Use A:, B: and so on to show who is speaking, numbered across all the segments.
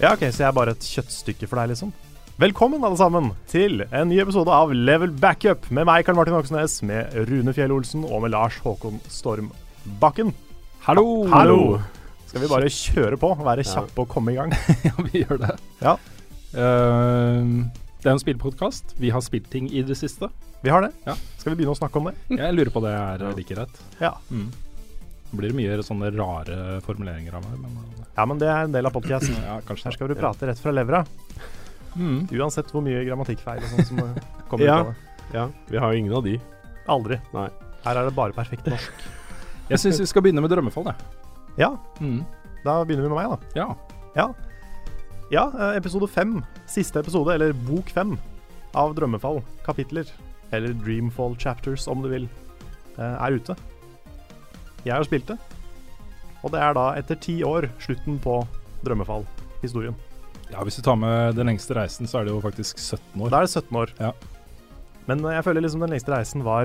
A: Ja, ok, så jeg er bare et kjøttstykke for deg, liksom. Velkommen, alle sammen, til en ny episode av Level Backup med meg, Karl Martin Oksnes, med Rune Fjell Olsen og med Lars Håkon Storm Bakken.
B: Oh. Hallo!
A: Hallo! Skal vi bare kjøre på, være kjappe og komme i gang?
B: Ja, vi gjør det.
A: Ja.
B: Eh, det er en spillpodkast. Vi har spilt ting i det siste.
A: Vi har det.
B: Ja.
A: Skal vi begynne å snakke om det?
B: Jeg lurer på det er like greit.
A: Ja.
B: Det blir mye sånne rare formuleringer av meg, men eh,
A: Ja, men det er en del av podcasten.
B: ja, kanskje
A: Her skal du prate rett fra levra,
B: Mm.
A: uansett hvor mye grammatikkfeil og sånn som eh, kommer
C: Ja.
A: ut av det.
C: Ja, vi har jo ingen av de.
A: Aldri.
C: Nei.
A: Her er det bare perfekt norsk.
B: Jeg syns vi skal begynne med Drømmefall, jeg.
A: Ja,
B: Mm.
A: da begynner vi med meg, da.
B: Ja.
A: Ja, eh, episode fem. Siste episode, eller bok fem, av Drømmefall. Kapitler. Eller Dreamfall Chapters, om du vil. eh, Er ute. Jeg har spilt det. Og det er da, etter ti år, slutten på Drømmefall-historien.
B: ja, hvis du tar med den lengste reisen, så er det jo faktisk 17 år.
A: Da er det 17 år.
B: Ja.
A: Men eh, jeg føler liksom den lengste reisen var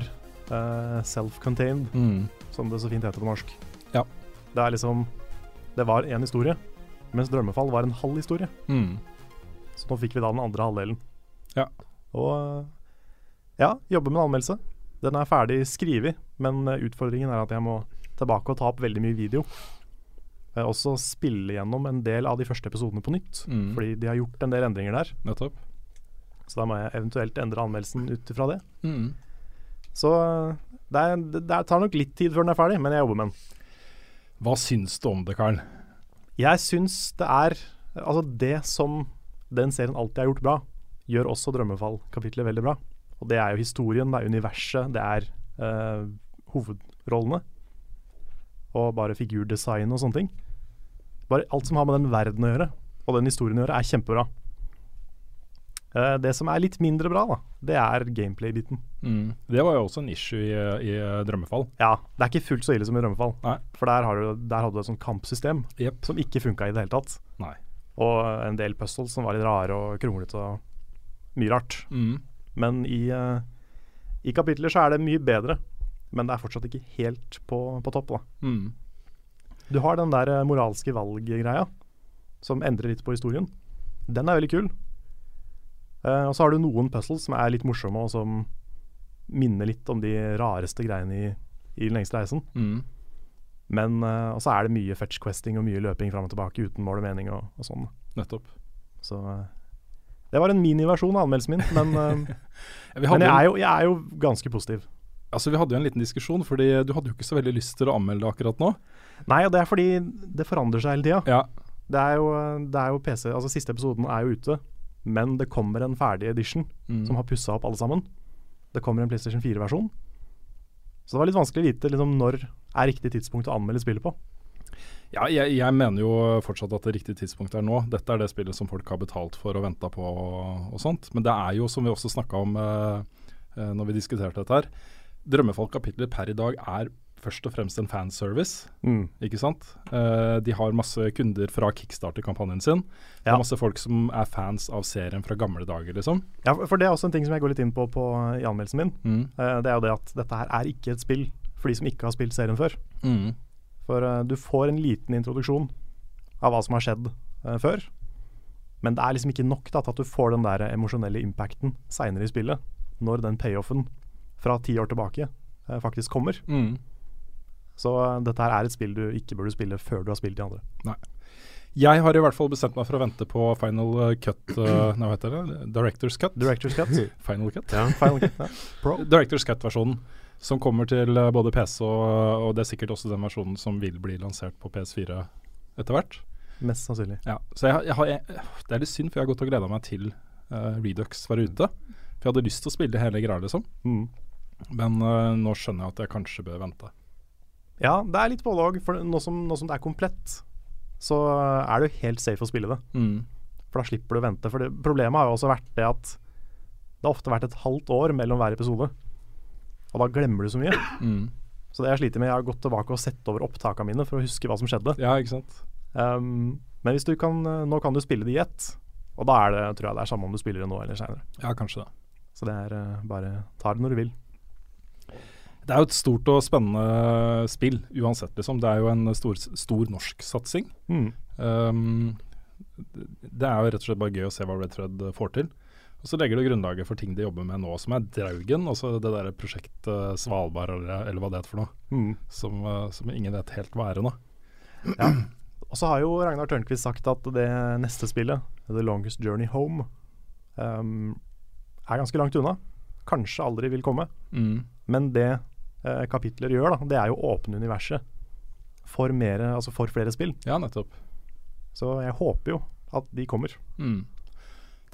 A: eh, self-contained,
B: Mm.
A: som det så fint heter på norsk.
B: Ja.
A: Det er liksom Det var én historie, mens Drømmefall var en halv historie.
B: Mm.
A: Så nå fikk vi da den andre halvdelen.
B: Ja.
A: Og øh, ja, jobbe med en anmeldelse. Den er ferdig skrevet, men øh, utfordringen er at jeg må tilbake og ta opp veldig mye video. Eh, Også spille gjennom en del av de første episodene på nytt,
B: Mm.
A: fordi de har gjort en del endringer der.
B: Nettopp.
A: Så da må jeg eventuelt endre anmeldelsen ut ifra det.
B: Mm.
A: Så øh, det, er, det, det tar nok litt tid før den er ferdig, men jeg jobber med den.
B: Hva syns du om det, Karl?
A: Jeg syns det er Altså, det som den serien alltid har gjort bra, gjør også Drømmefall-kapitlet veldig bra. Og det er jo historien, det er universet, det er eh, hovedrollene. Og bare figurdesign og sånne ting. Bare alt som har med den verden å gjøre, og den historien å gjøre, er kjempebra. Eh, det som er litt mindre bra, da, det er gameplay-biten.
B: Mm. Det var jo også en issue i, eh, i Drømmefall.
A: Ja, det er ikke fullt så ille som i Drømmefall.
B: Nei.
A: For der, har du, der hadde du et sånt kampsystem
B: Jepp.
A: som ikke funka i det hele tatt.
B: Nei.
A: og en del puzzles som var litt rare og kronglete og mye rart.
B: Mm.
A: Men i, eh, i kapitler så er det mye bedre, men det er fortsatt ikke helt på, på topp. da.
B: Mm.
A: Du har den der eh, moralske valg-greia, som endrer litt på historien. Den er veldig kul. Eh, og så har du noen puzzles som er litt morsomme, og som minner litt om de rareste greiene i, i Den lengste reisen.
B: Mm.
A: Men, eh, Og så er det mye fetch questing og mye løping fram og tilbake uten mål og mening og, og sånn.
B: Nettopp.
A: Så eh, det var en miniversjon av anmeldelsen min, men, eh,
B: Vi
A: men
B: hadde
A: jeg,
B: en-
A: er jo, jeg er jo ganske positiv.
B: Altså, Vi hadde jo en liten diskusjon, fordi du hadde jo ikke så veldig lyst til å anmelde det akkurat nå.
A: Nei, og det er fordi det forandrer seg hele tida.
B: Ja,
A: Det, er jo- det er jo PC Altså, siste episoden er jo ute, men det kommer en ferdig edition som har pussa opp alle sammen. Det kommer en PlayStation 4-versjon. Så det var litt vanskelig å vite liksom, når er riktig tidspunkt å anmelde spillet på.
B: ja jeg, jeg mener jo fortsatt at det riktige tidspunktet er nå. Dette er det spillet som folk har betalt for og venta på og, og sånt. Men det er jo, som vi også snakka om eh, eh, når vi diskuterte dette her, Drømmefall-kapitlet per i dag er først og fremst en fanservice,
A: Mm.
B: ikke sant? Eh, de har masse kunder fra kickstarter-kampanjen sin.
A: Ja.
B: Det er masse folk som er fans av serien fra gamle dager, liksom.
A: Ja, for- for det er også en ting som jeg går litt inn på, på i anmeldelsen min.
B: Mm.
A: Eh, det er jo det at dette her er ikke et spill for de som ikke har spilt serien før.
B: Mm.
A: For eh, du får en liten introduksjon av hva som har skjedd eh, før. Men det er liksom ikke nok da, til at du får den der emosjonelle impacten seinere i spillet, når den payoffen fra ti år tilbake eh, faktisk kommer.
B: Mm.
A: Så eh, dette her er et spill du ikke burde spille før du har spilt de andre.
B: Jeg har i hvert fall bestemt meg for å vente på final eh, cut, eh, nei, hva heter det? Director's cut.
A: Director's Cut.
B: Final cut.
A: Final Cut, ja.
B: Director's Cut-versjonen, som kommer til eh, både PC og, og det er sikkert også den versjonen som vil bli lansert på PS4 etter hvert.
A: Mest sannsynlig.
B: Ja, så jeg, har- jeg har, jeg, Det er litt synd, for jeg har gått og gleda meg til eh, Redux var ute. For jeg hadde lyst til å spille hele greia, liksom.
A: Mm.
B: Men eh, nå skjønner jeg at jeg kanskje bør vente.
A: Ja, det er litt både òg. For nå som, nå som det er komplett, så er det jo helt safe å spille det. For da slipper du å vente. For det, problemet har jo også vært det at det har ofte vært et halvt år mellom hver episode. Og da glemmer du så mye.
B: Mm.
A: Så det jeg sliter med, jeg har gått tilbake og sett over opptakene mine for å huske hva som skjedde.
B: Ja, ikke sant.
A: Um, men hvis du kan, nå kan du spille det i ett. Og da er det, tror jeg det er samme om du spiller det nå eller seinere.
B: Ja, kanskje det.
A: Så det er eh, bare ta det når du vil.
B: Det er jo et stort og spennende spill uansett, liksom. Det er jo en stor, stor norsk satsing.
A: Mm.
B: Um, det er jo rett og slett bare gøy å se hva Red Thread får til. Og så legger det grunnlaget for ting de jobber med nå, som er Draugen. Og så det der prosjektet eh, Svalbard, eller, eller hva det heter for noe.
A: Mm.
B: Som, eh, som ingen vet helt hva er ennå.
A: Og så har jo Ragnar Tørnquist sagt at det neste spillet, The Longest Journey Home, um, er ganske langt unna. Kanskje aldri vil komme. Men det eh, kapitler gjør, da, det er jo å åpne universet for, mere, altså for flere spill.
B: Ja, nettopp.
A: Så jeg håper jo at de kommer.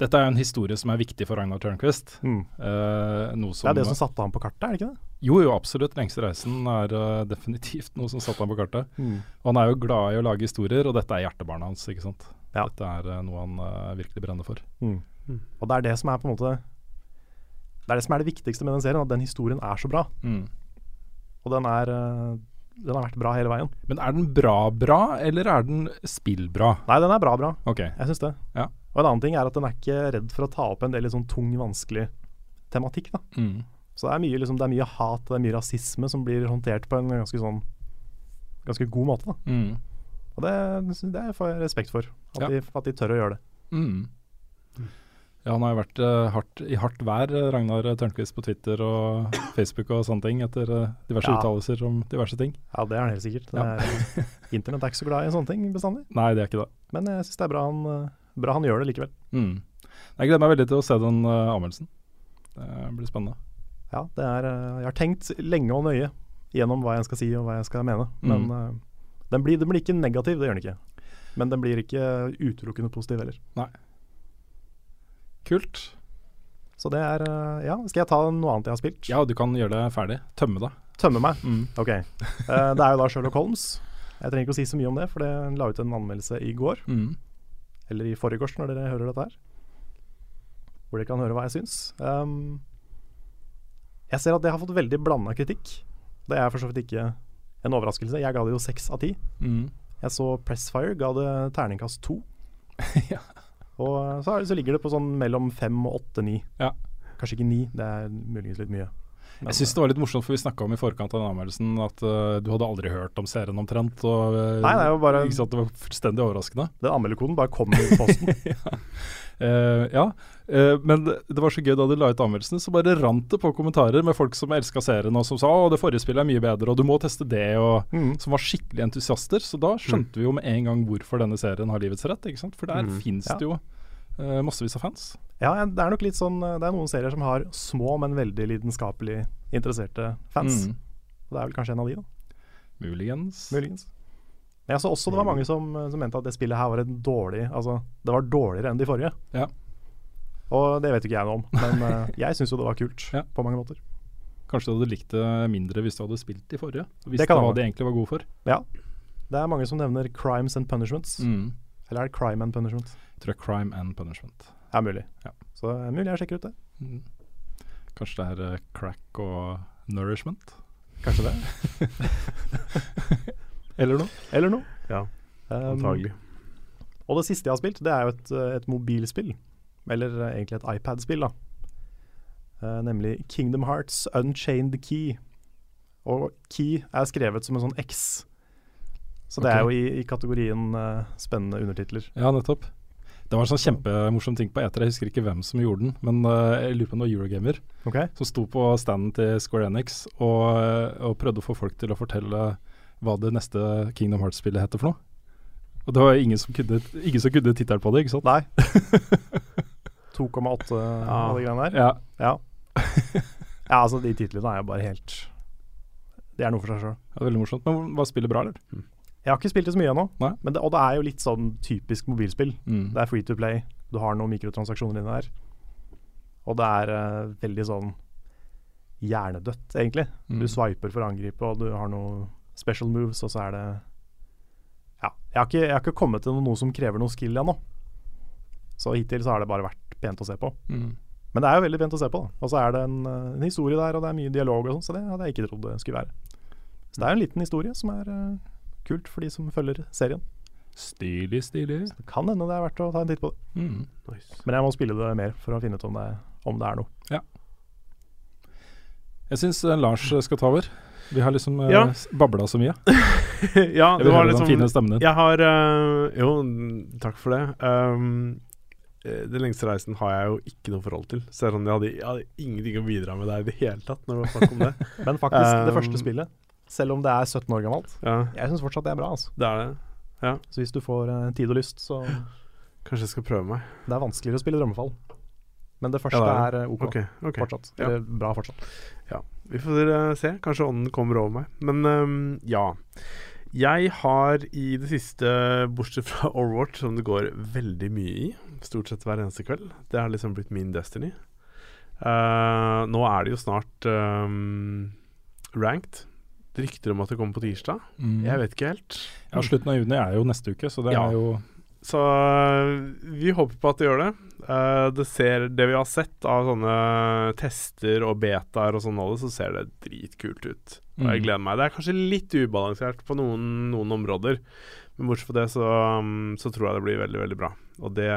B: Dette er jo en historie som er viktig for Ragnar Tørnquist.
A: Mm.
B: Eh, noe som,
A: Det er det som satte ham på kartet, er det ikke det?
B: Jo, jo, absolutt. Lengste reisen er eh, definitivt noe som satte ham på kartet. Og han er jo glad i å lage historier, og dette er hjertebarnet hans, ikke sant.
A: Ja.
B: Dette er eh, noe han eh, virkelig brenner for.
A: Og det er det som er på en måte Det er det som er det viktigste med den serien, at den historien er så bra.
B: Mm.
A: Og den er eh, Den har vært bra hele veien.
B: Men er den bra-bra, eller er den spillbra?
A: Nei, den er bra, bra.
B: Ok.
A: Jeg syns det.
B: Ja.
A: Og en annen ting er at den er ikke redd for å ta opp en del litt sånn tung, vanskelig tematikk. da.
B: Mm.
A: Så det er, mye, liksom, det er mye hat det er mye rasisme som blir håndtert på en ganske sånn ganske god måte. da.
B: Mm.
A: Og det, det får jeg respekt for, at,
B: Ja.
A: de, at de tør å gjøre det.
B: Mm. Ja, han har jo vært eh, hardt, i hardt vær, eh, Ragnar Tørnquist, på Twitter og Facebook og sånne ting, etter eh, diverse
A: Ja.
B: uttalelser om diverse ting.
A: Ja, det er han helt sikkert. Det
B: Ja.
A: er, internett er ikke så glad i sånne ting bestandig,
B: Nei, det er ikke det.
A: men jeg syns det er bra han, eh, bra han gjør det likevel.
B: Mm. Jeg gleder meg veldig til å se den eh, anmeldelsen. Det blir spennende.
A: Ja, det er, eh, jeg har tenkt lenge og nøye gjennom hva jeg skal si og hva jeg skal mene. Men
B: Mm.
A: eh, den, blir, den blir ikke negativ, det gjør den ikke. Men den blir ikke utelukkende positiv heller.
B: Kult.
A: Så det er eh, Ja, skal jeg ta noe annet jeg har spilt?
B: Ja, du kan gjøre det ferdig. Tømme deg.
A: Tømme meg.
B: Mm.
A: Ok. Eh, det er jo da Sherlock Holmes. Jeg trenger ikke å si så mye om det, for det la ut en anmeldelse i går.
B: Mm.
A: Eller i forgårs, når dere hører dette her. Hvor dere kan høre hva jeg syns. Um, jeg ser at det har fått veldig blanda kritikk. Det er for så vidt ikke en overraskelse. Jeg ga det jo seks av ti.
B: Mm.
A: Jeg så Pressfire ga det terningkast to.
B: Ja.
A: Og så, er, det- så ligger det på sånn mellom fem og åtte, ni.
B: Ja.
A: Kanskje ikke ni, det er muligens litt mye. Men,
B: Jeg syns det var litt morsomt, for vi snakka om i forkant av den anmeldelsen at eh, du hadde aldri hørt om serien omtrent. Og, eh,
A: Nei, det er jo bare-
B: ikke sant, det var fullstendig overraskende.
A: Den anmelderkoden bare kom i posten.
B: Eh, ja, eh, men det var så gøy da de la ut anmeldelsene, så bare rant det på kommentarer med folk som elska serien, og som sa å, det forrige spillet er mye bedre, og du må teste det, og
A: Mm.
B: som var skikkelig entusiaster. Så da skjønte vi jo med en gang hvorfor denne serien har livets rett, ikke sant? for der fins
A: Mm. Ja.
B: det jo eh, massevis av fans.
A: Ja, jeg- det er nok litt sånn eh, Det er noen serier som har små, men veldig lidenskapelig interesserte fans.
B: Mm.
A: Og det er vel kanskje en av de, da.
B: Muligens.
A: Muligens. Men jeg så også det
B: Mm.
A: var mange som, eh, som mente at det spillet her var en dårlig Altså, det var dårligere enn de forrige.
B: Ja.
A: Og det vet ikke jeg noe om, men eh, jeg syns jo det var kult
B: Ja.
A: på mange måter.
B: Kanskje du hadde likt det mindre hvis du hadde spilt de forrige. Hvis
A: Det
B: det
A: kan
B: var
A: hende.
B: det egentlig var god for.
A: Ja. Det er mange som nevner crimes and punishments.
B: Mm.
A: Eller er det crime and punishment?
B: Tror jeg crime and punishment.
A: Ja, mulig.
B: Ja.
A: Så det er mulig jeg sjekker ut det.
B: Mm. Kanskje det er eh, crack og nourishment?
A: Kanskje det.
B: Eller noe?
A: Eller noe.
D: Ja,
A: Um,
D: antagelig.
A: og det siste jeg har spilt, det er jo et, eh, et mobilspill. Eller eh, egentlig et iPad-spill, da. Eh, nemlig Kingdom Hearts Unchained Key. Og Key er skrevet som en sånn X. Så det er jo
B: Ok.
A: i, i kategorien eh, spennende undertitler.
B: Ja, nettopp. Det var en sånn kjempemorsom ting på E3, jeg husker ikke hvem som gjorde den, men eh, jeg lurer på om det var Eurogamer
A: Ok?
B: som sto på standen til Square Enix og, eh, og prøvde å få folk til å fortelle hva det neste Kingdom Hearts-spillet heter for noe. Og det var ingen som kunne, ingen som kunne tittelen på det, ikke sant?
A: Nei. 2,8 og de greiene der.
B: Ja,
A: Ja. ja, altså de titlene er jo bare helt Det er noe for seg sjøl.
B: det var veldig morsomt. Men var spillet bra, eller?
A: Jeg har ikke spilt det så mye ennå,
B: Nei.
A: men det, og det er jo litt sånn typisk mobilspill.
B: Mm.
A: Det er free to play, du har noen mikrotransaksjoner inne der. Og det er eh, veldig sånn hjernedødt, egentlig. Du
B: Mm.
A: swiper for å angripe, og du har noen special moves, og så er det Ja. Jeg har ikke, jeg har ikke kommet til noe som krever noe skill ennå. Så hittil så har det bare vært pent å se på.
B: Mm.
A: Men det er jo veldig pent å se på. da. Og så er det en, eh, en historie der, og det er mye dialog og sånn, så det hadde jeg ikke trodd det skulle være. Så det er jo en liten historie som er eh, kult for de som følger serien.
B: Stilig, stilig.
A: Det kan hende det er verdt å ta en titt på det.
B: Mm.
A: Men jeg må spille det mer for å finne ut om det, om det er noe.
B: Jeg syns Lars eh, skal ta over. Vi har liksom eh,
D: Ja.
B: s- babla så mye.
D: ja,
B: Jeg
D: det
B: vil
D: var
B: høre den
D: liksom
B: fine stemmen din.
D: Jeg har øh, Jo, mm, takk for det. Um, eh, den lengste reisen har jeg jo ikke noe forhold til. Så det er sånn, jeg, hadde, jeg hadde ingenting å bidra med der i det hele tatt, når det var snakk om det.
A: Men faktisk, det
D: Um,
A: første spillet, selv om det er 17 år gammelt,
D: Ja,
A: jeg syns fortsatt det er bra. altså.
D: det er det.
A: Så hvis du får eh, tid og lyst, så
D: Kanskje jeg skal prøve meg.
A: Det er vanskeligere å spille Drømmefall. Men det første
D: Ja,
A: er eh, OK,
D: Ok, ok.
A: fortsatt.
D: Ja.
A: Eller bra fortsatt.
D: Vi får eh, se. Kanskje ånden kommer over meg. Men ehm, ja. Jeg har i det siste, bortsett fra Overwatch, som det går veldig mye i, stort sett hver eneste kveld, det har liksom blitt min destiny. Eh, nå er det jo snart ehm, ranked. Det rykter om at det kommer på tirsdag.
B: Mm.
D: Jeg vet ikke helt.
B: Ja, slutten av juni er jo neste uke, så det
D: Ja.
B: er jo
D: Så øh, vi håper på at det gjør det. Eh, det, ser, det vi har sett av sånne tester og betaer og sånn, alle, så ser det dritkult ut. Og jeg
B: Mm.
D: gleder meg. Det er kanskje litt ubalansert på noen, noen områder, men bortsett fra det så, um, så tror jeg det blir veldig, veldig bra. Og det,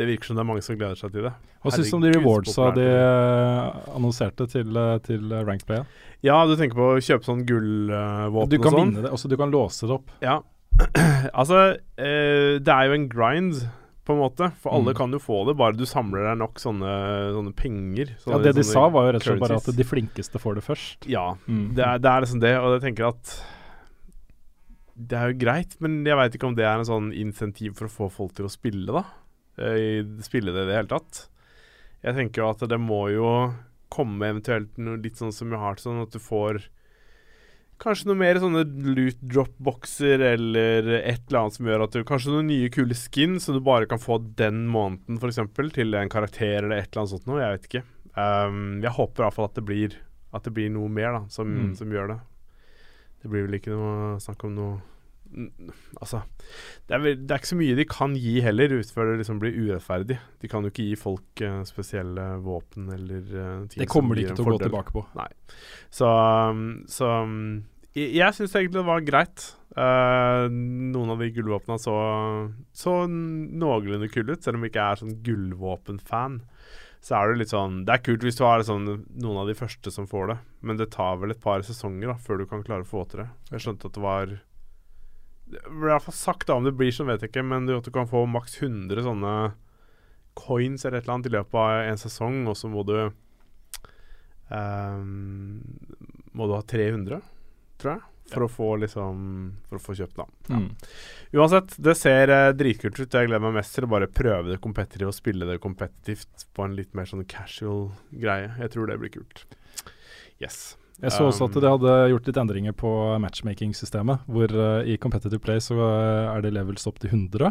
D: det virker som det er mange som gleder seg til det.
B: Hva syns du om de
D: Herregud, så
B: rewardsa
D: populært
B: de
D: det
B: eh, annonserte til, eh, til eh, ranked play?
D: Ja, du tenker på å kjøpe sånn gullvåpen
B: Du kan
D: og sånn?
B: vinne det, også du kan låse det opp.
D: Ja. altså, eh, det er jo en grind, på en måte. For alle
B: Mm.
D: kan jo få det, bare du samler deg nok sånne, sånne penger.
B: Ja,
D: Sånne,
B: det de
D: sånne
B: sa var jo rett og slett bare at
D: sånn currencies.
B: de flinkeste får det først.
D: Ja,
B: Mm.
D: det er, det er liksom det, og jeg tenker at det er jo greit, men jeg veit ikke om det er en sånn insentiv for å få folk til å spille, da. Eh, Spille det i det hele tatt. Jeg tenker jo at det må jo komme eventuelt noe litt sånn som jeg har til sånn at du får Kanskje noe mer sånne loot drop-bokser eller et eller annet som gjør at du Kanskje noen nye kule skin som du bare kan få den måneden, f.eks. Til en karakter eller et eller annet sånt noe. Jeg vet ikke. Um, jeg håper iallfall at det blir At det blir noe mer da som,
B: Mm.
D: som gjør det. Det blir vel ikke noe snakk om noe N- Altså det er, vel, det er ikke så mye de kan gi heller, ut før det liksom blir urettferdig. De kan jo ikke gi folk eh, spesielle våpen eller eh, ting
B: Det kommer
D: som
B: de
D: gir
B: ikke
D: en
B: til å gå
D: fordel.
B: tilbake på.
D: Så, um, så um, jeg, jeg syns egentlig det var greit. Eh, noen av de gullvåpna så, så noenlunde kule ut, selv om jeg ikke er sånn gullvåpenfan. Så er det litt sånn Det er kult hvis du har sånn, noen av de første som får det, men det tar vel et par sesonger da før du kan klare å få til det. Jeg skjønte at det var Det ble i hvert fall sagt, da om det blir sånn, vet jeg ikke, men du, at du kan få maks 100 sånne coins eller et eller annet i løpet av en sesong, og så må du Ehm, må du ha 300, tror jeg, for å få liksom For å få kjøpt, da.
B: Mm.
D: Uansett, det ser eh, dritkult ut. Jeg gleder meg mest til å bare prøve det competitive og spille det kompetitivt på en litt mer sånn casual greie. Jeg tror det blir kult. Yes.
B: Jeg så også at
D: Um,
B: de hadde gjort litt endringer på matchmaking-systemet. Hvor eh, i competitive play så eh, er det levels opp til 100.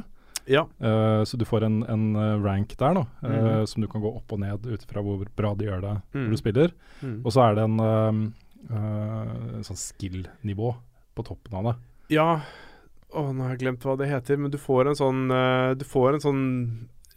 D: Ja.
B: eh, så du får en, en eh, rank der nå, eh,
D: Mhm.
B: som du kan gå opp og ned ut fra hvor bra de gjør det
D: Mm.
B: når du spiller.
D: Mm.
B: Og så er det en eh, eh, sånn skill-nivå på toppen av det.
D: Ja Å, nå har jeg glemt hva det heter, men du får en sånn eh, Du får en sånn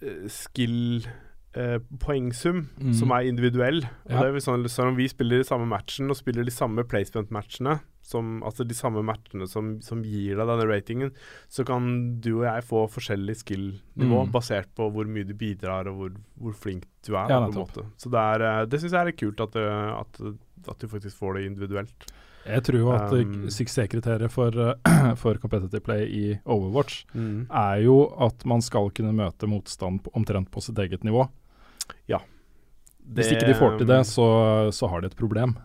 D: eh, skill eh, poengsum
B: Mm.
D: som er individuell. Og
B: Ja.
D: det er vel sånn, sånn om vi spiller de samme matchen og spiller de samme placement-matchene, som, altså de samme matchene som, som gir deg denne ratingen, så kan du og jeg få forskjellig skill-nivå
B: Mm.
D: basert på hvor mye du bidrar og hvor, hvor flink du er.
B: Ja,
D: da, på en
B: nettopp.
D: eh, måte. Så det, er, eh, det syns jeg er litt kult at, det- at, at du faktisk får det individuelt.
B: Jeg tror jo at
D: Um,
B: um, suksesskriteriet for, eh, for competitive play i Overwatch er jo at man skal kunne møte motstand på- omtrent på sitt eget nivå. Hvis ikke de får til det, så, så har de et problem.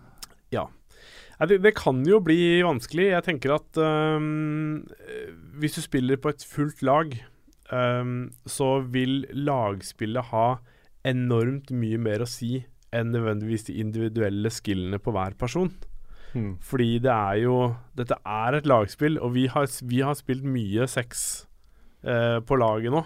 D: Nei, det, det kan jo bli vanskelig. Jeg tenker at øhm, eh, hvis du spiller på et fullt lag, øhm, så vil lagspillet ha enormt mye mer å si enn nødvendigvis de individuelle skillene på hver person.
A: Mm.
D: Fordi det er jo Dette er et lagspill, og vi har, vi har spilt mye sex eh, på laget nå.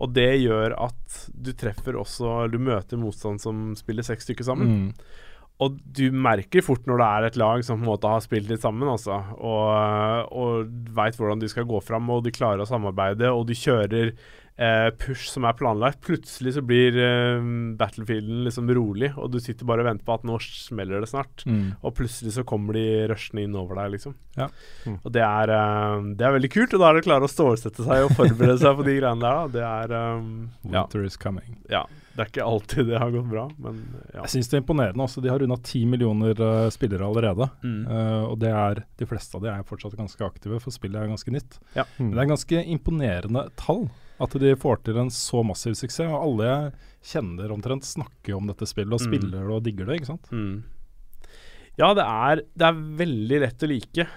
D: Og det gjør at du treffer også Du møter motstand som spiller seks stykker sammen.
B: Mm.
D: Og du merker fort når det er et lag som på en måte har spilt litt sammen, altså, og, og veit hvordan de skal gå fram, og de klarer å samarbeide, og de kjører eh, push som er planlagt. Plutselig så blir eh, battlefielden liksom rolig, og du sitter bare og venter på at nå smeller det snart.
B: Mm.
D: Og plutselig så kommer de rushende inn over deg, liksom.
B: Ja.
A: Mm.
D: Og det er, eh, det er veldig kult, og da er det å klare å stålsette seg og forberede seg på de greiene der, da. Det er eh, ja,
B: Winter is coming.
D: ja. Det er ikke alltid det har gått bra, men ja.
B: Jeg syns det er imponerende. Altså, de har runda ti millioner eh, spillere allerede.
D: Mm.
B: Eh, og det er, de fleste av de er fortsatt ganske aktive, for spillet er ganske nytt.
D: Ja.
B: Men det er ganske imponerende tall at de får til en så massiv suksess. Og alle jeg kjenner omtrent snakker om dette spillet, og
D: Mm.
B: spiller det og digger det. ikke sant?
D: Mm. Ja, det er, det er veldig lett å like.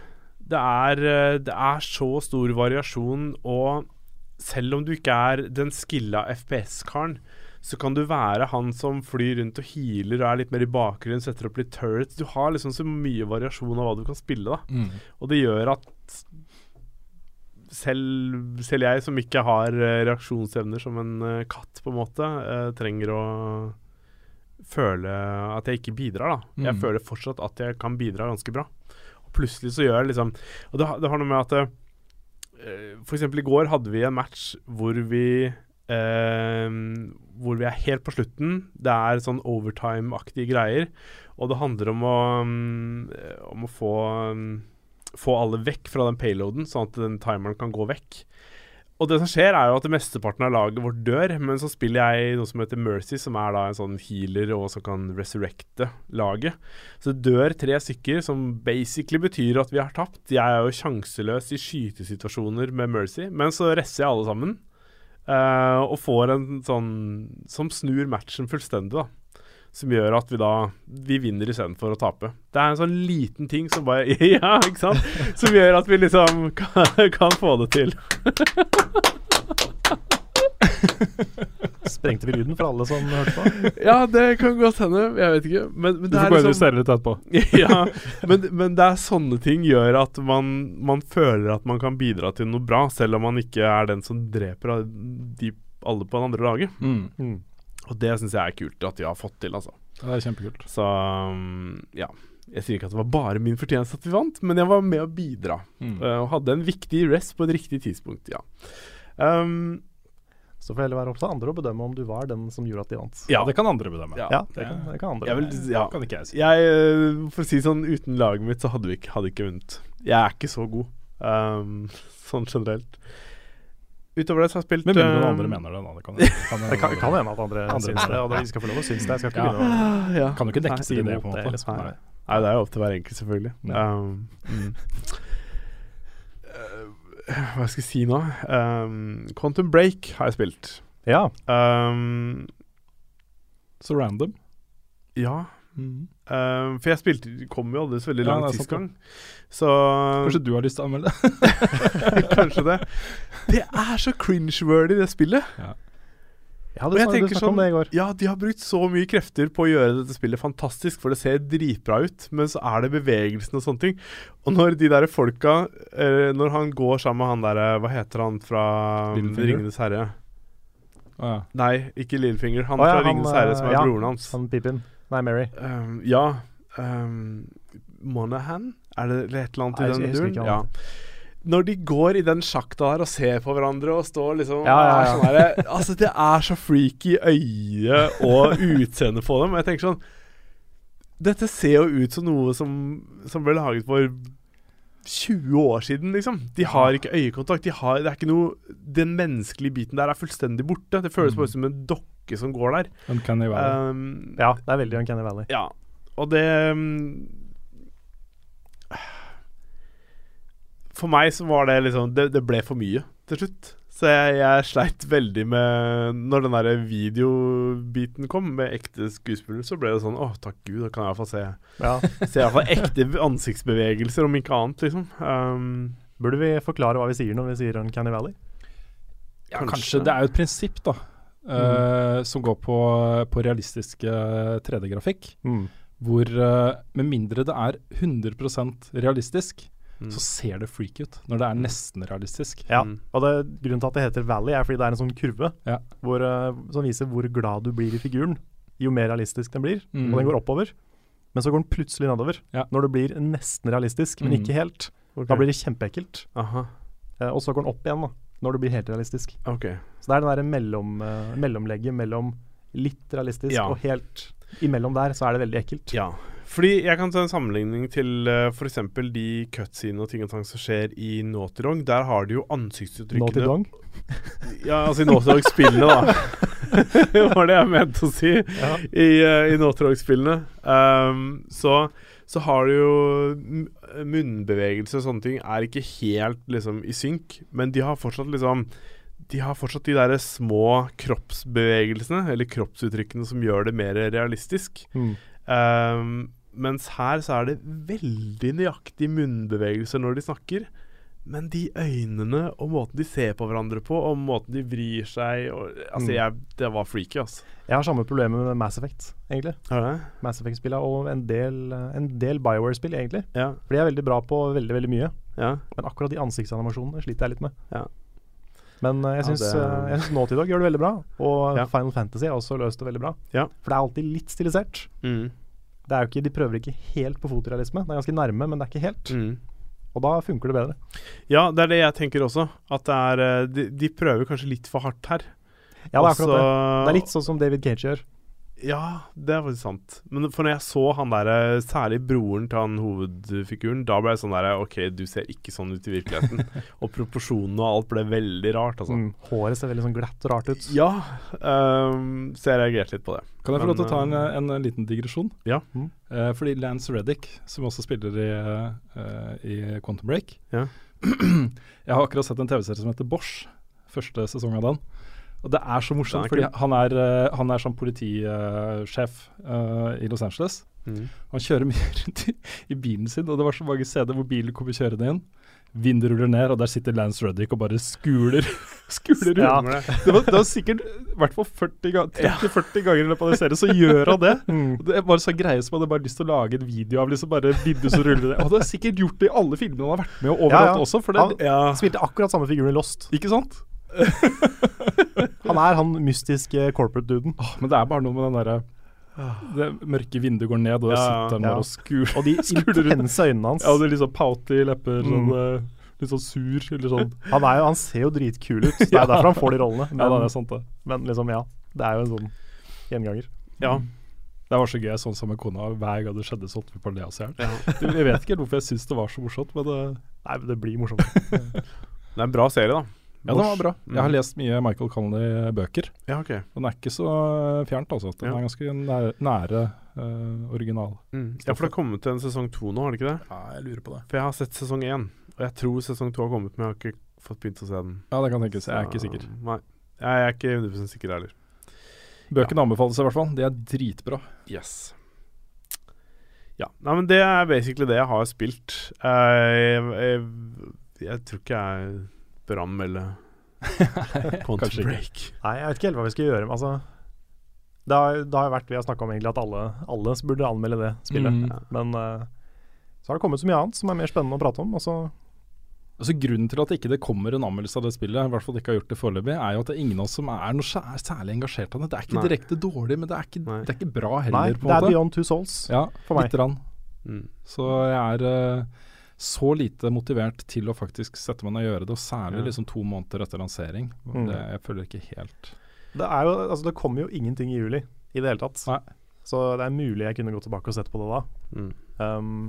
D: Det er, eh, det er så stor variasjon, og selv om du ikke er den skilla FPS-karen, så kan du være han som flyr rundt og healer og er litt mer i bakgrunnen, setter opp litt turrets. Du har liksom så mye variasjon av hva du kan spille, da. Og det gjør at selv, selv jeg som ikke har eh, reaksjonsevner som en eh, katt, på en måte, eh, trenger å føle at jeg ikke bidrar, da. Jeg
B: Mm.
D: føler fortsatt at jeg kan bidra ganske bra. Og plutselig så gjør jeg liksom Og det, har- det har noe med at eh, eh, For eksempel i går hadde vi en match hvor vi eh, Hvor vi er helt på slutten. Det er sånn overtime-aktige greier. Og det handler om å, mm, om å få, mm, få alle vekk fra den payloaden, sånn at den timeren kan gå vekk. Og det som skjer, er jo at mesteparten av laget vårt dør, men så spiller jeg noe som heter Mercy, som er da en sånn healer og som kan resurrecte laget. Så det dør tre stykker, som basically betyr at vi har tapt. Jeg er jo sjanseløs i skytesituasjoner med Mercy, men så resser jeg alle sammen. eh, og får en sånn som snur matchen fullstendig, da som gjør at vi da Vi vinner istedenfor å tape. Det er en sånn liten ting som bare Ja, ikke sant? Som gjør at vi liksom kan, kan få det til.
A: Sprengte vi lyden for alle som hørte på?
D: Ja, det kan godt hende. Jeg vet ikke. Men, men
B: Du
D: det
B: får
D: er
B: gå inn og
D: liksom
B: justere litt etterpå.
D: ja, men, men det er sånne ting gjør at man, man føler at man kan bidra til noe bra, selv om man ikke er den som dreper av de, alle på det andre laget.
B: Mm.
A: Hmm.
D: Og det syns jeg er kult at de har fått til, altså.
B: Det er kjempekult.
D: Så um, ja. Jeg sier ikke at det var bare min fortjeneste at vi vant, men jeg var med å bidra.
B: Mm.
D: eh, Og hadde en viktig rest på et riktig tidspunkt, ja. Um,
A: Så får jeg heller være opp til andre å bedømme om du var den som gjorde at de vant.
B: Ja, det kan andre bedømme.
D: Ja.
A: Ja, det kan, det kan andre.
D: jeg vil, ja.
B: Kan ikke jeg si.
D: Jeg, eh, for å si det sånn, uten laget mitt så hadde vi ikke, hadde ikke vunnet. Jeg er ikke så god, um, sånn generelt. Utover det så har jeg spilt
B: Med mindre noen
D: um,
B: andre mener det, da. Det kan, det kan,
A: Det kan, kan hende at andre syns det, og de skal få lov å synes det. Jeg skal ikke
B: Ja.
A: begynne å
D: ja.
B: kan jo ikke dekke
A: si
B: seg i det,
A: imot
B: på en
A: det,
B: måte.
A: liksom.
B: Nei.
A: Nei.
D: Nei, det er jo opp til hver enkelt, selvfølgelig.
B: Ja.
D: Um, Eh, hva skal jeg si nå? Um, Quantum Break har jeg spilt.
A: Ja.
D: Um,
B: Så random.
D: ja um, For jeg spilte kom jo aldri så veldig
B: Ja,
D: langt
B: det er
D: sist gang.
B: sant,
D: Så
B: Kanskje du har lyst til å anmelde?
D: kanskje det. Det er så cringe-wordy, det spillet.
A: ja,
D: Og
A: du
D: jeg
A: snakket
D: tenker
A: snakket om
D: sånn-
A: det i går.
D: Ja, de har brukt så mye krefter på å gjøre dette spillet fantastisk, for det ser dritbra ut, men så er det bevegelsen og sånne ting. Og når de der folka eh, Når han går sammen med han derre Hva heter han fra um,
B: Littlefinger?
D: Ringenes herre?
B: Å, ja.
D: Nei, ikke Lillfinger. Han
A: Å, ja,
D: fra
A: han, eh,
D: Ringenes herre som er
A: ja.
D: broren hans.
A: Han Pippin. Nei, Mary.
D: Um, ja um, Monahan? Er det eller et eller annet
A: Nei, jeg
D: i den
A: husker ikke
D: duren? Ja.
A: han.
D: Når de går i den sjakta der og ser på hverandre og står liksom
A: Ja, ja, ja.
D: og er Sånn der, Altså, det er så freaky øye og utseende på dem. Og jeg tenker sånn Dette ser jo ut som noe som, som ble laget for 20 år siden, liksom. De har ikke øyekontakt. De har, det er ikke noe Den menneskelige biten der er fullstendig borte. Det føles
A: Mm.
D: bare som en dokke som går der.
B: Uncanny Valley.
D: Um,
A: Ja, det er veldig Uncanny Valley.
D: ja, og det mm, For meg så var det liksom Det, det ble for mye til slutt. Så jeg, jeg sleit veldig med Når den der videobiten kom med ekte skuespillere, så ble det sånn Å, takk gud, da kan jeg iallfall se
A: Ja.
D: Se i hvert fall ekte ansiktsbevegelser, om ikke annet, liksom. Um,
A: Burde vi forklare hva vi sier når vi sier Uncanny Valley?
B: Ja,
D: Kanskje.
B: kanskje. Det er jo et prinsipp, da. eh, som går på, på realistisk eh, 3D-grafikk.
A: Mm.
B: Hvor eh, med mindre det er 100 realistisk,
D: Mm.
B: så ser det freak ut når det er nesten realistisk.
A: Ja, og det, Grunnen til at det heter Valley, er fordi det er en sånn kurve
B: Ja.
A: hvor, eh, som viser hvor glad du blir i figuren, jo mer realistisk den blir.
B: Mm.
A: Og den går oppover, men så går den plutselig nedover.
B: Ja.
A: Når det blir nesten realistisk, men
B: Mm.
A: ikke helt.
D: ok.
A: Da blir det kjempeekkelt.
D: Aha,
A: Eh, Og så går den opp igjen, da, når det blir helt realistisk.
D: ok.
A: Så det er den derre mellom, eh, mellomlegget mellom litt realistisk
D: Ja.
A: og helt imellom der, så er det veldig ekkelt.
D: Ja. Fordi jeg kan ta en sammenligning til uh, f.eks. de cutscenene og ting og tang som skjer i Naughty Dog. Der har de jo
A: Naughty
D: ansiktsuttrykkene
A: Dong.
D: Ja, altså i Naughty Dog-spillene, da. det var det jeg mente å si. I, uh, i Naughty Dog-spillene. Um, så, så har du jo m- Munnbevegelser og sånne ting er ikke helt liksom i synk, men de har fortsatt liksom de har fortsatt de der små kroppsbevegelsene, eller kroppsuttrykkene, som gjør det mer realistisk.
A: Mm.
D: Um, mens her så er det veldig nøyaktige munnbevegelser når de snakker. Men de øynene og måten de ser på hverandre på, og måten de vrir seg og, Altså,
A: Mm.
D: jeg, det var freaky, altså.
A: Jeg har samme problemet med Mass Effect, egentlig.
D: Har du det?
A: Mass Effect-spillene og en del, eh, en del Bioware-spill, egentlig.
D: Ja.
A: For de er veldig bra på veldig, veldig mye.
D: ja.
A: Men akkurat de ansiktsanimasjonene sliter jeg litt med.
D: Ja.
A: Men eh, jeg
D: Ja,
A: syns
D: det-
A: ja, Naughty Dog gjør det veldig bra. Og
D: Ja.
A: Final Fantasy har også løst det veldig bra.
D: Ja.
A: For det er alltid litt stilisert.
D: Mm.
A: Det er jo ikke, de prøver ikke helt på fotorealisme. Det er ganske nærme, men det er ikke helt.
D: Mm.
A: Og da funker det bedre.
D: ja, det er det jeg tenker også. At det er eh, De, de prøver kanskje litt for hardt her.
A: Ja, det er akkurat
B: Altså-
A: det. Det er
D: Også-
A: litt sånn som David Cage gjør.
D: Ja, det er faktisk sant. Men for når jeg så han derre, særlig broren til han hovedfiguren, da ble jeg sånn derre OK, du ser ikke sånn ut i virkeligheten. og proporsjonene og alt ble veldig rart, altså.
A: Mm. Håret ser veldig sånn glatt og rart ut.
D: Ja, ehm, så jeg reagerte litt på det.
B: Kan jeg få
D: Men,
B: lov til å ta en,
D: eh,
B: en, liten digresjon?
D: Ja.
A: Mm.
B: Eh, fordi Lance Reddick, som også spiller i, eh, i Quantum Break
D: Ja.
B: Jeg har akkurat sett en TV-serie som heter Bosch. Første sesong av den. Og det er så morsomt,
D: Den er
B: fordi
D: kul.
B: han er, eh, han er sånn politisjef eh, i Los Angeles.
D: Mm.
B: Han kjører mye rundt i, i bilen sin, og det var så mange steder hvor bilen kommer kjørende inn. Vinduet ruller ned, og der sitter Lance Ruddick og bare skuler, skuler rundt.
A: Ja.
D: Stemmer det.
B: Det, var, det var sikkert i hvert fall 40 ga- 30-40 ganger i løpet av den serien, så gjør han det.
A: Mm.
B: Og Det er bare så greie som hadde bare lyst til å lage en video av liksom bare vinduet som ruller ned. Han hadde sikkert gjort det i alle filmene han har vært med og overalt
A: Ja, ja.
B: også, for det
A: Han spilte akkurat samme figuren i Lost.
B: Ikke sant?
A: Han er han mystiske corporate-duden.
B: Åh, men det er bare noe med den derre Det mørke vinduet går ned, og der
D: Ja,
B: sitter
A: Ah.
B: han
A: ja.
B: bare og skuler.
A: Og de
B: Skuler rundt.
A: intense øynene hans.
B: Ja, det er liksom pouty lepper, sånn,
A: Mm.
B: eh, litt sånn sur, eller sånn
A: Han, er jo, han ser jo dritkul ut. Det er jo derfor han får de rollene. Men,
B: Ja, da, det er sant, det.
A: men liksom, ja. Det er jo en sånn gjenganger.
D: Ja.
B: Det var så gøy, jeg så den sammen med kona. Hver gang det skjedde, så holdt vi på å le oss i hjel. Jeg vet ikke helt hvorfor jeg syns det var så morsomt, men eh,
A: Nei, men det blir morsomt.
D: Det er en bra serie, da. Mm.
B: ja, den var bra. Mm. Jeg har lest mye Michael Connolly-bøker.
D: Ja, ok.
B: Den er ikke så fjernt, altså. Den
D: Ja.
B: er ganske nære, nære eh, original.
D: Mm. Ja, for det har kommet en sesong to nå, har det ikke det?
B: Ja, jeg lurer på det.
D: For jeg har sett sesong én, og jeg tror sesong to har kommet, men jeg har ikke fått begynt å se den.
B: Ja, det kan tenkes. Jeg er ikke sikker.
D: Så, Nei. Jeg er ikke 100 sikker heller.
B: Bøkene anbefales i hvert fall. De er dritbra.
D: Yes. Ja. Nei, men det er basically det jeg har spilt. Eh, jeg, jeg, jeg tror ikke jeg er Bram eller Quantum
B: Kanskje ikke.
D: Break.
A: Nei, jeg vet ikke helt hva vi skal gjøre. Men altså, det har, det har jo vært vi har snakka om egentlig at alle, alle burde anmelde det spillet.
B: Mm.
A: Ja. Men eh, så har det kommet så mye annet som er mer spennende å prate om. Og så
B: Altså Grunnen til at ikke det kommer en anmeldelse av det spillet, i hvert fall ikke har gjort det foreløpig, er jo at det er ingen av oss som er noe sær- særlig engasjert av det. Det er ikke
D: Nei.
B: direkte dårlig, men det er ikke,
D: Nei.
B: det er ikke bra
A: nei,
B: heller, på
A: det er
B: en måte.
A: Beyond Two Souls.
B: Ja,
A: for meg.
B: Lite grann.
D: Mm.
B: Så jeg er eh, så lite motivert til å faktisk sette meg ned og gjøre det, og særlig
D: Ja.
B: liksom to måneder etter lansering.
A: Mm.
B: Det, jeg føler ikke helt
A: Det, er jo, altså, det kommer jo ingenting i juli i det hele tatt.
B: Nei.
A: Så det er mulig jeg kunne gå tilbake og sett på det da.
D: Mm.
A: Um,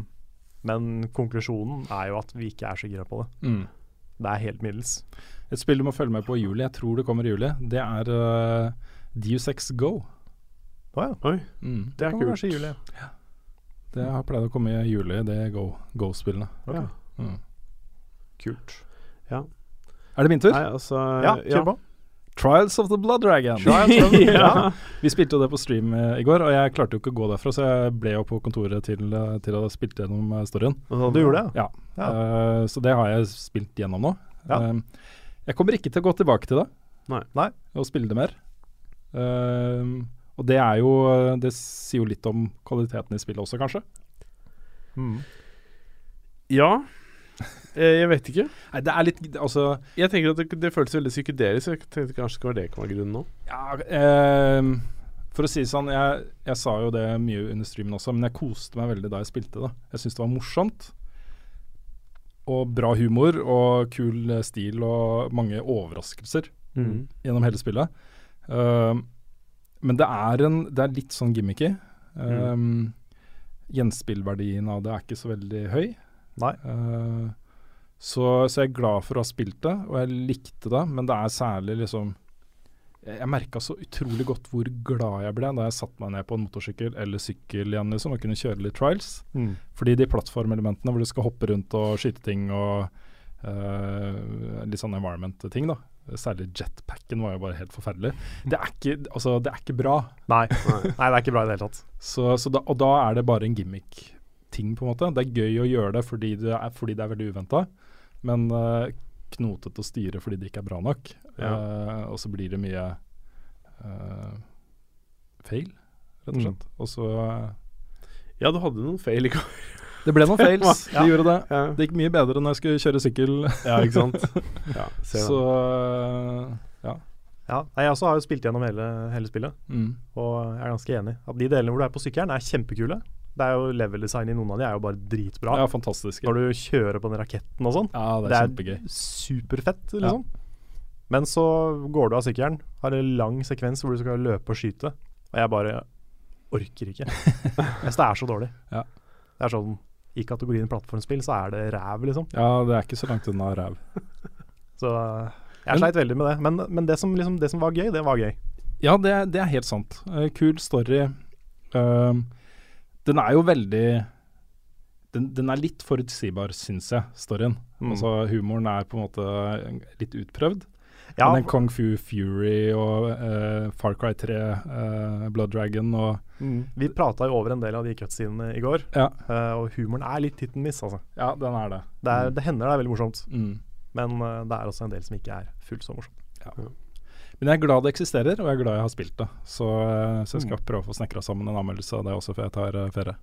A: men konklusjonen er jo at vi ikke er så gira på det.
D: Mm.
A: Det er helt middels.
B: Et spill du må følge med på i juli, jeg tror det kommer i juli, det er uh, DU6 Go. Mm.
A: Å ja.
D: Oi, det er
A: kommer
D: kult.
A: kanskje i juli.
B: Det har pleid å komme i juli, det Go- Go-spillene.
D: Ja.
B: Mm.
A: Kult.
B: Er det min tur?
D: Nei, altså
A: Ja, kjør på.
B: Trials of the Blood Dragon.
D: ja.
B: Vi spilte jo det på stream eh, i går, og jeg klarte jo ikke å gå derfra, så jeg ble jo på kontoret til, eh, til jeg spilte gjennom eh, storyen.
A: Du gjorde det?
B: Ja.
A: Ja.
B: Eh, så det har jeg spilt gjennom nå.
A: Ja.
B: Eh, jeg kommer ikke til å gå tilbake til det
D: Nei.
A: Nei.
B: og spille det mer. Eh, og det er jo eh, Det sier jo litt om kvaliteten i spillet også, kanskje.
A: Mm.
D: Ja. Eh, Jeg vet ikke.
B: Nei, det er litt Altså
D: Jeg tenker at det, det føltes veldig psykedelisk. Jeg tenkte kanskje det var det kan være grunnen nå.
B: Ja, ehm, for å si det sånn, jeg, jeg sa jo det mye under streamen også, men jeg koste meg veldig da jeg spilte det. Jeg syntes det var morsomt. Og bra humor og kul eh, stil og mange overraskelser gjennom hele spillet. Ehm, men det er, en, det er litt sånn gimmicky. Ehm, Gjenspillverdien av det er ikke så veldig høy.
A: Nei.
B: Eh, så, så jeg er glad for å ha spilt det, og jeg likte det, men det er særlig liksom Jeg, jeg merka så utrolig godt hvor glad jeg ble da jeg satte meg ned på en motorsykkel eller sykkel igjen liksom, og kunne kjøre litt trials.
A: Mm.
B: Fordi de plattformelementene hvor du skal hoppe rundt og skyte ting og eh, litt sånn environment-ting, da. Særlig jetpacken var jo bare helt forferdelig. Det er ikke, altså, det er ikke bra.
A: Nei. Nei, det er ikke bra i det hele tatt.
B: Så, så da, og da er det bare en gimmick-ting, på en måte. Det er gøy å gjøre det fordi det er, fordi det er veldig uventa, men eh, knotete å styre fordi det ikke er bra nok. Eh, og så blir det mye eh, feil, rett og
A: Mm.
B: slett. Og så eh,
D: Ja, du hadde noen feil i går.
B: Det ble noen fails,
A: Ja.
B: de gjorde det.
D: Ja,
B: Det gikk mye bedre når jeg skulle kjøre sykkel.
D: ikke sant. Ja, ser
B: så
D: det.
A: Ja. Nei, jeg også har jo spilt gjennom hele, hele spillet,
B: mm.
A: og jeg er ganske enig. At de delene hvor du er på sykkelen, er kjempekule. Det er jo Level-design i noen av de er jo bare dritbra.
B: Ja, fantastisk.
A: Når du kjører på den raketten og sånn.
B: Ja, det er, kjempegøy.
A: superfett, liksom. Men så går du av sykkelen, har en lang sekvens hvor du skal løpe og skyte, og jeg bare orker ikke. Jeg synes det er så dårlig.
B: Ja.
A: Det er sånn I kategorien plattformspill så er det ræv, liksom.
B: Ja, det er ikke så langt unna ræv.
A: Så øh, jeg sleit veldig med det. Men, men det, som, liksom, det som var gøy, det var gøy.
B: Ja, det, er- det er helt sant. Eh, kul story. Ehm, den er jo veldig den, den er litt forutsigbar, syns jeg, storyen.
A: Mm.
B: Altså, humoren er på en måte eh, litt utprøvd.
A: Ja,
B: Men den Kung Fu Fury og eh, Far Cry 3, eh, Blood Dragon og
A: mm, vi prata jo over en del av de cutscenene i går,
B: Ja,
A: øh, og humoren er litt hit and miss, altså.
B: ja den er det.
A: Det, er, det hender det er veldig morsomt,
B: Mm.
A: men øh, det er også en del som ikke er fullt så morsomt.
B: Men jeg er glad det eksisterer, og jeg er glad jeg har spilt det. Så, eh, så jeg skal prøve å få snekra sammen en anmeldelse av det også før jeg tar eh, ferie.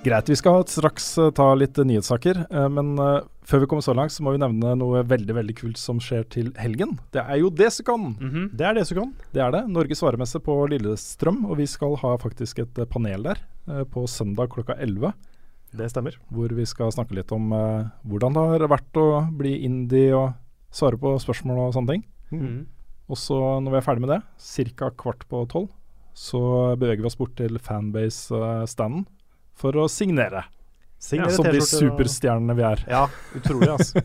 B: Greit, vi skal straks eh, ta litt eh, nyhetssaker, eh, men eh, før vi kommer så langt, så må vi nevne noe veldig veldig kult som skjer til helgen. Det er jo Desicon!
D: Mm. mhm.
A: Det er det som kom.
B: Det er det. Norges varemesse på Lillestrøm, og vi skal ha faktisk et eh, panel der eh, på søndag klokka 11
A: Det stemmer.
B: hvor vi skal snakke litt om eh, hvordan det har vært å bli indie og svare på spørsmål og sånne ting. Mm.
D: Mhm.
B: Og så når vi er ferdig med det, ca. kvart på tolv, så beveger vi oss bort til fanbase-standen for å signere.
A: Signer
B: som de
A: T-skjorter og-
B: superstjernene vi er.
A: Ja, utrolig, altså.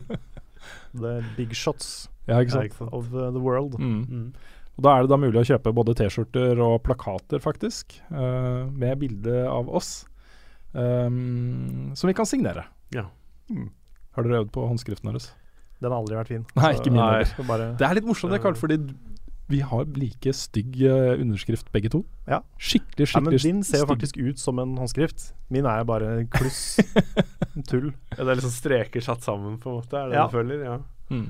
A: The big shots
B: Ja, ikke sant?
A: of uh, the world.
B: Mm.
D: Mhm.
B: Og da er det da mulig å kjøpe både T-skjorter og plakater, faktisk, eh, med bilde av oss, ehm, som vi kan signere.
D: Ja.
B: Mm. Har dere øvd på håndskriften deres?
A: Den har aldri vært fin.
B: Nei, ikke min
D: Nei.
B: heller.
A: Så bare,
B: Det er litt morsomt, det, Karl, fordi vi har like stygg eh, underskrift begge to.
A: Ja.
B: Skikkelig,
A: Nei, men
B: skikkelig
A: din ser jo
B: stygg.
A: faktisk ut som en håndskrift. Min er jo bare kluss. Tull.
D: Ja, det er liksom streker satt sammen, på en måte. Er det
A: Ja.
D: du føler? Ja.
B: Mm.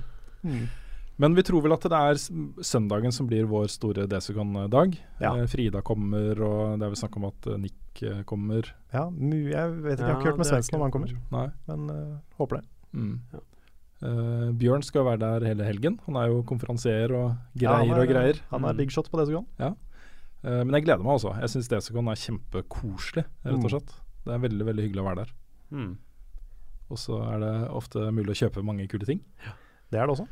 B: Men vi tror vel at det er s- søndagen som blir vår store Desicon-dag.
A: Ja.
B: Eh, Frida kommer, og det er vel snakk om at eh, Nick eh, kommer.
A: Ja, mu- jeg vet ikke, jeg har
D: Ja,
A: ikke hørt med
D: det er
A: Svendsen
D: ikke-
A: om han kommer,
B: Nei.
A: men uh, håper det.
B: Mm.
D: Ja.
B: Eh, Bjørn skal være der hele helgen. Han er jo konferansier og
A: Ja,
B: greier
A: han er-
B: og greier. Mm.
A: Han er big shot på det som kan.
B: Eh, men jeg gleder meg også. Jeg syns Desicon er kjempekoselig, rett
A: Mm.
B: og slett. Det er veldig, veldig hyggelig å være der.
D: Mm.
B: Og så er det ofte mulig å kjøpe mange kule ting.
A: Det er det også.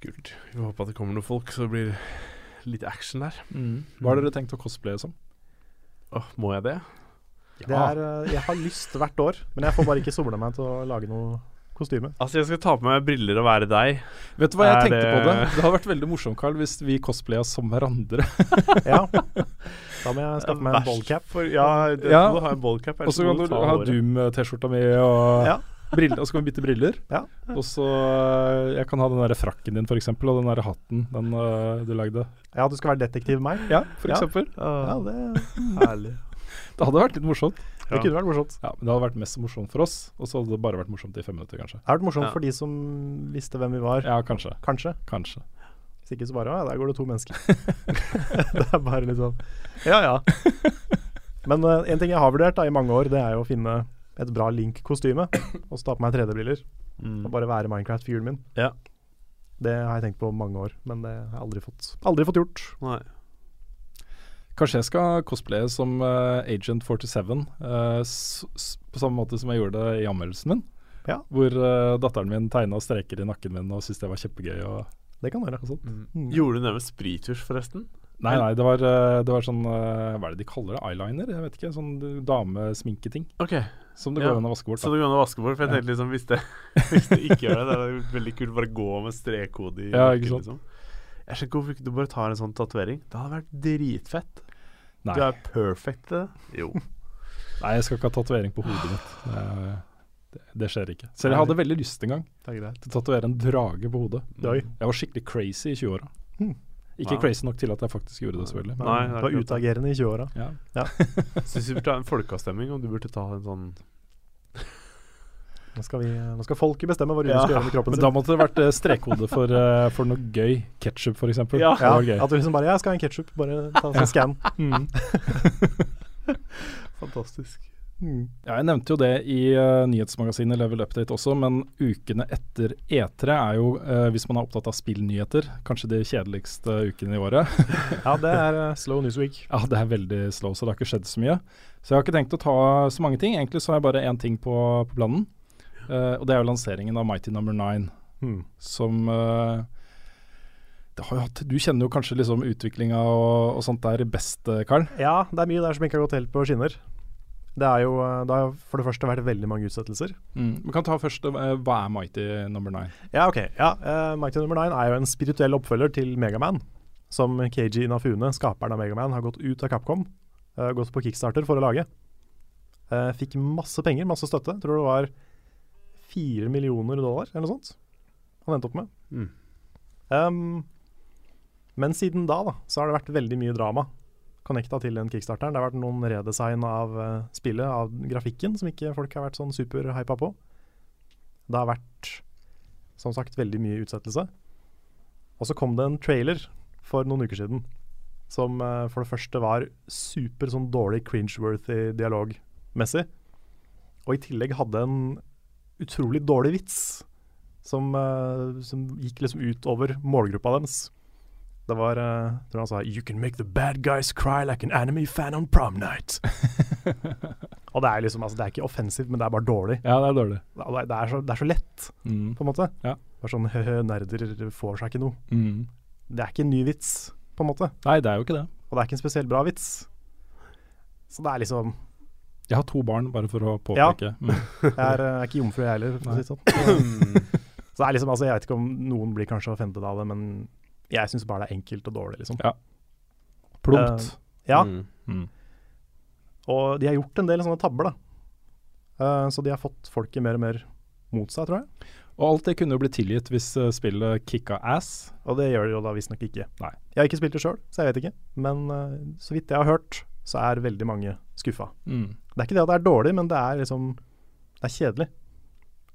D: Kult. Vi får håpe at det kommer noen folk, så det blir litt action der.
B: Mm. Hva har dere tenkt å cosplaye som?
D: Åh, må jeg det?
A: Det er, uh, jeg har lyst hvert år, men jeg får bare ikke sola meg til å lage noe kostyme.
D: Altså, jeg skal ta på meg briller og være deg.
B: Vet du hva jeg
D: Er
B: tenkte
D: det-
B: på det? Det hadde vært veldig morsomt, Carl, hvis vi cosplaya som hverandre.
A: Ja. Da Da må jeg skaffe meg en ballcap.
D: For, ja, det,
B: Ja.
D: du har en ballcap.
B: Og så kan du ha Doom-T-skjorta mi, og,
A: Ja.
B: briller, og så kan vi bytte briller.
A: Ja.
B: Og så eh, Jeg kan ha den der frakken din, f.eks., og den der hatten den eh, du lagde.
A: Ja, du skal være detektiv med meg?
B: Ja, for
A: Ja.
B: eksempel.
A: Ja, det er herlig.
B: Det hadde vært litt morsomt.
A: Det kunne vært morsomt.
B: Ja, men det hadde vært mest morsomt for oss, og så hadde det bare vært morsomt i fem minutter, kanskje.
A: Det har vært morsomt
D: Ja.
A: for de som visste hvem vi var.
B: Ja, kanskje.
A: Kanskje.
B: Kanskje.
A: Hvis ikke så bare «Å, Ja, der går det to mennesker. det er bare litt sånn Ja ja. Men eh, en ting jeg har vurdert da i mange år, det er jo å finne et bra Link-kostyme. Og så ta på meg 3D-briller og bare være Minecraft-fyren min.
D: Ja.
A: Det har jeg tenkt på mange år, men det har jeg aldri fått, aldri fått gjort.
D: Nei.
B: Kanskje jeg skal cosplaye som eh, Agent 47, eh, s s på samme måte som jeg gjorde det i anmeldelsen min.
A: Ja.
B: Hvor eh, datteren min tegna streker i nakken min og syntes det var kjempegøy. Og,
A: Det kan være.
B: og sånt.
D: Gjorde du det med sprittusj, forresten?
B: Nei, nei, det var, eh, det var sånn eh, Hva er det de kaller det? Eyeliner? Jeg vet ikke. Sånn eh, damesminketing
D: Ok,
B: som det
D: Ja.
B: går an å vaske bort.
D: Så
B: Da.
D: du kan vaske bort? For jeg
B: Ja.
D: tenkte liksom, hvis det, hvis det ikke gjør det, det er det veldig kult å bare gå med strekkode i
B: Ja,
D: nakken,
B: ikke sant.
D: liksom. Jeg skjønner ikke hvorfor ikke du bare tar en sånn tatovering. Det hadde vært dritfett.
B: Nei,
D: Du er perfect til det. Jo.
B: nei, jeg skal ikke ha tatovering på hodet mitt. Det- Det, det skjer ikke. Selv jeg hadde veldig lyst en gang
A: Det er greit.
B: til å tatovere en drage på hodet.
A: Oi.
B: Jeg var skikkelig crazy i 20-åra.
A: Hmm.
B: Ikke
D: Wow.
B: crazy nok til at jeg faktisk gjorde det, selvfølgelig. Men,
D: Nei, det er
A: Du var
D: akkurat det.
A: utagerende i 20-åra.
B: ja.
D: Syns vi burde ha en folkeavstemning om du burde ta en sånn
A: Nå, skal vi- nå skal folket bestemme hva Rune
D: Ja.
A: skal gjøre med kroppen
B: Men
A: sin.
B: da måtte det vært eh, strekhode for, eh, for noe gøy. Ketsjup, f.eks.
D: Ja.
B: Det var gøy.
A: At du liksom bare Jeg skal ha en ketsjup. Bare ta en scan.
B: Mm.
D: Fantastisk.
B: Ja, jeg nevnte jo det i eh, nyhetsmagasinet Level Update også, men ukene etter E3 er jo, eh, hvis man er opptatt av spillnyheter, kanskje de kjedeligste ukene i året.
A: Ja, det er eh, slow news week.
B: ja, det er veldig slow, så det har ikke skjedd så mye. Så jeg har ikke tenkt å ta så mange ting. Egentlig så har jeg bare én ting på, på planen, eh, og det er jo lanseringen av Mighty Number 9,
A: Hmm.
B: som eh, det har jo hatt, Du kjenner jo kanskje liksom utviklinga og, og sånt der best, eh, Carl?
A: Ja, det er mye der som ikke har gått helt på skinner. Det, er jo, eh, det har jo for det første vært veldig mange utsettelser.
B: Mm. Vi kan ta først eh, hva er Mighty Number 9?
A: Ja, ok. Ja, eh, Mighty Number 9 er jo en spirituell oppfølger til Megaman, som KG Inafune, skaperen av Megaman, har gått ut av Capcom, eh, gått på Kickstarter for å lage. Eh, fikk masse penger, masse støtte. Tror det var fire millioner dollar eller noe sånt han endte opp med.
D: Mm.
A: Um, men siden da, da, så har det vært veldig mye drama connecta til den kickstarteren. Det har vært noen redesign av eh, spillet, av grafikken, som ikke folk har vært sånn superhypa på. Det har vært, som sagt, veldig mye utsettelse. Og så kom det en trailer for noen uker siden som eh, for det første var super sånn dårlig cringeworthy dialogmessig. Og i tillegg hadde en utrolig dårlig vits som, eh, som gikk liksom utover målgruppa deres. Det var eh, jeg tror han sa You can make the bad guys cry like an anime fan on prom night. og det er liksom, altså det er ikke offensivt, men det er bare dårlig.
B: Ja, det er dårlig.
A: Det er, det er, så, det er så lett,
B: Mm.
A: på en måte.
B: Ja.
A: Bare sånn hø-hø, nerder får seg ikke noe.
B: Mm.
A: Det er ikke en ny vits, på en måte.
B: Nei, det er jo ikke det.
A: Og det er ikke en spesielt bra vits. Så det er liksom
B: Jeg har to barn, bare for å påpeke. Mm.
A: Jeg er, eh, ikke jomfru, jeg heller, for å si det sånn. Så det er liksom, altså, jeg vet ikke om noen blir kanskje offentet av det, men jeg syns bare det er enkelt og dårlig, liksom.
B: Plumpt.
A: Ja,
D: Mm.
B: Mm.
A: og de har gjort en del sånne tabber, da. Eh, så de har fått folket mer og mer mot seg, tror jeg.
B: Og alt det kunne jo blitt tilgitt hvis eh, spillet kicka ass.
A: Og det gjør de jo da visstnok ikke.
B: Nei.
A: Jeg har ikke spilt det sjøl, så jeg vet ikke. Men eh, så vidt jeg har hørt, så er veldig mange skuffa.
B: Mm.
A: Det er ikke det at det er dårlig, men det er liksom Det er kjedelig.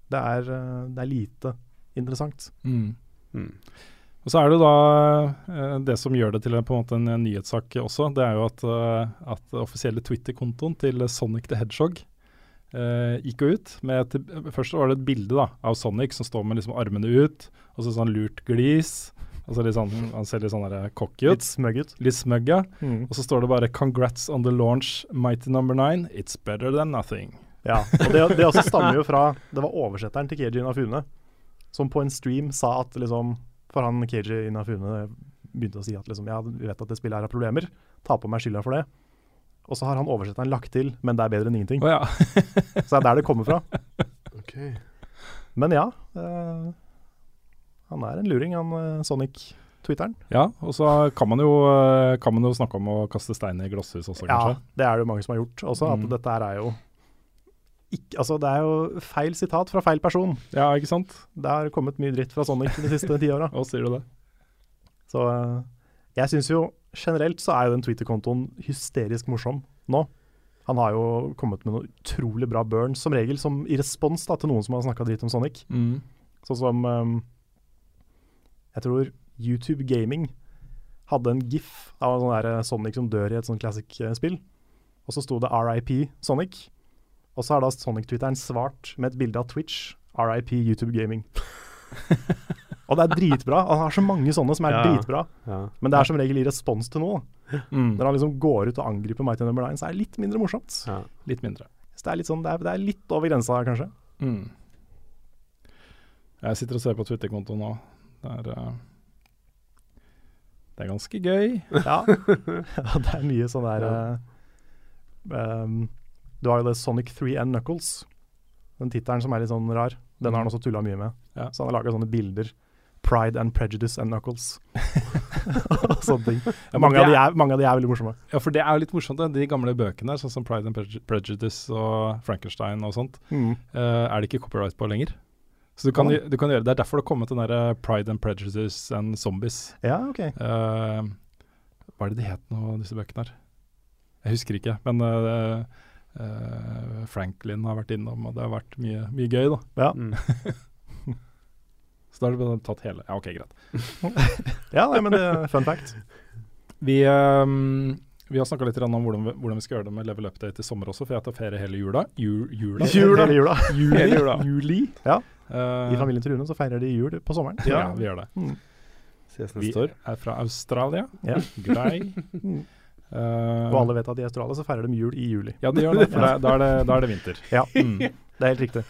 A: Det er, eh, det er lite interessant.
B: Mm.
D: Mm.
B: Og så er det jo da eh, det som gjør det til en, på en måte en nyhetssak også, det er jo at, eh, at den offisielle Twitter-kontoen til Sonic the Hedgehog eh, gikk jo ut. Med et, først var det et bilde da, av Sonic som står med liksom armene ut, og så sånn lurt glis. Og så litt sånn, han ser litt sånn der cocky
A: Litt
B: ut.
A: smugget.
B: Litt smøgg, ja. Og så står det bare 'Congrats on the launch, Mighty Number 9. It's better than nothing'.
A: Ja, og det, det også stammer jo fra Det var oversetteren til Keiji Inafune som på en stream sa at liksom For han Keiji Inafune begynte å si at liksom Ja, vi vet at det spillet her har problemer. Ta på meg skylda for det. Og så har han oversetteren lagt til 'men det er bedre enn ingenting'.
B: Å ja.
A: Så det er der det kommer fra.
D: Ok.
A: Men ja. eh, han er en luring, han eh, Sonic Twitteren.
B: Ja, og så kan man, jo, eh, kan man jo snakke om å kaste stein i glasshus også,
A: Ja,
B: kanskje.
A: det er det jo mange som har gjort også. At
B: Mm.
A: dette her er jo ikke, altså Det er jo feil sitat fra feil person.
B: Ja, ikke sant?
A: Det har kommet mye dritt fra Sonic de siste ti åra.
B: Å, sier du det?
A: Så eh, jeg syns jo generelt så er jo den Twitter-kontoen hysterisk morsom nå. Han har jo kommet med noen utrolig bra burns, som regel som i respons da, til noen som har snakka dritt om Sonic.
B: Mm.
A: Sånn som eh, Jeg tror YouTube Gaming hadde en gif av en sånn der Sonic som dør i et sånn classic-spill. Og så sto det RIP Sonic. Og så har da Sonic-twitteren svart med et bilde av Twitch. RIP YouTube Gaming. og det er dritbra. Han har så mange sånne som er
D: Ja.
A: dritbra.
D: Ja.
A: Men det er som regel i respons til noe.
B: Mm.
A: Når han liksom går ut og angriper Mighty Number 9, så er det litt mindre morsomt.
D: Ja.
B: Litt mindre.
A: Så det er litt sånn, det er, det er litt over grensa, kanskje.
B: Mm. Jeg sitter og ser på Twitter-kontoen nå. Det er, eh, det er ganske gøy.
A: Ja, ja det er mye sånn der eh, um, Du har jo det Sonic 3 and Knuckles. Den tittelen som er litt sånn rar. Den har han også tulla mye med.
B: Mm. Ja.
A: Så han har laga sånne bilder. Pride and Prejudice and Knuckles. Og sånne ting.
B: Ja, men
A: mange,
B: det
A: av de er, mange av de er veldig morsomme.
B: Ja, for det er jo litt morsomt, det. de gamle bøkene, sånn som Pride and Preju- Prejudice og Frankenstein og sånt, eh, er det ikke copyright på lenger. Så du kan,
A: Ja.
B: gj- du kan gjøre, Det er derfor det har kommet den derre Pride and Prejudice and Zombies.
A: Ja, OK.
B: Eh, hva er det de het nå, disse bøkene her? Jeg husker ikke, men eh, eh, Franklin har vært innom, og det har vært mye, mye gøy, da.
A: Ja,
D: Mm.
B: Så da har du bare tatt hele. Ja, OK, greit.
A: ja nei, men det er fun fact.
B: Vi, ehm, vi har snakka litt grann om hvordan vi, hvordan vi skal gjøre det med level update i sommer også, for jeg tar ferie hele jula. Ju, jula?
A: Jula. Hele jula.
B: Juli.
A: Hele jula.
B: Juli.
A: Ja.
B: Eh,
A: I familien til Rune så feirer de jul på sommeren. Mm.
B: ja, vi gjør det.
D: Ses
B: Vi
D: neste år.
B: er fra Australia.
A: Ja.
B: Grei.
A: Mm.
B: Eh,
A: Og alle vet at i Australia så feirer de jul i juli.
B: ja, de gjør det, for da- da er det, da er det vinter.
A: Ja,
B: Mm.
A: det er helt riktig.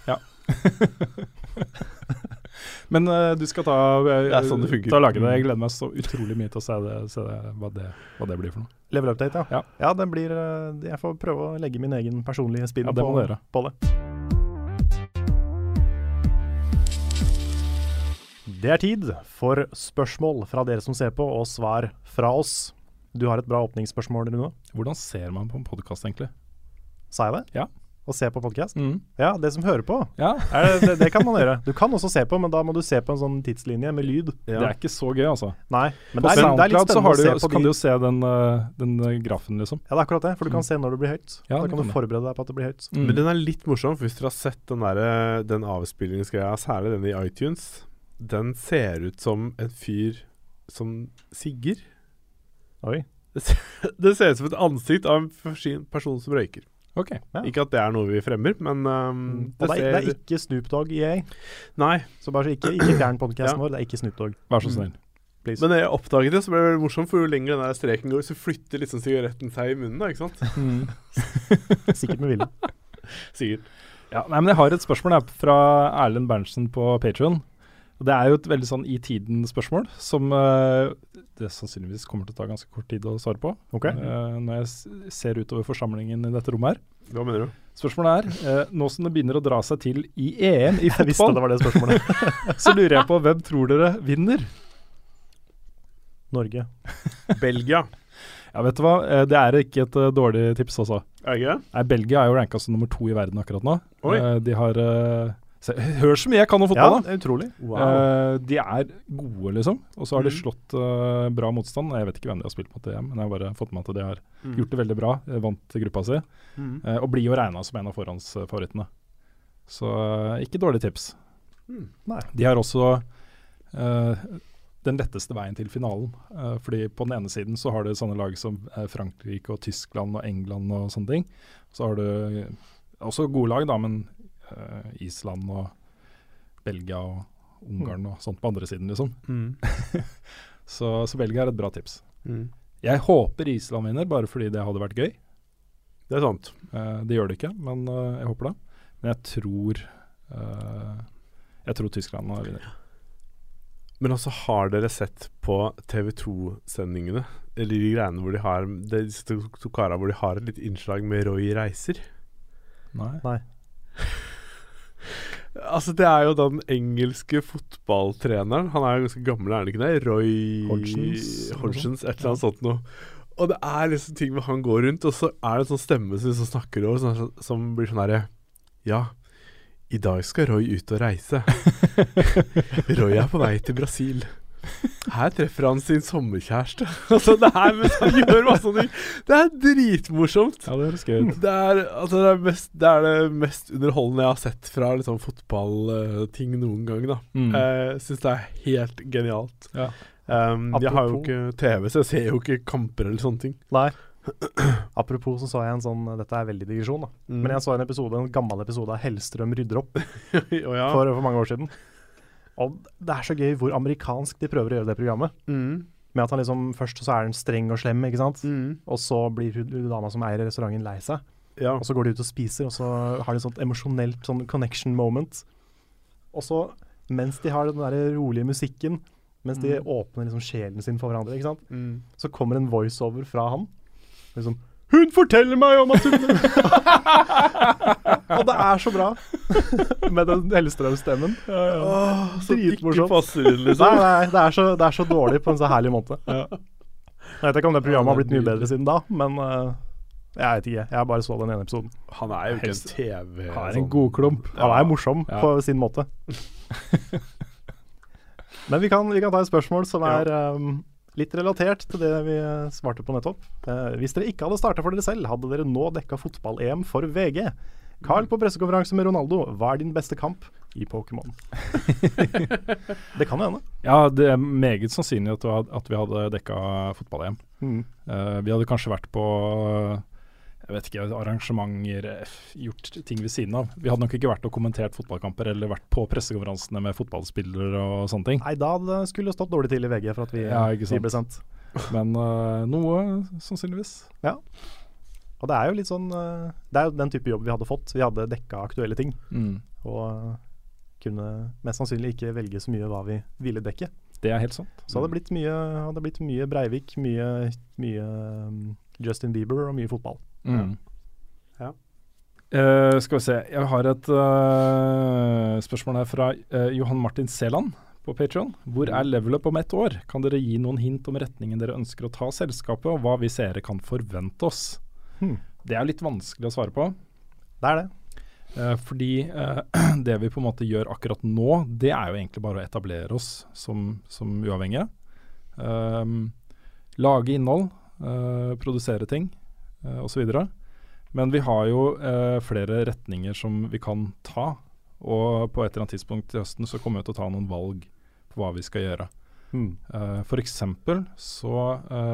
B: Men eh, du skal ta, eh,
D: Det er sånn det funker.
B: ta og lage det. Jeg gleder meg så utrolig mye til å se, det, se det, hva, det, hva det blir for noe.
A: Level update, ja.
B: Ja.
A: ja. den blir eh, Jeg får prøve å legge min egen personlige spinn
B: Ja, det
A: på,
B: må du gjøre.
A: på det. Det er tid for spørsmål fra dere som ser på, og svar fra oss. Du har et bra åpningsspørsmål, Rune.
B: Hvordan ser man på en podkast, egentlig?
A: Sa jeg det?
B: Ja.
A: Å se på podkast? Ja, det som hører på.
B: Mm. Ja,
A: Er det, det, det kan man gjøre. Du kan også se på, men da må du se på en sånn tidslinje med lyd.
B: Det er ikke så gøy, altså.
A: Nei, men
B: På
A: det er, det er litt
B: SoundCloud så, har
A: spennende å se
B: du, så
A: på
B: kan du
A: de
B: jo se den, eh, den eh, grafen, liksom.
A: Ja, det er akkurat det, for du kan se når det blir høyt.
B: Ja,
A: da
B: det
A: kan
B: kan
A: du
B: du.
A: forberede deg på at Mm. det blir høyt.
B: Mm.
D: Men den er litt morsom, for hvis dere har sett den, der, eh, den avspillingsgreia, særlig den i iTunes, den ser ut som en fyr som sigger.
B: Mm.
A: Oi.
D: Det ser, det ser ut som et ansikt av en forsin- person som røyker.
B: Ok.
A: Ja. Mm.
D: Ikke at det er noe vi fremmer, men um,
A: Og det er, det
D: ser
A: er ikke Snoop Dogg i EA.
D: Nei.
A: Så bare så ikke, ikke fjern podkasten
D: Ja.
A: vår, det er ikke Snoop Dogg.
B: Vær så snill.
D: Men når jeg oppdaget det, så ble det veldig morsomt, for jo lenger den der streken går, så flytter liksom sigaretten seg i munnen, da, ikke sant?
A: Sikkert med vilje.
D: Sikkert.
B: Ja, nei, men jeg har et spørsmål her fra Erlend Berntsen på Patreon. Og Det er jo et veldig sånn i tiden-spørsmål, som eh, det sannsynligvis kommer til å ta ganske kort tid å svare på.
A: Ok.
B: Eh, når jeg s- ser utover forsamlingen i dette rommet her.
D: Hva mener du?
B: Spørsmålet er, eh, nå som det begynner å dra seg til i EM i
A: Jeg visste
B: fotball,
A: det var det spørsmålet.
B: så lurer jeg på hvem tror dere vinner?
A: Norge.
D: Belgia.
B: Ja, vet du hva, eh, det er ikke et eh, dårlig tips altså.
D: Er det ikke det?
B: Nei, Belgia er jo ranka som nummer to i verden akkurat nå.
D: Oi.
B: Eh, de har eh, se, Hør så mye jeg kan
A: Ja,
B: om fotball, da!
A: det er utrolig.
B: Eh, de er gode, liksom. Og så har de slått eh, bra motstand. Jeg vet ikke hvem de har spilt mot i EM, men jeg har bare fått med meg at de har gjort det veldig bra. eh, Vant gruppa si.
D: Mm.
B: eh, og blir jo regna som en av forhåndsfavorittene. Så eh, ikke dårlig tips.
A: Nei.
B: De har også eh, den letteste veien til finalen. Eh, fordi på den ene siden så har du sånne lag som eh, Frankrike og Tyskland og England og sånne ting. Så har du eh, også gode lag, da, men eh, Island og Belgia og Ungarn og sånt på andre siden, liksom.
D: Mm.
B: Så, så Belgia er et bra tips.
D: Mm.
B: Jeg håper Island vinner, bare fordi det hadde vært gøy.
D: Det er sant.
B: Eh, det gjør det ikke, men eh, jeg håper det. Men jeg tror eh, Jeg tror Tyskland vinner.
D: Men også har dere sett på TV2-sendingene, eller de greiene hvor de har Det er disse to, to kara hvor de har et lite innslag med Roy Reiser.
B: Nei.
A: Nei.
D: Altså, det er jo den engelske fotballtreneren. Han er jo ganske gammel, er han ikke det? Roy
B: Hodgsons, eller noe
D: Hodgsons, et eller annet sånt noe. Og det er liksom ting hvor han går rundt, og så er det en sånn stemme som, som snakker over, sånn, som blir sånn herre Ja, i dag skal Roy ut og reise. Roy er på vei til Brasil. Her treffer han sin sommerkjæreste. Altså, det her mens han gjør masse sånne ting. Det er dritmorsomt.
B: Ja, det høres gøy ut.
D: Det er, altså det, er mest, det er det mest underholdende jeg har sett fra liksom, fotballting noen gang. da. Eh,
B: Mm.
D: Jeg syns det er helt genialt.
B: Ja.
D: Um, jeg har jo
A: Apropos-
D: ikke TV, så jeg ser jo ikke kamper eller sånne ting.
A: Nei. Apropos så så jeg en sånn Dette er veldig digresjon, da.
D: Mm.
A: Men jeg så en episode, en gammel episode av Hellstrøm rydder opp
D: Å Mm. ja.
A: for, for mange år siden. Og det er så gøy hvor amerikansk de prøver å gjøre det programmet.
D: Mm.
A: Med at han liksom Først så er han streng og slem, ikke sant.
D: Mm.
A: Og så blir hun, hun dama som eier restauranten lei seg.
D: ja.
A: Og så går de ut og spiser, og så har de et sånt emosjonelt sånn connection moment. Og så, mens de har den der rolige musikken, mens de åpner liksom sjelen sin for hverandre, ikke sant?
D: Mm.
A: så kommer en voiceover fra han. Liksom Hun forteller meg om at hun Og det er så bra! Med den Hellstrøm-stemmen.
D: Åh, så ikke
A: Dritmorsomt.
D: passer inn,
A: Nei,
D: liksom.
A: nei, det er, så, det er så dårlig på en så herlig måte. Jeg vet ikke om det programmet har blitt mye bedre siden da, men eh, jeg vet ikke. Jeg bare så den ene episoden.
D: Han er jo ikke en
B: Helst-
D: sånn. TV
B: Han er en god klump.
A: Han er jo morsom
B: Sånn. Ja.
A: på sin måte. Men vi kan, vi kan ta et spørsmål som er ehm, litt relatert til det vi eh, svarte på nettopp. Eh, hvis dere ikke hadde starta for dere selv, hadde dere nå dekka fotball-EM for VG. Carl på pressekonferanse med Ronaldo, hva er din beste kamp i Pokémon? det kan jo hende.
B: Ja, det er meget sannsynlig at, du had- at vi hadde dekka fotball-EM.
A: Mm.
B: Eh, vi hadde kanskje vært på eh, jeg vet ikke, arrangementer, eh, gjort ting ved siden av. Vi hadde nok ikke vært og kommentert fotballkamper eller vært på pressekonferansene med fotballspillere og sånne ting.
A: Nei, da hadde- skulle det stått dårlig til i VG for at vi,
B: Ja, ikke
A: vi
B: sant.
A: ble sendt.
B: Men eh, noe, sannsynligvis.
A: Og det er jo litt sånn eh, Det er jo den type jobb vi hadde fått. Vi hadde dekka aktuelle ting.
B: Mm.
A: og kunne mest sannsynlig ikke velge så mye hva vi ville dekke.
B: Det er helt sant.
A: Så hadde det blitt mye, hadde det blitt mye Breivik, mye, mye um, Justin Bieber og mye fotball.
B: Mm.
D: Ja.
B: Eh, skal vi se, jeg har et eh, spørsmål her fra eh, Johan Martin Seland på Patreon. Hvor er level up om ett år? Kan dere gi noen hint om retningen dere ønsker å ta selskapet, og hva vi seere kan forvente oss?
A: Hmm.
B: Det er litt vanskelig å svare på,
A: Det er det.
B: eh, fordi eh, det vi på en måte gjør akkurat nå, det er jo egentlig bare å etablere oss som, som uavhengige. Ehm, lage innhold, eh, produsere ting eh, osv. Men vi har jo eh, flere retninger som vi kan ta. Og på et eller annet tidspunkt til høsten så kommer vi til å ta noen valg på hva vi skal gjøre.
A: Mm.
B: Uh, for eksempel så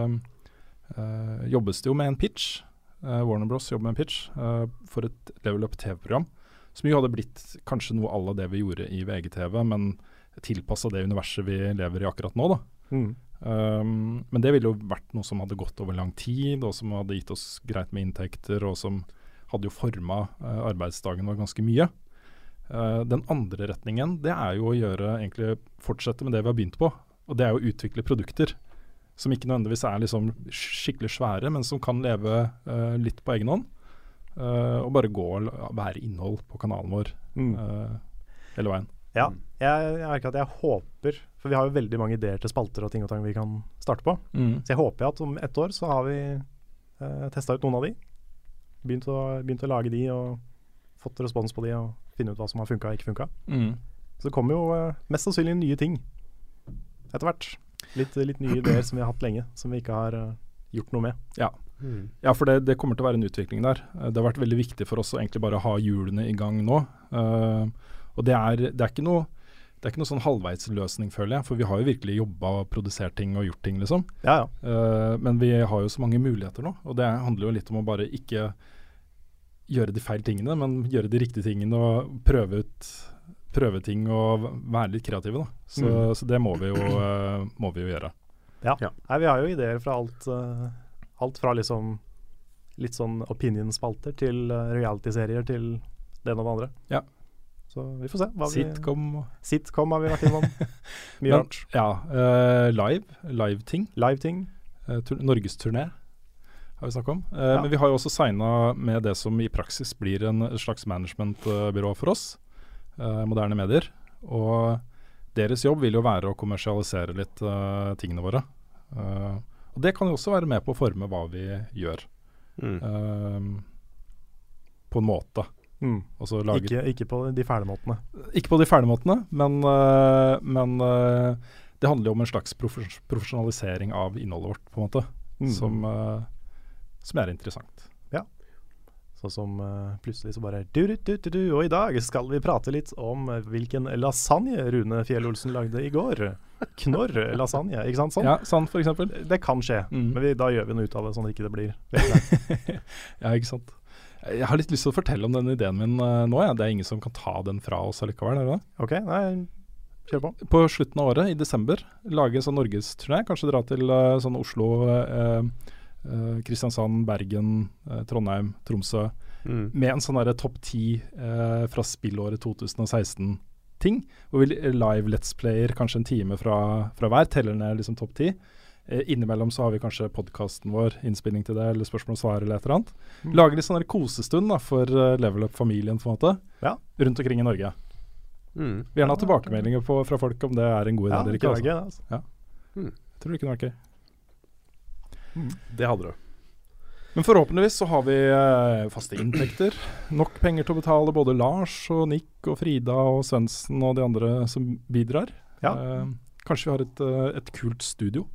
B: eh, eh, jobbes det jo med en pitch. Eh, Warner Bros. jobber med en pitch eh, for et Level Up TV-program. Som jo hadde blitt kanskje noe à la det vi gjorde i VGTV, men tilpassa det universet vi lever i akkurat nå, da.
A: Mm.
B: Um, men det ville jo vært noe som hadde gått over lang tid, og som hadde gitt oss greit med inntekter, og som hadde jo forma eh, arbeidsdagen vår ganske mye. Eh, den andre retningen, det er jo å gjøre, egentlig fortsette med det vi har begynt på. Og det er jo å utvikle produkter som ikke nødvendigvis er liksom skikkelig svære, men som kan leve eh, litt på egen hånd. eh, og bare gå og la- være innhold på kanalen vår
A: Mm.
B: eh, hele veien.
A: Ja. Jeg, jeg merker at jeg håper For vi har jo veldig mange ideer til spalter og ting og tang vi kan starte på. Så jeg håper at om ett år så har vi uh, testa ut noen av de. Begynt å, begynt å lage de og fått respons på de og finne ut hva som har funka og ikke funka.
B: Mm.
A: Så det kommer jo eh, mest sannsynlig nye ting etter hvert. Litt, litt nye ideer som vi har hatt lenge, som vi ikke har eh, gjort noe med.
B: Ja, for det, det kommer til å være en utvikling der. Eh, Det har vært veldig viktig for oss å egentlig bare ha hjulene i gang nå. Eh, og det er, det er ikke noe det er ikke noe sånn halvveisløsning, føler jeg. For vi har jo virkelig jobba og produsert ting og gjort ting, liksom.
A: Ja, ja.
B: Eh, men vi har jo så mange muligheter nå. Og det handler jo litt om å bare ikke gjøre de feil tingene, men gjøre de riktige tingene og prøve ut prøve ting og være litt kreative, da. Så, så det må vi, jo, eh, må vi jo gjøre.
A: ja.
D: Ja.
A: Nei, vi har jo ideer fra alt, eh, alt fra liksom litt sånn opinion-spalter til eh, reality-serier til det ene og det andre.
B: Ja.
A: Så vi får se. Hva vi,
B: Sitcom og
A: sitcom har vi vært innom. Mye
B: Men-
A: rart.
B: Ja. eh, live. Live-ting.
A: Live-ting.
B: Eh, tur Norgesturné har vi snakket om. Eh,
A: Ja.
B: Men vi har jo også signa med det som i praksis blir en slags managementbyrå for oss. eh, moderne medier. Og deres jobb vil jo være å kommersialisere litt eh, tingene våre. Eh, og det kan jo også være med på å forme hva vi gjør.
D: Mm.
B: eh, på en måte.
A: Mm.
B: Altså lage
A: Ikke, ikke på de fæle måtene.
B: ikke på de fæle måtene, men, øh, men øh, det handler jo om en slags profes profesjonalisering av innholdet vårt, på en måte,
A: Mm.
B: som, øh, som er interessant.
A: Sånn som eh, plutselig så bare du, du, du, du, du, Og i dag skal vi prate litt om eh, hvilken lasagne Rune Fjell-Olsen lagde i går. Knorr lasagne, ikke sant? Sånn.
B: Ja, sant, for eksempel.
A: Det kan skje,
B: Mm.
A: men vi, da gjør vi noe ut av det sånn at ikke det blir
B: Ja, ikke sant. Jeg har litt lyst til å fortelle om den ideen min øh, nå, ja. det er ingen som kan ta den fra oss allikevel. Er det? det?
A: OK, nei, kjør på.
B: På slutten av året, i desember, lage en sånn norgesturné, kanskje dra til øh, sånn Oslo, øh, øh, Kristiansand, Bergen, øh, Trondheim, Tromsø.
D: Mm.
B: med en sånn derre topp ti eh, fra spillåret 2016-ting. Hvor vi live let's player kanskje en time fra, fra hver, teller ned liksom topp ti. Eh, innimellom så har vi kanskje podkasten vår, innspilling til det, eller spørsmål og svar eller et eller annet.
A: Mm.
B: Lager litt sånn der kosestund da, for eh, level up-familien, på en måte.
A: Ja.
B: Rundt omkring i Norge.
D: Mm.
B: Vil gjerne ha tilbakemeldinger på, fra folk om det er en god idé
A: Ja,
B: eller
A: det
B: ikke.
A: kunne vært
B: Altså.
A: gøy, altså.
B: Tror det kunne vært gøy.
D: Det hadde du.
B: Men forhåpentligvis så har vi eh, faste inntekter. Nok penger til å betale både Lars og Nick og Frida og Svendsen og de andre som bidrar.
A: Ja.
B: Eh, kanskje vi har et, eh, et kult studio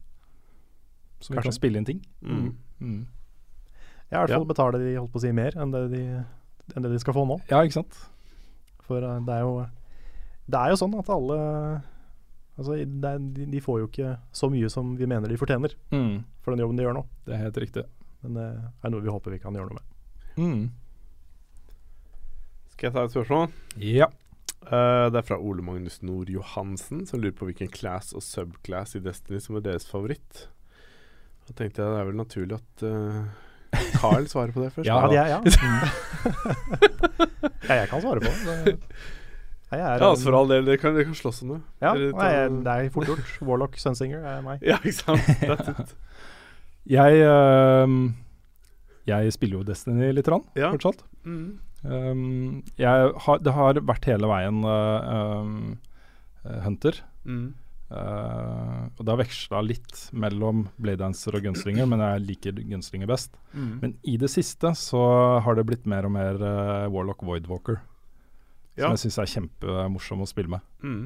B: som vi
A: Kanskje.
B: kan spille inn ting.
D: Mm.
B: Mm.
A: Jeg i hvert fall
D: Ja.
A: betaler de holdt på å si mer enn det de, enn det de skal få nå.
B: Ja, ikke sant?
A: For eh, det er jo, det er jo sånn at alle Altså, det er, de, de får jo ikke så mye som vi mener de fortjener
B: Mm.
A: for den jobben de gjør nå.
B: Det er helt riktig.
A: Men det er noe vi håper vi kan gjøre noe med.
B: Mm.
D: Skal jeg ta et spørsmål?
B: Ja.
D: Eh, det er fra Ole Magnus Nord Johansen, som lurer på hvilken class og subclass i Destiny som er deres favoritt. Da tenkte jeg det er vel naturlig at eh, Carl svarer på det først.
B: Ja,
A: Ja,
D: da.
A: de er, ja. Mm. ja, jeg kan svare på det. det. Nei, jeg er,
D: ja altså for all del, dere kan, dere kan slåss om det.
A: ja,
D: Dere
A: nei,
D: tar-
A: jeg- det er fort gjort. Warlock Sunsinger er meg.
D: Ja, ikke sant? That's it.
B: Jeg, eh, jeg spiller jo Destiny litt, rann,
D: Ja.
B: fortsatt.
D: Mm.
B: Um, jeg har, det har vært hele veien eh, um, eh, Hunter.
D: Mm.
B: Eh, og det har veksla litt mellom bladedancer og gunslinger, men jeg liker gunslinger best.
D: Mm.
B: Men i det siste så har det blitt mer og mer eh, Warlock Voidwalker,
D: Ja.
B: som jeg syns er kjempemorsom å spille med.
D: Mm.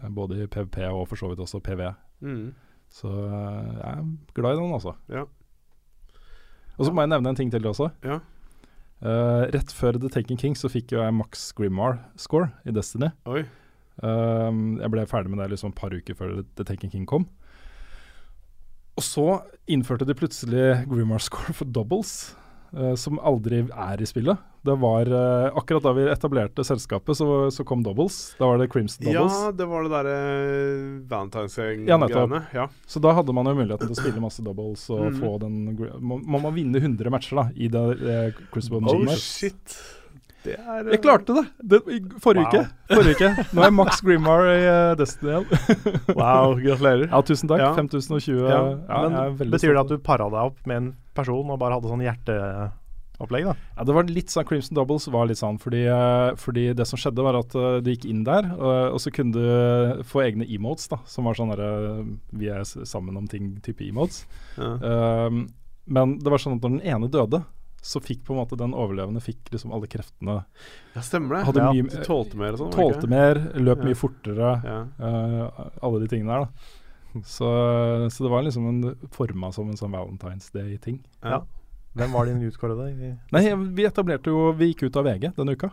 B: Eh, både i PVP og for så vidt også PV.
D: Mm.
B: Så eh, jeg er glad i den, altså.
D: Ja.
B: Og så må jeg nevne en ting til også.
D: Ja.
B: Eh, rett før The Taken King så fikk jo jeg Max Grimmar-score i Destiny.
D: Oi.
B: Um, jeg ble ferdig med det liksom et par uker før The Taken King kom. Og så innførte de plutselig Grimmar score for doubles, eh, som aldri er i spillet. Det var eh, Akkurat da vi etablerte selskapet, så, så kom doubles. Da var det Crimson
D: Ja,
B: Doubles.
D: det var det derre
B: Ja, nettopp.
D: Valentine's-greiene. Ja,
B: Så da hadde man jo muligheten til å spille masse doubles og
D: Mhm.
B: få den gri- Må må man vinne 100 matcher da i det eh, Crucible
D: Oh
B: Machine.
D: shit. Det er eh,
B: Jeg klarte det! det i forrige,
A: Wow.
B: uke. forrige uke. Nå er Max Grimmar i eh, Destiny igjen.
D: Wow, gratulerer.
B: Ja, tusen takk.
D: Ja.
B: 5020. Ja,
D: Ja,
B: jeg er
A: Men
B: veldig
A: betyr det
B: stolt.
A: at du para deg opp med en person og bare hadde sånn hjerteopplegg, da?
B: Ja, det var litt sånn Crimson Doubles var litt sånn, fordi, eh, fordi det som skjedde var at eh, du gikk inn der, og, og så kunne du få egne emotes, da, som var sånn derre Vi er s- sammen om ting-type emotes.
D: Ja.
B: Um, men det var sånn at når den ene døde, så fikk på en måte den overlevende fikk liksom alle kreftene.
D: ja, stemmer det.
B: Hadde
D: Eh, ja.
B: mye-
D: Du tålte mer og sånn? var det
B: Tålte
D: ikke?
B: mer, løp
D: Ja.
B: mye fortere,
D: Ja.
B: eh, alle de tingene der, da. Så, så det var liksom en forma som en sånn Valentine's Day-ting.
D: Ja.
A: Ja. Hvem var din utkårede? i-
B: Nei, vi etablerte jo Vi gikk ut av VG denne uka.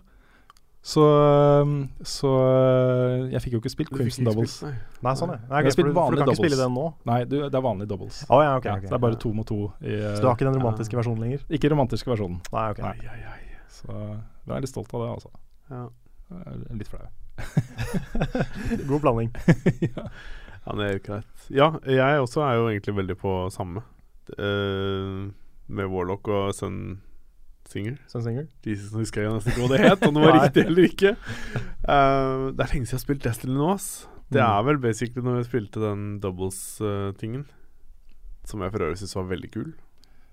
B: Så, eh, så eh, jeg fikk jo ikke spilt
D: Du fikk
B: Crimson
D: ikke
B: Doubles.
D: spilt, nei.
A: Nei, sånn, ja.
B: Jeg
A: Nei,
B: har
A: ok, for,
B: spilt
A: du- for du
B: vanlig
A: kan ikke spille
B: doubles.
A: den nå?
B: Nei, du, det er vanlige doubles.
D: Ah,
A: Å ja, ok.
B: Ja,
A: ok.
B: det er bare to mot to. I, eh,
A: Så du har ikke den romantiske versjonen lenger?
B: Ikke romantiske versjonen.
A: Nei, ok.
B: Nei.
D: Ai, ai, ai.
B: Så eh, jeg er litt stolt av det, altså.
D: Ja.
B: Jeg er Litt flau.
A: God blanding.
D: Ja, det er jo greit. Ja, jeg også er jo egentlig veldig på samme. Eh, med Warlock og Sun Singer.
A: Sunsinger.
D: Jesus, nå husker jeg nesten ikke hva det het, om det var
A: Nei.
D: riktig eller ikke. Eh, det er lenge siden jeg har spilt Destiny nå, ass. Det
A: Mm.
B: Mm.
D: er vel basically når jeg spilte den doubles-tingen. som jeg for øvrig syns var veldig kul.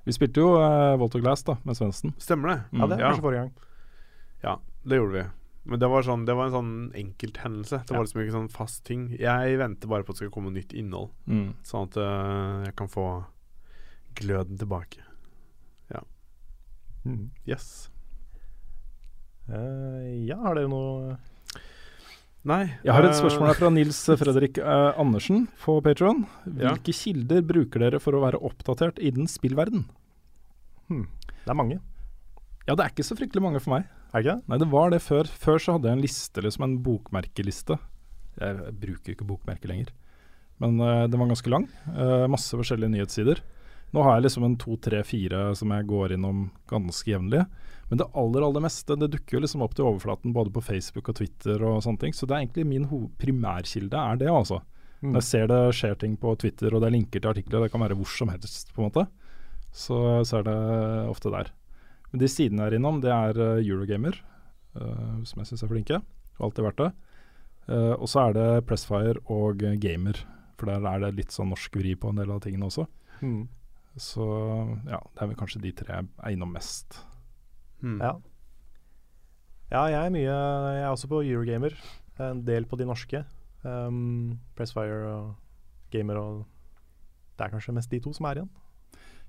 B: Vi spilte jo uh, Volt of Glass da, med Svendsen.
D: Stemmer det?
A: Ja, det er
D: Ja.
A: kanskje forrige gang.
D: Ja, det gjorde vi. Men det var, sånn, det var en sånn enkelthendelse. Det var liksom ikke sånn fast ting. Jeg venter bare på at det skal komme nytt innhold,
B: Mm.
D: sånn at øh, jeg kan få gløden tilbake.
A: Mm.
D: Yes.
A: Eh, ja, har dere noe
D: Nei.
B: Jeg har
D: øh,
B: et spørsmål her fra Nils Fredrik eh, Andersen på Patron.
D: Ja.
B: Hvilke kilder bruker dere for å være oppdatert innen spillverden?
A: Det er mange,
B: Ja, det er ikke så fryktelig mange for meg.
A: er det ikke det?
B: Nei, det var det før. Før så hadde jeg en liste, liksom en bokmerkeliste. Jeg bruker ikke bokmerke lenger. Men eh, den var ganske lang. Eh, masse forskjellige nyhetssider. Nå har jeg liksom en to, tre, fire som jeg går innom ganske jevnlig. Men det aller, aller meste det dukker jo liksom opp til overflaten både på Facebook og Twitter og sånne ting. Så det er egentlig min ho- primærkilde er det, altså.
A: Mm.
B: Når jeg ser det skjer ting på Twitter og det er linker til artikler, det kan være hvor som helst, på en måte, så, så er det ofte der. Men de sidene jeg er innom, det er eh, Eurogamer, eh, som jeg syns er flinke. Og alltid vært det. Eh, og så er det Pressfire og eh, Gamer, for der er det litt sånn norsk vri på en del av tingene også.
A: Mm.
B: Så ja, det er vel kanskje de tre jeg er innom mest.
D: hmm.
A: Ja. Ja, jeg er mye Jeg er også på Eurogamer. En del på de norske. Um, Pressfire og Gamer og Det er kanskje mest de to som er igjen.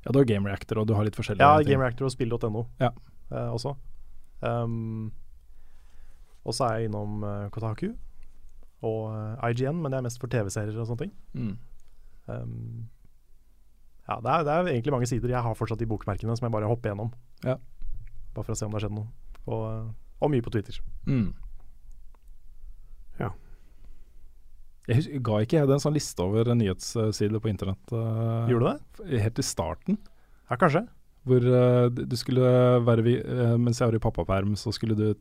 B: Ja, du har Game Reactor, og du har litt forskjellige
A: Ja,
B: ting.
A: Game Reactor og spill.no
B: Ja.
A: eh, også. Um, og så er jeg innom eh, Kotaku og eh, IGN, men det er mest for TV-serier og sånne ting.
B: Mm.
A: Um, ja, det er, det er egentlig mange sider. Jeg har fortsatt de bokmerkene som jeg bare hopper gjennom.
B: Ja.
A: Bare for å se om det har skjedd noe. Og, eh, og mye på Twitter.
B: Mm.
D: Ja.
B: Jeg husker, ga ikke jeg deg en sånn liste over nyhetssider på internett? eh,
A: Gjorde du det?
B: f- Helt i starten,
A: Ja, kanskje.
B: hvor eh, d- du skulle være vi, eh, Mens jeg var i pappaperm, så skulle du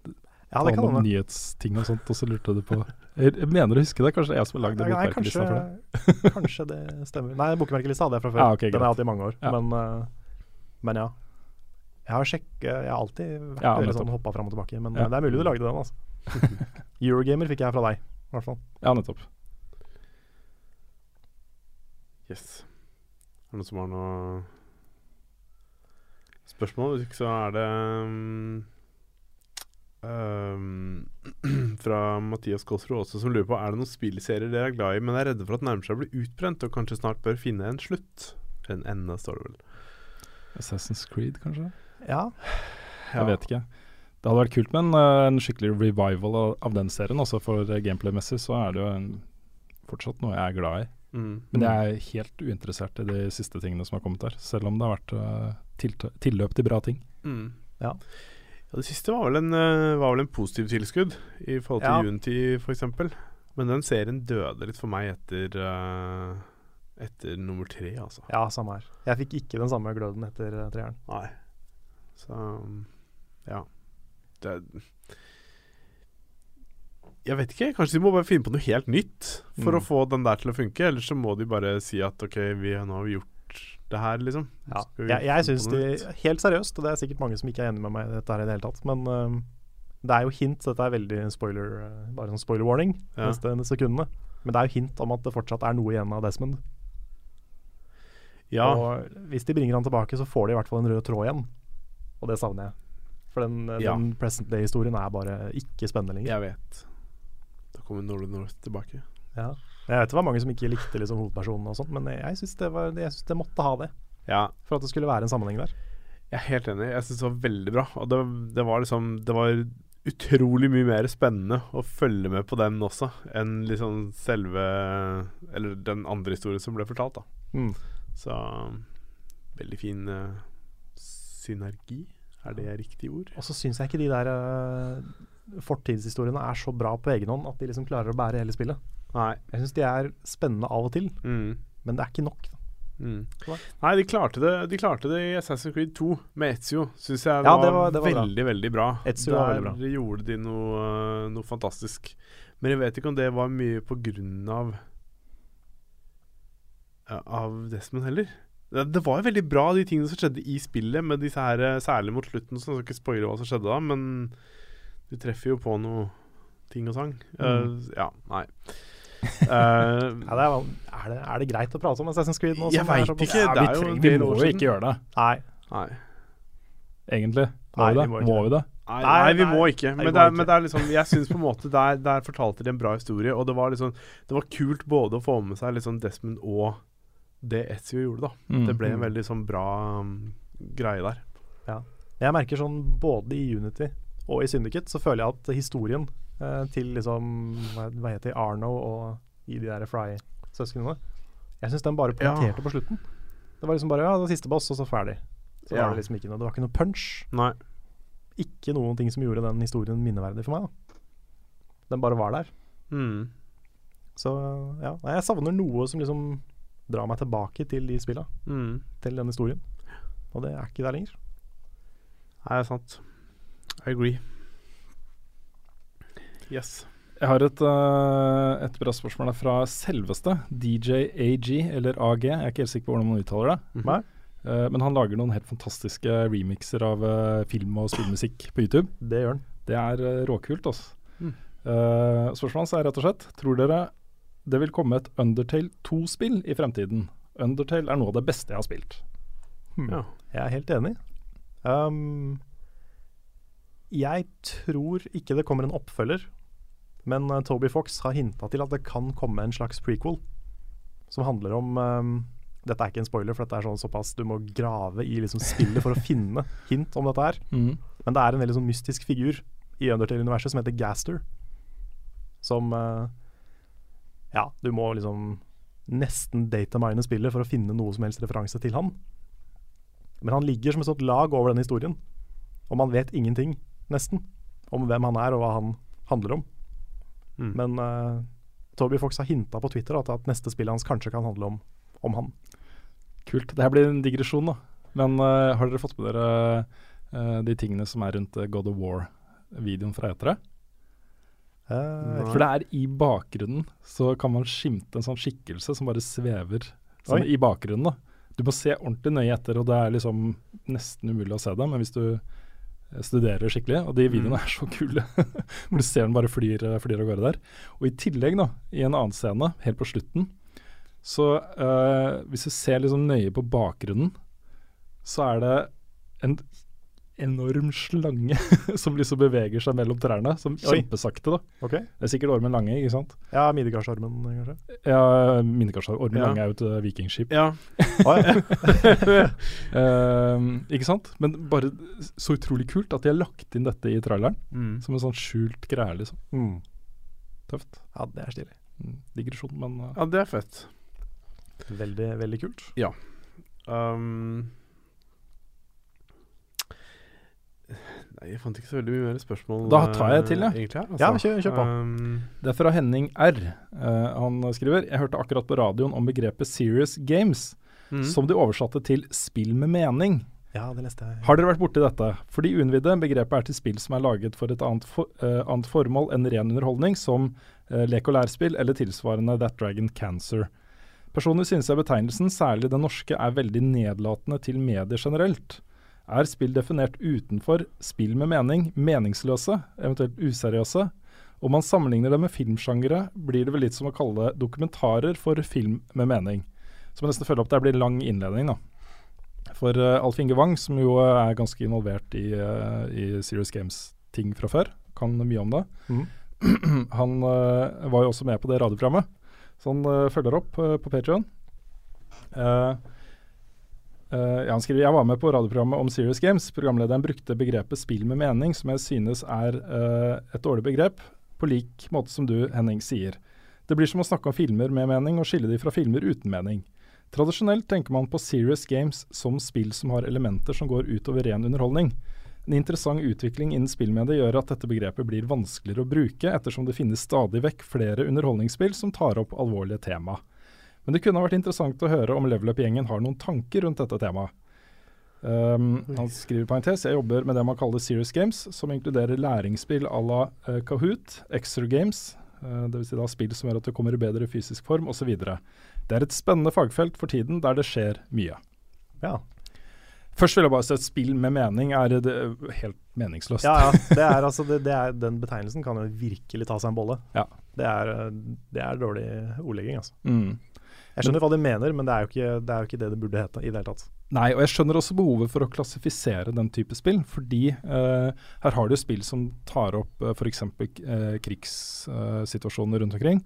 A: Ja,
B: ta
A: det kan
B: noen
A: hende.
B: nyhetsting og sånt, og så lurte du på Jeg jeg mener å huske det, kanskje det er jeg som har lagd
A: Ja, nei,
B: bokmerkelista
A: kanskje,
B: for det.
A: kanskje det stemmer. Nei, bokmerkelista hadde jeg fra før.
B: Ja, ok,
A: Den
B: greit.
A: har jeg hatt i mange år.
B: Ja.
A: Men, eh, men ja. Jeg har sjekk, jeg har alltid vært
B: Ja,
A: veldig
B: nettopp.
A: sånn hoppa fram og tilbake. Men
B: Ja.
A: eh, det er mulig du lagde den, altså. Eurogamer fikk jeg fra deg, i hvert fall.
B: Ja, nettopp.
D: Yes. Er det noen som har noe spørsmål? Hvis ikke så er det um, um, fra Mathias Kolsrud også, som lurer på er det noen spillserier dere er glad i, men er redde for at nærmer seg å bli utbrent og kanskje snart bør finne en slutt. En ende, står det vel.
B: Assassin's Creed, kanskje?
A: Ja.
D: Ja.
B: Jeg vet ikke. Det hadde vært kult med en, eh, en skikkelig revival av, av den serien. Også for eh, gameplay-messig så er det jo en, fortsatt noe jeg er glad i.
D: Mm.
B: Men jeg er helt uinteressert i de siste tingene som har kommet der. Selv om det har vært eh, tilta- tilløp til bra ting.
D: Mm.
A: Ja.
D: Ja, Det siste var vel en, eh, var vel en positiv tilskudd i forhold til
A: Ja.
D: Unity for eksempel Men den serien døde litt for meg etter, eh, etter nummer tre, altså.
A: ja, samme her. Jeg fikk ikke den samme gløden etter eh, treeren.
D: Nei. Så um, ja. Det er Jeg vet ikke. Kanskje de må bare finne på noe helt nytt for
B: Mm.
D: å få den der til å funke. Eller så må de bare si at OK, vi, nå har vi gjort det her, liksom.
A: Ja.
D: Skal vi
A: Jeg, jeg
D: finne
A: syns
D: på
A: de
D: noe nytt?
A: Helt seriøst, og det er sikkert mange som ikke er enig med meg i dette her i det hele tatt, men øhm, det er jo hint, så dette er veldig spoiler øh, bare sånn spoiler warning
D: Ja.
A: neste, neste sekundene, men det er jo hint om at det fortsatt er noe igjen av Desmond.
D: Ja.
A: Og hvis de bringer han tilbake, så får de i hvert fall en rød tråd igjen, og det savner jeg. For den, øh,
D: Ja.
A: den present day-historien er bare ikke spennende lenger.
D: Jeg vet. Da kommer Northern North tilbake.
A: Ja. Jeg vet det var mange som ikke likte liksom, hovedpersonen og sånt, men jeg syns det, var- jeg synes det måtte ha det,
D: Ja,
A: for at det skulle være en sammenheng der.
D: jeg er helt enig. Jeg syns det var veldig bra. Og det, det var liksom Det var utrolig mye mer spennende å følge med på den også, enn liksom selve Eller den andre historien som ble fortalt, da.
A: Mm.
D: Så veldig fin eh, synergi. Er det riktig ord?
A: Og så syns jeg ikke de der eh, fortidshistoriene er så bra på egen hånd at de liksom klarer å bære hele spillet.
D: Nei.
A: Jeg syns de er spennende av og til,
D: Mm.
A: men det er ikke nok.
D: Mm. Nei, de klarte, det, de klarte det i Assassin's Creed 2 med Ezio. Syns jeg
A: Ja,
D: var,
A: det var- det var bra.
D: veldig, veldig bra.
A: Ezio
D: Der
A: var veldig bra.
D: gjorde de noe, eh, noe fantastisk. Men jeg vet ikke om det var mye på grunn av eh, Av Desmond heller. Det, det var jo veldig bra, de tingene som skjedde i spillet, med disse her, eh, særlig mot slutten. Så jeg skal ikke spoile hva som skjedde da, men du treffer jo på noe ting og sang. Eh, ja, nei. Eh,
A: Mm. Ja, det er, er, det, er det greit å prate om Assassin's Creed nå?
D: Jeg
A: som er
D: vet
A: såpass-
D: ikke,
A: Ja,
D: det
A: vi
D: er jo
A: trenger-
D: en del
B: Vi må
D: år
B: jo
D: siden.
B: ikke gjøre det,
A: Nei.
D: nei.
B: egentlig. Må
A: Nei,
B: vi det?
A: vi må
B: Må,
A: ikke
B: vi det?
D: Nei,
A: Nei,
D: vi
A: nei.
D: må ikke. Men,
A: vi må
D: det, er-
A: ikke.
D: men det er liksom Jeg syns på en måte der, der fortalte de en bra historie, og det var liksom Det var kult både å få med seg liksom Desmond og det Ezio gjorde, da.
B: Mm.
D: Det ble en veldig sånn bra um, greie der.
A: Jeg merker sånn både i Unity og i Syndicate så føler jeg at historien eh, til liksom hva hva heter de, Arno og i de der Fry-søsknene Jeg syns den bare
D: Ja.
A: punkterte på slutten. Det var liksom bare ja, det siste boss, og så ferdig. Så
D: Ja.
A: var det liksom ikke noe Det var ikke noe punch.
D: Nei.
A: Ikke noen ting som gjorde den historien minneverdig for meg. da Den bare var der.
D: Mm.
A: Så ja, Nei, jeg savner noe som liksom drar meg tilbake til de spilla,
D: Mm.
A: til den historien. Og det er ikke der lenger.
D: Nei, det er sant. I agree. Yes.
B: Jeg har et, eh, et bra spørsmål der fra selveste DJ AG, eller AG, jeg er ikke helt sikker på hvordan man uttaler det.
A: Nei.
B: Eh, men han lager noen helt fantastiske remixer av eh, film- og spillmusikk på YouTube.
A: Det gjør den.
B: Det er eh, råkult, altså.
D: Mm.
B: Eh, spørsmålet hans er rett og slett Tror dere det vil komme et Undertale 2-spill i fremtiden? Undertale er noe av det beste jeg har spilt.
D: Ja.
B: Mm.
A: Jeg er helt enig. Um, jeg tror ikke det kommer en oppfølger, men eh, Toby Fox har hinta til at det kan komme en slags prequel som handler om um, Dette er ikke en spoiler, for dette er sånn såpass du må grave i liksom spillet for å finne hint om dette her. Men det er en veldig sånn mystisk figur i Undertale-universet som heter Gaster. Som eh, Ja, du må liksom nesten datamine spillet for å finne noe som helst referanse til han. Men han ligger som et sånt lag over den historien. Og man vet ingenting, nesten, om hvem han er og hva han handler om.
D: Mm.
A: Men eh, Toby Fox har hinta på Twitter at, at neste spillet hans kanskje kan handle om, om han.
B: Kult. Det her blir en digresjon, da. Men eh, har dere fått med dere eh, de tingene som er rundt eh, God of War-videoen fra E etere?
A: Eh,
D: Nei.
B: For det er i bakgrunnen så kan man skimte en sånn skikkelse som bare svever sånn,
A: Oi.
B: i bakgrunnen. da. Du må se ordentlig nøye etter, og det er liksom nesten umulig å se det. Men hvis du eh, studerer skikkelig, og de videoene
A: Mm.
B: er så kule, hvor du ser den bare flyr, eh, flyr av gårde der. Og i tillegg, da, i en annen scene, helt på slutten, så eh, hvis du ser liksom nøye på bakgrunnen, så er det en enorm slange som liksom beveger seg mellom trærne, som
A: Oi.
B: kjempesakte, da.
A: ok.
B: Det er sikkert Ormen Lange, ikke sant?
A: Ja, Midgardsormen, kanskje.
B: Ja, minner kanskje Ormen
D: Ja.
B: Lange er jo et eh, vikingskip.
D: Ja.
A: Å, ja.
B: Ehm, ikke sant? Men bare så utrolig kult at de har lagt inn dette i traileren.
D: Mm.
B: Som en sånn skjult greie, liksom.
A: mm.
B: Tøft.
A: ja, det er stilig.
B: Mm, Digresjon, men eh,
D: ja, det er fett.
A: Veldig, veldig kult.
D: Um, nei, jeg fant ikke så veldig mye mer spørsmål.
B: Da tar jeg
D: eh,
B: til, ja.
D: Egentlig, her, altså.
A: Ja, kjør- kjør på.
D: Um,
B: Det er fra Henning R. Eh, han skriver Jeg hørte akkurat på radioen om begrepet serious games,
D: mm.
B: som de oversatte til spill med mening.
A: Ja, det leste jeg.
B: Har dere vært borti dette? For de uinnvidde, begrepet er til spill som er laget for et annet, for, eh, annet formål enn ren underholdning, som eh, lek- og lærspill eller tilsvarende That Dragon Cancer. Personlig synes jeg betegnelsen, særlig den norske, er veldig nedlatende til medier generelt. Er spill definert utenfor spill med mening, meningsløse, eventuelt useriøse? Om man sammenligner det med filmsjangere, blir det vel litt som å kalle det dokumentarer for film med mening. Så må jeg nesten følge opp, det her blir en lang innledning, da. For eh, Alf Inge Wang, som jo eh, er ganske involvert i, eh, i Serious Games-ting fra før, kan mye om det.
A: Mhm.
B: Han eh, var jo også med på det radioprogrammet, så han eh, følger opp eh, på Patreon. Eh, eh, ja, han skriver jeg var med på radioprogrammet om Serious Games. Programlederen brukte begrepet 'spill med mening', som jeg synes er eh, et dårlig begrep, på lik måte som du, Henning, sier. Det blir som å snakke om filmer med mening og skille de fra filmer uten mening. Tradisjonelt tenker man på serious games som spill som har elementer som går utover ren underholdning. En interessant utvikling innen spillmediet gjør at dette begrepet blir vanskeligere å bruke, ettersom det finnes stadig vekk flere underholdningsspill som tar opp alvorlige tema. Men det kunne ha vært interessant å høre om Level Up-gjengen har noen tanker rundt dette temaet. Um, han skriver i parentes jeg jobber med det man kaller serious games, som inkluderer læringsspill à la eh, Kahoot, extra games, uh, dvs. Si da spill som gjør at du kommer i bedre fysisk form osv. Det er et spennende fagfelt for tiden der det skjer mye.
A: Ja.
B: Først vil jeg bare si at spill med mening er det helt meningsløst.
A: Ja, ja. Det er, altså, det, det er, den betegnelsen kan jo virkelig ta seg en bolle.
B: Ja.
A: Det, er, eh, det er dårlig ordlegging, altså.
B: Mm.
A: Jeg skjønner hva de mener, men det er jo ikke det, er jo ikke det, det burde hete i det hele tatt.
B: Nei, og jeg skjønner også behovet for å klassifisere den type spill, fordi eh, her har du spill som tar opp uh, f.eks. Uh, krigssituasjoner rundt omkring,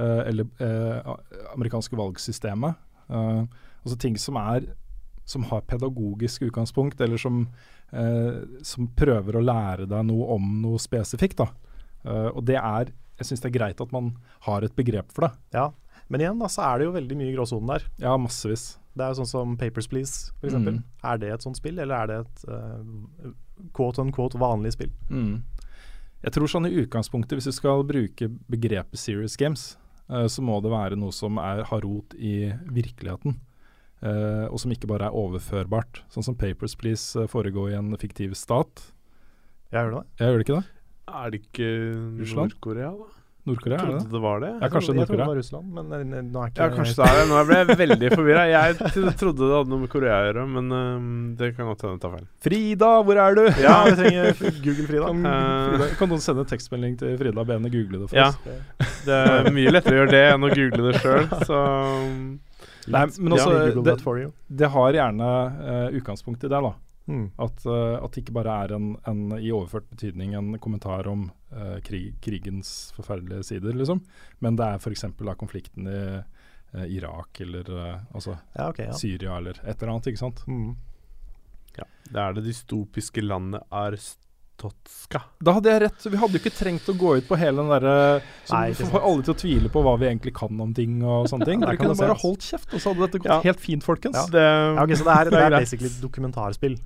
B: eh, eller eh, amerikanske valgsystemet. eh, altså ting som er som har pedagogisk utgangspunkt, eller som, eh, som prøver å lære deg noe om noe spesifikt. Da. Eh, og det er, jeg syns det er greit at man har et begrep for det.
A: Ja. Men igjen da, så er det jo veldig mye gråsonen der.
B: Ja, massevis.
A: Det er jo sånn som Papers Please, f.eks. eksempel.
B: Mm.
A: Er det et sånt spill, eller er det et eh, quote on quote vanlig spill?
B: Mm. Jeg tror sånn i utgangspunktet, hvis du skal bruke begrepet serious games, eh, så må det være noe som er, har rot i virkeligheten. eh, og som ikke bare er overførbart. Sånn som Papers, Please eh, foregår i en fiktiv stat.
A: Ja, gjør det det?
B: Ja, gjør det ikke det?
D: Er det ikke
B: Russland?
D: Nord-Korea, da?
B: Nord-Korea, er det
D: Trodde
B: det?
D: det var det.
B: Ja, kanskje
A: Jeg trodde det
B: Nord-Korea.
A: var Russland, men eh, n- nå er ikke
D: Ja, kanskje det er det. Nå ble jeg veldig forvirra. Jeg t- trodde det hadde noe med Korea å gjøre, men øhm, det kan godt hende jeg tar feil.
B: Frida, hvor er du?
A: Ja, vi trenger Google Frida.
B: Kan,
D: Eh.
B: Frida, kan noen sende tekstmelding til Frida Bene og google det for
D: Ja.
B: oss?
D: Det er mye lettere å gjøre det enn å google det sjøl, så
B: Nei, men også,
A: Ja, Google
B: det,
A: that for you.
B: det har gjerne eh, utgangspunkt i det, da.
A: Mm.
B: At, eh, at det ikke bare er en, en i overført betydning en kommentar om eh, krig, krigens forferdelige sider, liksom. Men det er f.eks. da konflikten i eh, Irak eller eh, altså,
A: Ja, ok. Ja.
B: Syria eller et eller annet, ikke sant.
A: Mm.
D: Det er det dystopiske landet Arstotska.
B: Da hadde jeg rett. Vi hadde jo ikke trengt å gå ut på hele den derre som
A: Nei, ikke sant.
B: får alle til å tvile på hva vi egentlig kan om ting og sånne ting.
A: Der
B: Dere
A: kan
B: kunne
A: du se.
B: bare holdt kjeft, og så hadde dette gått
D: Ja.
B: helt fint, folkens.
A: Ja.
D: Det
A: Ja, ok, så det er, det
D: Det er
A: er
D: greit.
A: basically et dokumentarspill.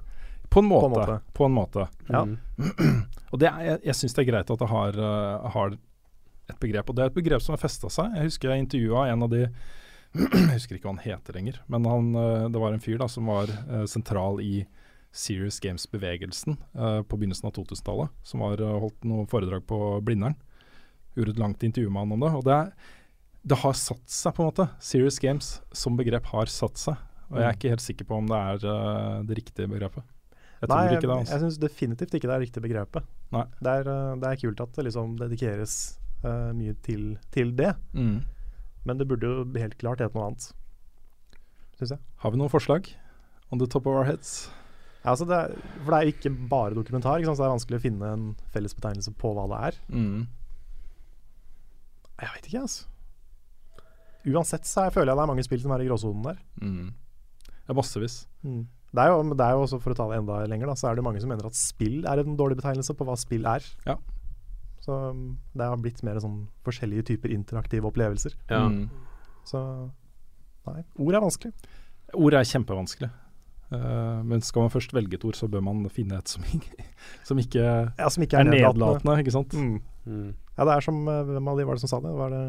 B: På en måte.
A: en
B: På en måte.
A: måte. Ja.
D: Mm.
B: Og det er, jeg, jeg syns det er greit at det har, eh, har et begrep, og det er et begrep som har festa seg. Jeg husker jeg intervjua en av de Jeg husker ikke hva han heter lenger, men han, eh, det var en fyr da som var eh, sentral i Serious Games-bevegelsen eh, på begynnelsen av 2000-tallet. Som var, eh, holdt noen foredrag på Blindern. Gjorde et langt intervju med han om det. Og det, er, det har satt seg, på en måte. Serious Games som begrep har satt seg. Og
A: Mm.
B: jeg er ikke helt sikker på om det er eh, det riktige begrepet. Jeg
A: Nei,
B: tror ikke det.
A: jeg,
B: Altså.
A: jeg syns definitivt ikke det er riktig begrepet.
B: Nei.
A: Det er, eh, det er kult at det liksom dedikeres eh, mye til, til det,
B: Mm.
A: men det burde jo helt klart hete noe annet. Syns jeg.
B: Har vi noen forslag? On the top of our heads?
A: Ja, altså det er, for det er ikke bare dokumentar, ikke sant? så det er vanskelig å finne en felles betegnelse på hva det er.
D: Mm.
A: Jeg vet ikke, altså. Uansett så er- føler jeg det er mange spill som er i gråsonen der.
D: Mm.
B: Det er massevis.
A: Det er, jo, men det er jo også, For å ta det enda lenger, da, så er det mange som mener at spill er en dårlig betegnelse på hva spill er.
B: Ja.
A: Så um, det har blitt mer sånn forskjellige typer interaktive opplevelser.
D: Ja.
B: Mm.
A: Så nei, ord er vanskelig.
B: Ord er kjempevanskelig. Eh, men skal man først velge et ord, så bør man finne et som, ikke- som ikke er
A: Ja, som ikke er, nedlatende.
B: nedlatende, ikke sant?
A: Mm.
D: Mm.
A: Ja, det er som eh, Hvem av de var det som sa det? Var det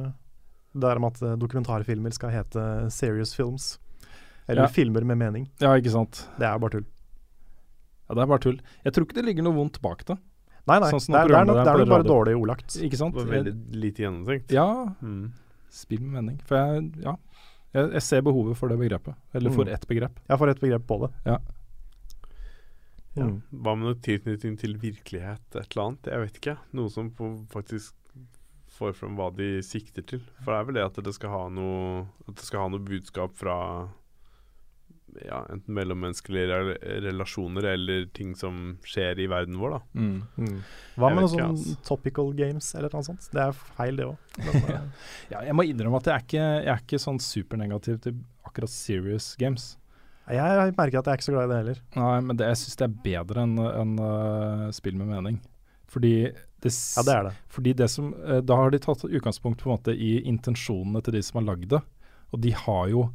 A: det der med at eh, dokumentarfilmer skal hete serious films? Eller
B: Ja.
A: filmer med mening.
B: Ja, ikke sant.
A: Det er bare tull.
B: Ja, det er bare tull. Jeg tror ikke det ligger noe vondt bak det.
A: Nei, nei.
B: Sånn som
A: det er, det er, nok-
B: programlederen
A: det
B: på
A: er nok bare
B: radio.
A: dårlig ordlagt.
B: Ikke sant?
D: Det var veldig lite gjennomtenkt.
B: Ja,
D: Mm.
B: spill med mening. For jeg, ja. jeg, jeg ser behovet for det begrepet. Eller for
A: Mm.
B: ett begrep.
A: Jeg får et begrep på det.
B: Ja.
D: Ja.
A: Mm.
D: Hva med noe tilknytning til virkelighet, et eller annet? Jeg vet ikke. Noe som på, faktisk får frem hva de sikter til. For det er vel det at det skal ha noe, at det skal ha noe budskap fra ja, enten mellommenneskelige rel- relasjoner eller ting som skjer i verden vår, da.
A: Mm. Hva
D: Jeg
A: med
D: vet
A: noen
D: ikke,
A: sånn
D: ass.
A: topical games eller noe sånt? Det er feil, det eh, òg.
B: Ja, jeg må innrømme at jeg er ikke, jeg er ikke sånn supernegativ til akkurat serious games.
A: Jeg merker at jeg er ikke så glad i det heller.
B: Nei, men det, jeg syns det er bedre enn enn, øh, spill med mening. Fordi det, s-
A: Ja, det er det.
B: fordi det som øh, Da har de tatt utgangspunkt på en måte i intensjonene til de som har lagd det. Og de har jo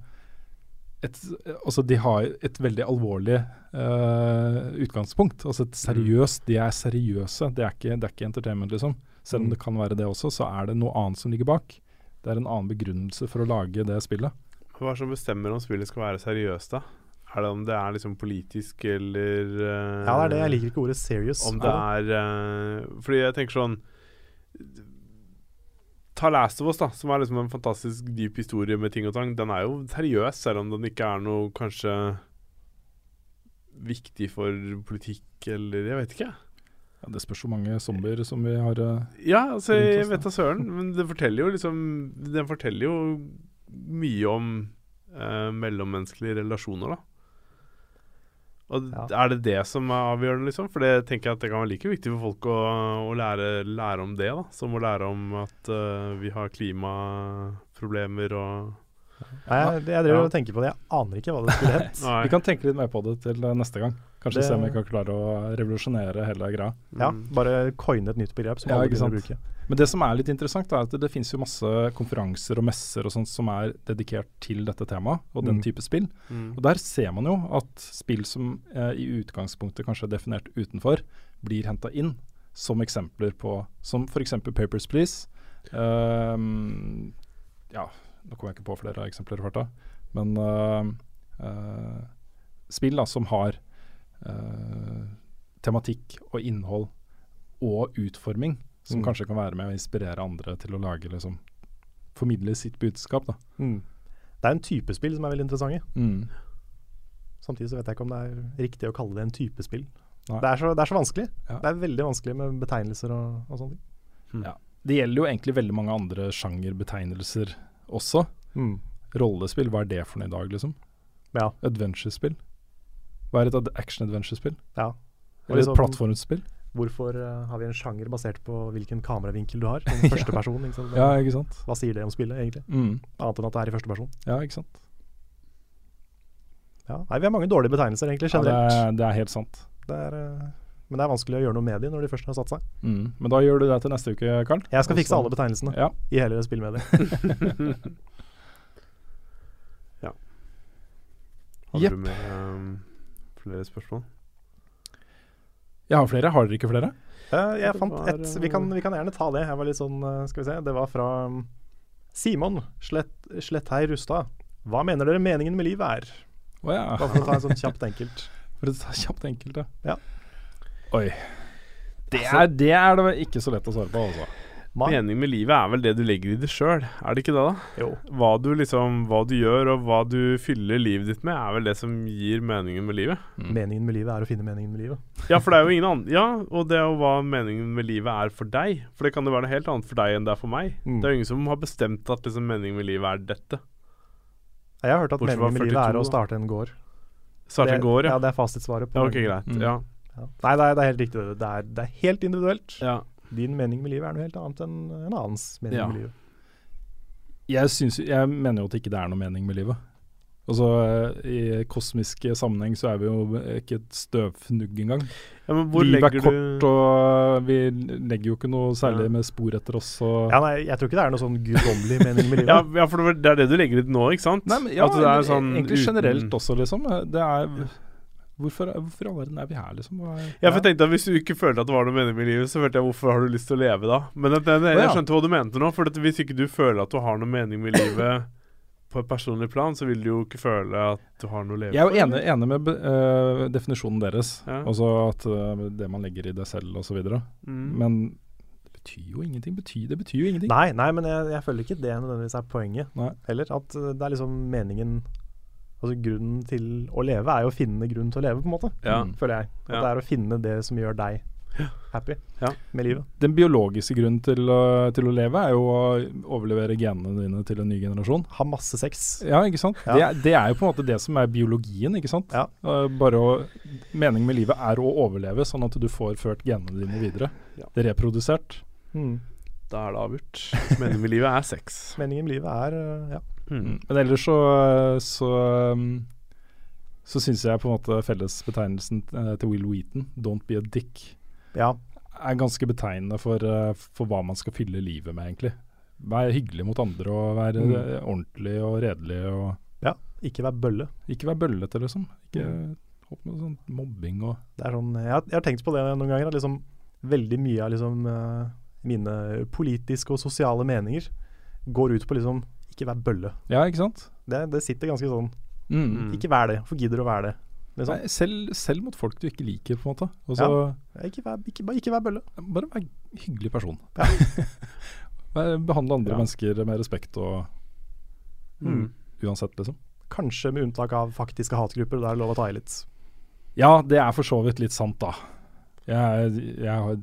B: et, altså de har et veldig alvorlig øh, utgangspunkt. Altså et seriøst De er seriøse. Det er ikke, det er ikke entertainment, liksom. Selv om det kan være det også, så er det noe annet som ligger bak. Det er en annen begrunnelse for å lage det spillet.
D: Hva er det som bestemmer om spillet skal være seriøst, da? Er det om det er liksom politisk, eller eh,
A: Ja, det er det. Jeg liker ikke ordet serious.
D: Om det er eh, Fordi jeg tenker sånn Ta Last of Us, da, som er liksom en fantastisk dyp historie med ting og tang. Den er jo seriøs, selv om den ikke er noe kanskje viktig for politikk eller Jeg vet ikke.
B: Ja, det spørs hvor mange zombier som vi har øh,
D: Ja, altså,
B: Rundt
D: jeg
B: oss,
D: vet da søren, men det forteller jo liksom Den forteller jo mye om eh, mellommenneskelige relasjoner, da. Og d-
A: Ja.
D: Er det det som er avgjørende, liksom? For det tenker jeg at det kan være like viktig for folk å, å lære, lære om det, da. Som å lære om at eh, vi har klimaproblemer og
A: Nei, jeg, jeg driver og tenker på det. Jeg aner ikke hva det skulle hett.
D: Nei.
B: Vi kan tenke litt mer på det til eh, neste gang. Kanskje
A: Det-
B: se om vi kan klare å revolusjonere hele greia.
A: Ja, bare coine et nytt begrep som
B: Ja,
A: alle
B: ikke
A: begynner å
B: sant.
A: bruke.
B: Men det som er litt interessant, da, er at det, det finnes jo masse konferanser og messer og sånt som er dedikert til dette temaet og den
A: Mm.
B: type spill. Og der ser man jo at spill som eh, i utgangspunktet kanskje er definert utenfor, blir henta inn som eksempler på Som f.eks. Papers Please. Ehm, ja, nå kommer jeg ikke på flere eksempler i farta, men eh, eh, spill da som har eh, tematikk og innhold og utforming som
A: Mm.
B: kanskje kan være med å inspirere andre til å lage liksom formidle sitt budskap. da.
A: Mm. Det er en type spill som er veldig interessante. Samtidig så vet jeg ikke om det er riktig å kalle det en type spill.
B: Nei.
A: Det er, så, det er så vanskelig.
B: Ja.
A: Det er veldig vanskelig med betegnelser og, og sånne ting.
B: Det gjelder jo egentlig veldig mange andre sjangerbetegnelser også.
A: Mm.
B: Rollespill, hva er det for noe i dag, liksom?
A: Ja.
B: Adventure-spill? Hva er et ad- action-adventure-spill?
A: ja. Og
B: Eller
A: liksom-
B: et plattformspill?
A: Hvorfor eh, har vi en sjanger basert på hvilken kameravinkel du har? Som første person, ikke sant?
B: Ja, ikke sant?
A: Hva sier det om spillet, egentlig?
B: Mm.
A: Annet enn at det er i første person.
B: Ja, ikke sant?
A: Ja. Nei, vi har mange dårlige betegnelser, egentlig,
B: Ja, det,
A: generelt.
B: er, det er helt sant.
A: det er, eh, men det er vanskelig å gjøre noe med de når de først har satt seg.
B: Mm. Men da gjør du det til neste uke, Karl.
A: Jeg skal
B: Og
A: fikse
B: så-
A: alle betegnelsene
B: Ja.
A: i hele spillmediet.
D: Hadde
B: Jepp.
D: du med ehm, flere spørsmål?
B: Jeg har flere. Har dere ikke flere?
A: Eh, jeg
D: Det
A: fant
D: var,
A: et vi kan, vi kan gjerne ta det. Jeg var litt sånn eh, Skal vi se. Det var fra mm, Simon Slett, Sletthei Rustad. Hva mener dere meningen med livet er?
B: Å ja.
A: Bare for å ta en sånn kjapt enkelt.
B: For å ta kjapt enkelt,
A: Ja.
B: Oi. Det
D: Altså-
B: er, det er det vel ikke så lett å svare på, altså.
A: Mai.
D: Meningen med livet er vel det du legger i det sjøl, er det ikke det, da?
A: Jo.
D: Hva du liksom, hva du gjør og hva du fyller livet ditt med, er vel det som gir meningen med livet.
B: Mm.
A: Meningen med livet er å finne meningen med livet.
D: Ja, for det er jo ingen annen Ja, og det er jo hva meningen med livet er for deg. For det kan jo være noe helt annet for deg enn det er for meg.
A: Mm.
D: Det er jo ingen som har bestemt at liksom meningen med livet er dette.
A: Jeg har hørt at
D: Bortsett fra
A: meningen med livet er
D: 42,
A: å
D: da.
A: starte en gård.
D: Starte en gård,
A: ja.
D: ja.
A: Det er fasitsvaret. på
D: Ja, ok,
A: meningen.
D: greit.
B: Mm.
D: Ja.
A: Ja. Nei, det er, det er helt riktig. Det er, det er helt individuelt.
D: ja.
A: Din mening med livet er noe helt annet enn en annens mening
D: Ja.
A: med livet.
B: Jeg, syns, jeg mener jo at det ikke er noe mening med livet. Altså, eh, I kosmisk sammenheng så er vi jo ikke et støvfnugg engang.
D: ja men hvor
B: Livet er
D: legger
B: kort,
D: du
B: og vi legger jo ikke noe særlig
D: Ja.
B: med spor etter oss. Og
A: Ja, nei, jeg tror ikke det er noe sånn guddommelig mening med
D: ja,
A: livet.
D: ja, for det det er det du legger ut nå, ikke sant?
B: Nei, men, ja,
D: At det er sånn
B: egentlig
D: uten-
B: generelt også, liksom. Det er, hvorfor, hvorfor i all verden er vi her, liksom? Hva er-
D: Ja, for jeg tenkte at Hvis du ikke følte at det var noe mening med livet, så følte jeg hvorfor har du lyst til å leve da? Men at den,
B: Å,
D: jeg
B: ja.
D: skjønte hva du mente nå. For at hvis ikke du føler at du har noe mening med livet på et personlig plan, så vil du jo ikke føle at du har noe å leve
B: Jeg er
D: for,
B: jo enig,
D: eller?
B: enig med be- eh, definisjonen deres,
D: Ja.
B: altså at eh, det man legger i det selv osv. videre
D: Mm.
B: Men det betyr jo ingenting. Betyr, det betyr jo ingenting.
A: Nei, nei, men jeg, jeg føler ikke det nødvendigvis er poenget
B: Nei.
A: heller. At uh, det er liksom meningen Altså grunnen til å leve er jo å finne grunnen til å leve, på en måte.
D: Ja.
A: Føler jeg. At
D: Ja.
A: det er å finne det som gjør deg happy
D: Ja.
A: med livet.
B: Den biologiske grunnen til, å- til å leve er jo å overlevere genene dine til en ny generasjon.
A: Ha masse sex.
B: Ja, ikke sant?
A: Ja.
B: Det, er- det er jo på en måte det som er biologien, ikke sant.
A: Ja.
B: Eh, bare å, Meningen med livet er å overleve, sånn at du får ført genene dine videre.
D: Ja.
B: Reprodusert.
A: Mm.
D: Da er det avgjort. Meningen med livet er sex.
A: Meningen med livet er uh, ja.
D: Mm.
B: Men ellers så så, um, så syns jeg på en måte fellesbetegnelsen eh, til Will Wheaton, 'Don't be a dick',
A: ja.
B: er ganske betegnende for, eh, for hva man skal fylle livet med, egentlig. Være hyggelig mot andre og være
A: Mm.
B: eh, ordentlig og redelig og
A: Ja. Ikke vær bølle.
B: ikke være bøllete, liksom. Ikke hopp med sånn mobbing og
A: Det er sånn, jeg, har, jeg har tenkt på det noen ganger. at Liksom, veldig mye av liksom, eh, mine politiske og sosiale meninger går ut på liksom ikke vær bølle.
B: Ja, ikke sant?
A: Det, det sitter ganske sånn.
B: Mm.
D: Mm.
A: Ikke vær det, for gidder å være det. Liksom.
B: Nei, selv, selv mot folk du ikke liker, på en måte. Og så
A: Ikke, vær, ikke, bare ikke vær bølle.
B: bare være en hyggelig person. Bare Behandle andre
A: Ja.
B: mennesker med respekt og
D: Mm.
B: uansett, liksom.
A: Kanskje med unntak av faktiske hatgrupper, og det er lov å ta i litt.
B: Ja, det er for så vidt litt sant, da. Jeg, jeg har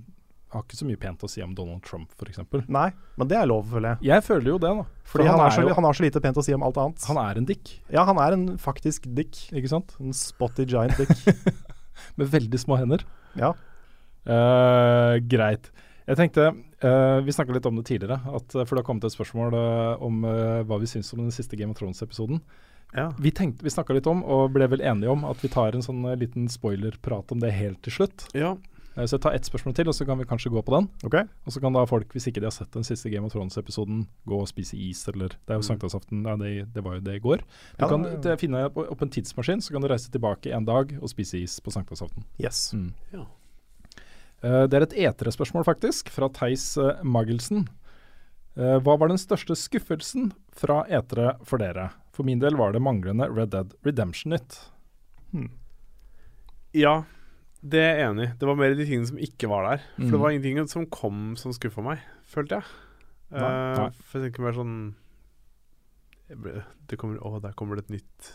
B: har ikke så mye pent å si om Donald Trump, f.eks.
A: Nei, men det er lov, føler jeg.
B: Jeg føler jo det, da.
A: Fordi han, er så,
B: jo,
A: han har så lite pent å si om alt annet.
B: han er en dick,
A: ja, han er en faktisk dick.
B: ikke sant?
A: En spotty giant dick.
B: Med veldig små hender.
A: ja.
B: Eh, greit. Jeg tenkte, eh, Vi snakka litt om det tidligere, at, eh, for det har kommet et spørsmål eh, om eh, hva vi syns om den siste Game of Thrones-episoden.
D: Ja.
B: Vi, tenkte- vi snakka litt om, og ble vel enige om, at vi tar en sånn eh, liten spoilerprat om det helt til slutt.
D: ja.
B: Eh, så jeg tar ett spørsmål til, og så kan vi kanskje gå på den.
A: OK.
B: Og så kan da folk, hvis ikke de har sett den siste Game of Thrones-episoden, gå og spise is, eller Det
D: Mm.
B: er jo sankthansaften, ja, det, det var jo det i går. Du
A: Ja,
B: kan
A: det-
B: eh, finne opp- opp en tidsmaskin, så kan du reise tilbake en dag og spise is på sankthansaften.
A: Yes.
B: Mm.
D: Ja.
B: Eh, Det er et eterespørsmål, faktisk, fra Theis eh, Magelsen. Eh, Hva var den største skuffelsen fra etere for dere? For min del var det manglende Red Dead Redemption-nytt.
D: ja, det er jeg enig i. Det var mer de tingene som ikke var der. For det var ingenting som kom som skuffa meg, følte jeg. Eh,
B: Nei.
D: For jeg tenker mer sånn jeg ble, det kommer, Å, der kommer det et nytt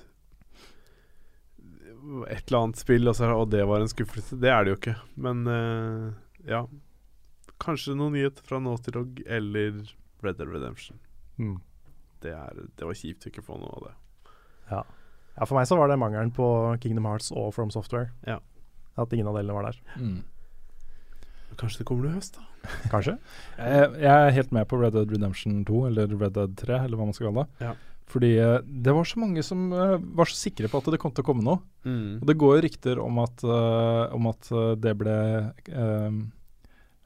D: Et eller annet spill, altså, og så er det, å, det var en skuffelse. Det er det jo ikke. Men eh, ja. Kanskje noen nyheter fra Naughty Dog eller Red Dead Redemption.
A: Mm.
D: Det, er, det var kjipt å ikke få noe av det.
A: Ja. ja, for meg så var det mangelen på Kingdom Hearts og From Software.
D: Ja.
A: At ingen av delene var der.
B: Mm.
D: Kanskje det kommer noe i høst, da.
A: Kanskje.
B: Jeg, Eh, jeg er helt med på Red Dead Redemption 2, eller Red Dead 3, eller hva man skal kalle det.
D: Ja.
B: Fordi eh, det var så mange som eh, var så sikre på at det kom til å komme noe. Og det går jo rykter om at, eh, om at eh, det ble eh,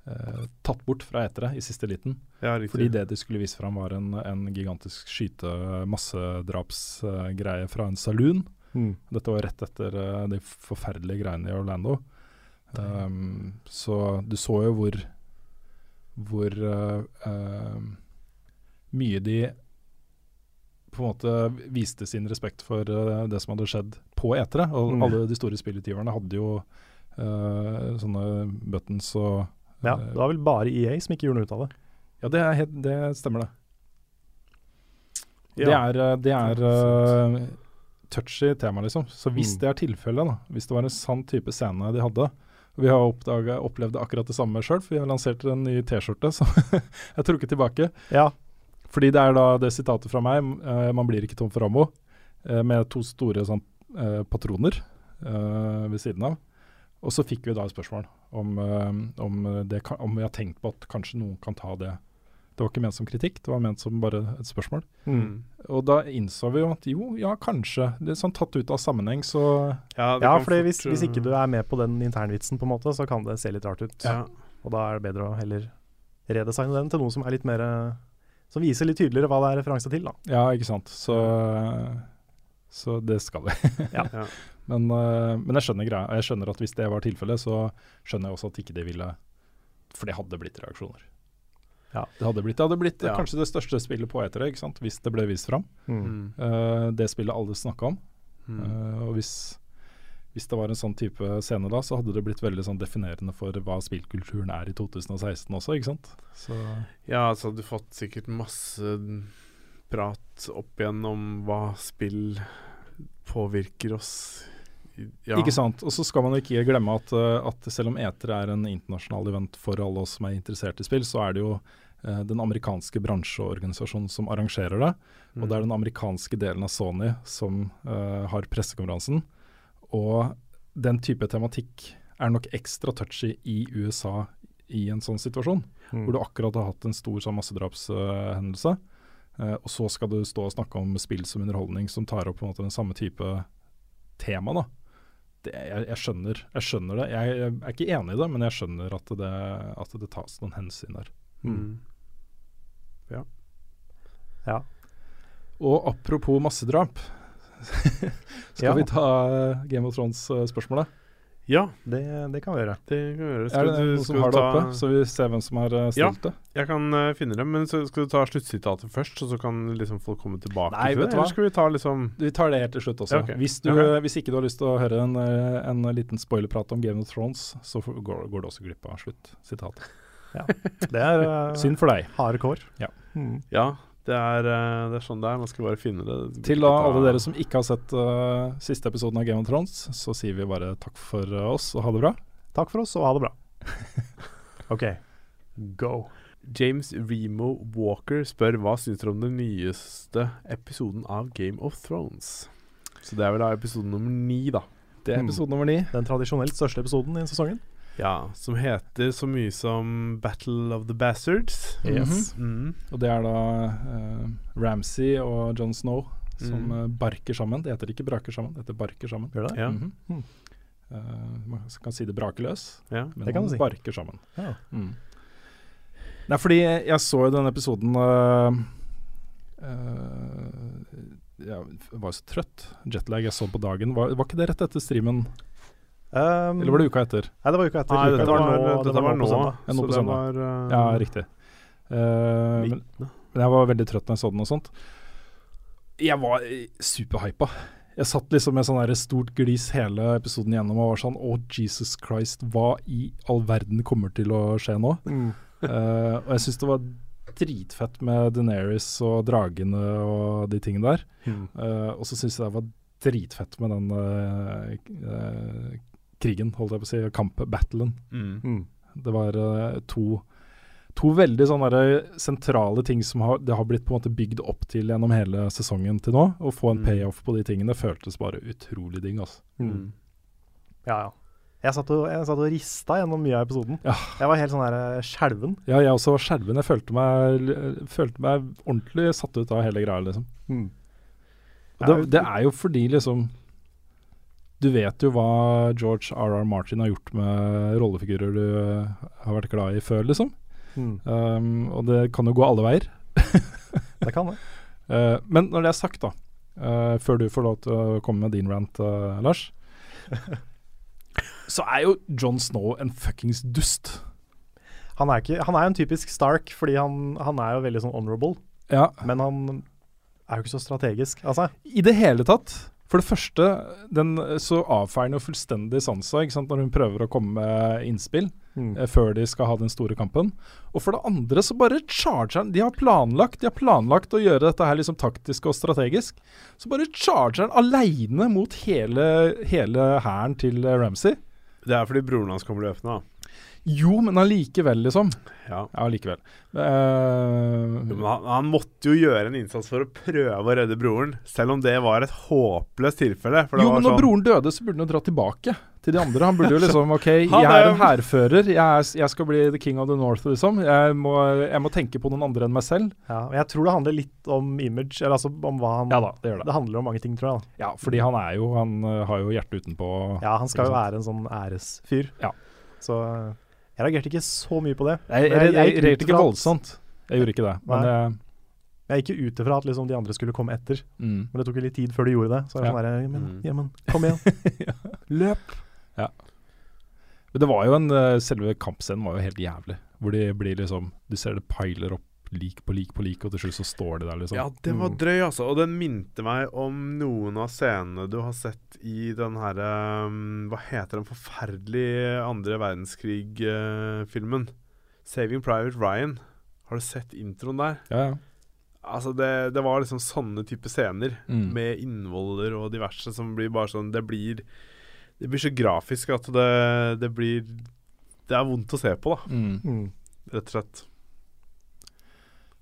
B: eh, tatt bort fra etere i siste liten.
D: Ja, riktig.
B: Fordi det de skulle vise fram var en, en gigantisk skyte massedrapsgreie fra en saloon.
A: Mm.
B: Dette var rett etter eh, de forferdelige greiene i Orlando. Um, så du så jo hvor hvor eh, eh, mye de på en måte viste sin respekt for eh, det som hadde skjedd på etere. Og
A: Mm.
B: alle de store spillutgiverne hadde jo eh, sånne buttons og eh,
A: Ja, det var vel bare EA som ikke gjorde noe ut av det.
B: Ja, det, er helt, det stemmer, det.
D: ja.
B: Det er, eh, det er eh, touchy tema, liksom. Så hvis
A: Mm.
B: det er tilfellet, da, hvis det var en sann type scene de hadde og Vi har oppdaget, opplevd akkurat det samme sjøl, for vi har lansert en ny T-skjorte som jeg trukket tilbake.
A: Ja,
B: Fordi det er da det sitatet fra meg, eh, 'Man blir ikke tom for ammo', eh, med to store sånn, eh, patroner eh, ved siden av. Og så fikk vi da et spørsmål om, eh, om, det, kan- om vi har tenkt på at kanskje noen kan ta det. Det var ikke ment som kritikk, det var ment som bare et spørsmål.
D: Mm.
B: Og da innså vi jo at jo, ja, kanskje. Litt sånn tatt ut av sammenheng, så
D: Ja, det
A: ja
D: kan
A: for hvis,
D: fort,
A: hvis ikke du
D: uh,
A: er med på den internvitsen, på en måte, så kan det se litt rart ut.
D: ja.
A: Og da er det bedre å heller redesigne den til noe som er litt mer eh, Som viser litt tydeligere hva det er referanse til, da.
B: Ja, ikke sant. Så, så det skal vi.
A: Ja.
D: Ja.
B: Men, eh, men jeg skjønner greia. Jeg skjønner at hvis det var tilfellet, så skjønner jeg også at ikke det ville For det hadde blitt reaksjoner.
A: Ja.
B: Det hadde blitt, det hadde blitt eh,
D: Ja.
B: kanskje det største spillet på etere, ikke sant? hvis det ble vist fram.
A: Mm.
D: Mm.
B: Eh, det spillet alle snakka om.
D: Mm.
B: Eh, og hvis, hvis det var en sånn type scene da, så hadde det blitt veldig sånn definerende for hva spillkulturen er i 2016 også, ikke sant? Så,
D: ja, altså du fått sikkert masse prat opp igjen om hva spill påvirker oss. I- Ja.
B: Ikke sant. Og så skal man jo ikke glemme at, eh, at selv om Eter er en internasjonal event for alle oss som er interessert i spill, så er det jo eh, den amerikanske bransjeorganisasjonen som arrangerer det. Og det er den amerikanske delen av Sony som eh, har pressekonferansen. Og den type tematikk er nok ekstra touchy i USA i en sånn situasjon.
A: Mm.
B: hvor du akkurat har hatt en stor sånn massedrapshendelse. eh, og så skal du stå og snakke om spill som underholdning som tar opp på en måte den samme type tema. da. Det, jeg, jeg, skjønner, jeg skjønner det. Jeg, jeg er ikke enig i det, men jeg skjønner at det, at det tas noen hensyn der.
D: Mm.
A: Ja.
B: Og apropos massedrap, skal
A: Ja.
B: vi ta eh, Game of Thrones-spørsmålet?
D: Ja,
A: Det, det kan vi gjøre.
D: det kan vi gjøre.
B: er det
D: du-
B: noen som har det
D: ta,
B: oppe, så vi ser hvem som har eh,
D: Ja.
B: stilt det?
D: Jeg kan eh, finne dem, men så skal du ta sluttsitatet først, og så kan liksom folk komme tilbake
B: Nei,
D: til
B: vet
D: det?
B: du hva?
D: Eller skal vi ta liksom
B: Vi tar det helt til slutt også.
D: Ja, ok.
B: Hvis, du,
D: Ok.
B: hvis ikke du har lyst til å høre en, eh, en liten spoilerprat om Game of Thrones, så får- går, går du også glipp av slutt. Sitat.
A: Det er eh,
B: Synd for deg.
A: harde kår.
B: Ja.
A: Mm.
D: Ja, det er, eh, det er sånn det er. Man skal bare finne det.
B: Til da alle dere som ikke har sett eh, siste episoden av Game of Thrones, så sier vi bare takk for eh, oss og ha det bra.
A: Takk for oss, og ha det bra. OK, go.
D: James Remo Walker spør hva syns dere om den nyeste episoden av Game of Thrones? Så det er vel da episode nummer ni, da.
B: Det er episode nummer ni.
A: Den tradisjonelt største episoden i sesongen.
D: Ja, Som heter så mye som Battle of the Bastards.
A: Yes.
D: Mhm.
B: Og det er da eh, Ramsay og John Snow som
D: Mm.
B: eh, barker sammen. Det heter ikke braker sammen, det heter barker sammen.
A: Gjør det? Mm.
D: Ja.
B: Mhm. Eh, man kan si det braker løs,
D: ja.
B: men
A: Det kan du
B: man
A: si.
B: barker sammen.
A: Ja.
B: Mm. Nei, fordi jeg så jo denne episoden eh, eh, Jeg var jo så trøtt. Jetlag jeg så på dagen. Var, var ikke det rett etter streamen?
A: Um,
B: Eller var det uka etter?
A: Nei, det var uka etter.
D: Nei,
A: Uka
D: dette
A: etter
D: var,
A: nå- det
D: dette var nå,
A: på søndag.
B: Ja, nå
D: så
B: på
D: det
B: søndag.
D: var eh,
B: Ja,
A: Mm.
B: riktig. Eh, men,
D: nittende.
B: Men jeg var veldig trøtt når jeg så den og sånt. Jeg var eh, superhypa. Jeg satt liksom med sånn der stort glis hele episoden gjennom og var sånn Å, Jesus Christ, hva i all verden kommer til å skje nå? Eh, og jeg syns det var dritfett med Deneris og dragene og de tingene der.
D: Mhm.
B: Eh, og så syns jeg det var dritfett med den eh, k- eh, krigen, holdt jeg på å si, kampen, battlen.
A: Mm.
D: Mhm.
B: Det var eh, to, to veldig sånne der eh, sentrale ting som har, det har blitt på en måte bygd opp til gjennom hele sesongen til nå. Å få en
D: Mm.
B: payoff på de tingene føltes bare utrolig digg, altså.
D: Mhm.
A: Mm. Ja, ja. Jeg satt, og, jeg satt og rista gjennom mye av episoden.
B: Ja.
A: Jeg var helt sånn her eh, skjelven.
B: Ja, jeg også var skjelven. Jeg følte meg, eh, følte meg ordentlig satt ut av hele greia, liksom. Og det, det er jo fordi, liksom Du vet jo hva George R.R. Martin har gjort med rollefigurer du eh, har vært glad i før, liksom.
A: Mm.
B: Um, og det kan jo gå alle veier.
A: Det kan det.
B: Eh, men når det er sagt, da, eh, før du får lov til å komme med din rant, eh, Lars Så er jo John Snow en fuckings dust.
A: Han er, ikke, han er jo en typisk Stark, fordi han, han er jo veldig sånn honorable,
B: Ja,
A: men han er jo ikke så strategisk. Altså,
B: I det hele tatt. For det første, den, eh, så avfeier han jo fullstendig Sansa ikke sant, når hun prøver å komme med innspill
A: Mm.
B: eh, før de skal ha den store kampen. Og for det andre så bare charger han De har planlagt de har planlagt å gjøre dette her liksom taktisk og strategisk. Så bare charger han aleine mot hele hele hæren til eh, Ramsay.
D: Det er fordi broren hans kommer løpende, da.
B: Jo, men allikevel, liksom.
D: Ja.
B: Ja, allikevel.
D: Jo,
B: Eh,
D: Men han, han måtte jo gjøre en innsats for å prøve å redde broren, selv om det var et håpløst tilfelle. For det
B: jo,
D: var
B: men når
D: sånn,
B: broren døde, så burde han jo dra tilbake til de andre. Han burde jo liksom OK,
D: Han
B: jeg
D: er
B: er
D: jo-
B: en hærfører. Jeg, er, jeg skal bli the king of the north, liksom. Jeg må, jeg må tenke på noen andre enn meg selv.
A: ja, men jeg tror det handler litt om image, eller altså om hva han
B: Ja da, det gjør det.
A: Det handler om mange ting, tror jeg. da.
B: Ja, fordi han er jo Han eh, har jo hjertet utenpå.
A: Ja, han skal jo
B: Ikke
A: være en sånn æresfyr.
B: Ja.
A: Så eh, jeg reagerte ikke så mye på det.
B: Jeg,
A: Men
B: jeg, jeg,
A: gikk ut
B: reagerte
A: fra
B: ikke
A: at-
B: voldsomt. Jeg gjorde ikke det. Men eh,
A: Jeg gikk jo ut ifra at liksom, de andre skulle komme etter,
B: mm.
A: men det tok jo litt tid før de gjorde det. Så jeg var sånn der, ja, men,
D: Mm.
A: ja, men, kom igjen. Løp.
B: Men det var jo en eh, Selve kampscenen var jo helt jævlig. Hvor de blir liksom Du ser det piler opp lik på lik på lik, og til slutt så står de der, liksom.
D: Ja, det var drøy, altså. Og den minte meg om noen av scenene du har sett i den herre um, Hva heter den forferdelige andre verdenskrig-filmen? 'Saving Private Ryan'. Har du sett introen der?
B: ja, ja.
D: Altså, det, det var liksom sånne type scener
B: Mm.
D: med innvoller og diverse som blir bare sånn Det blir Det blir så grafisk at det, det blir Det er vondt å se på, da,
B: Mm.
A: Mm.
D: rett og slett.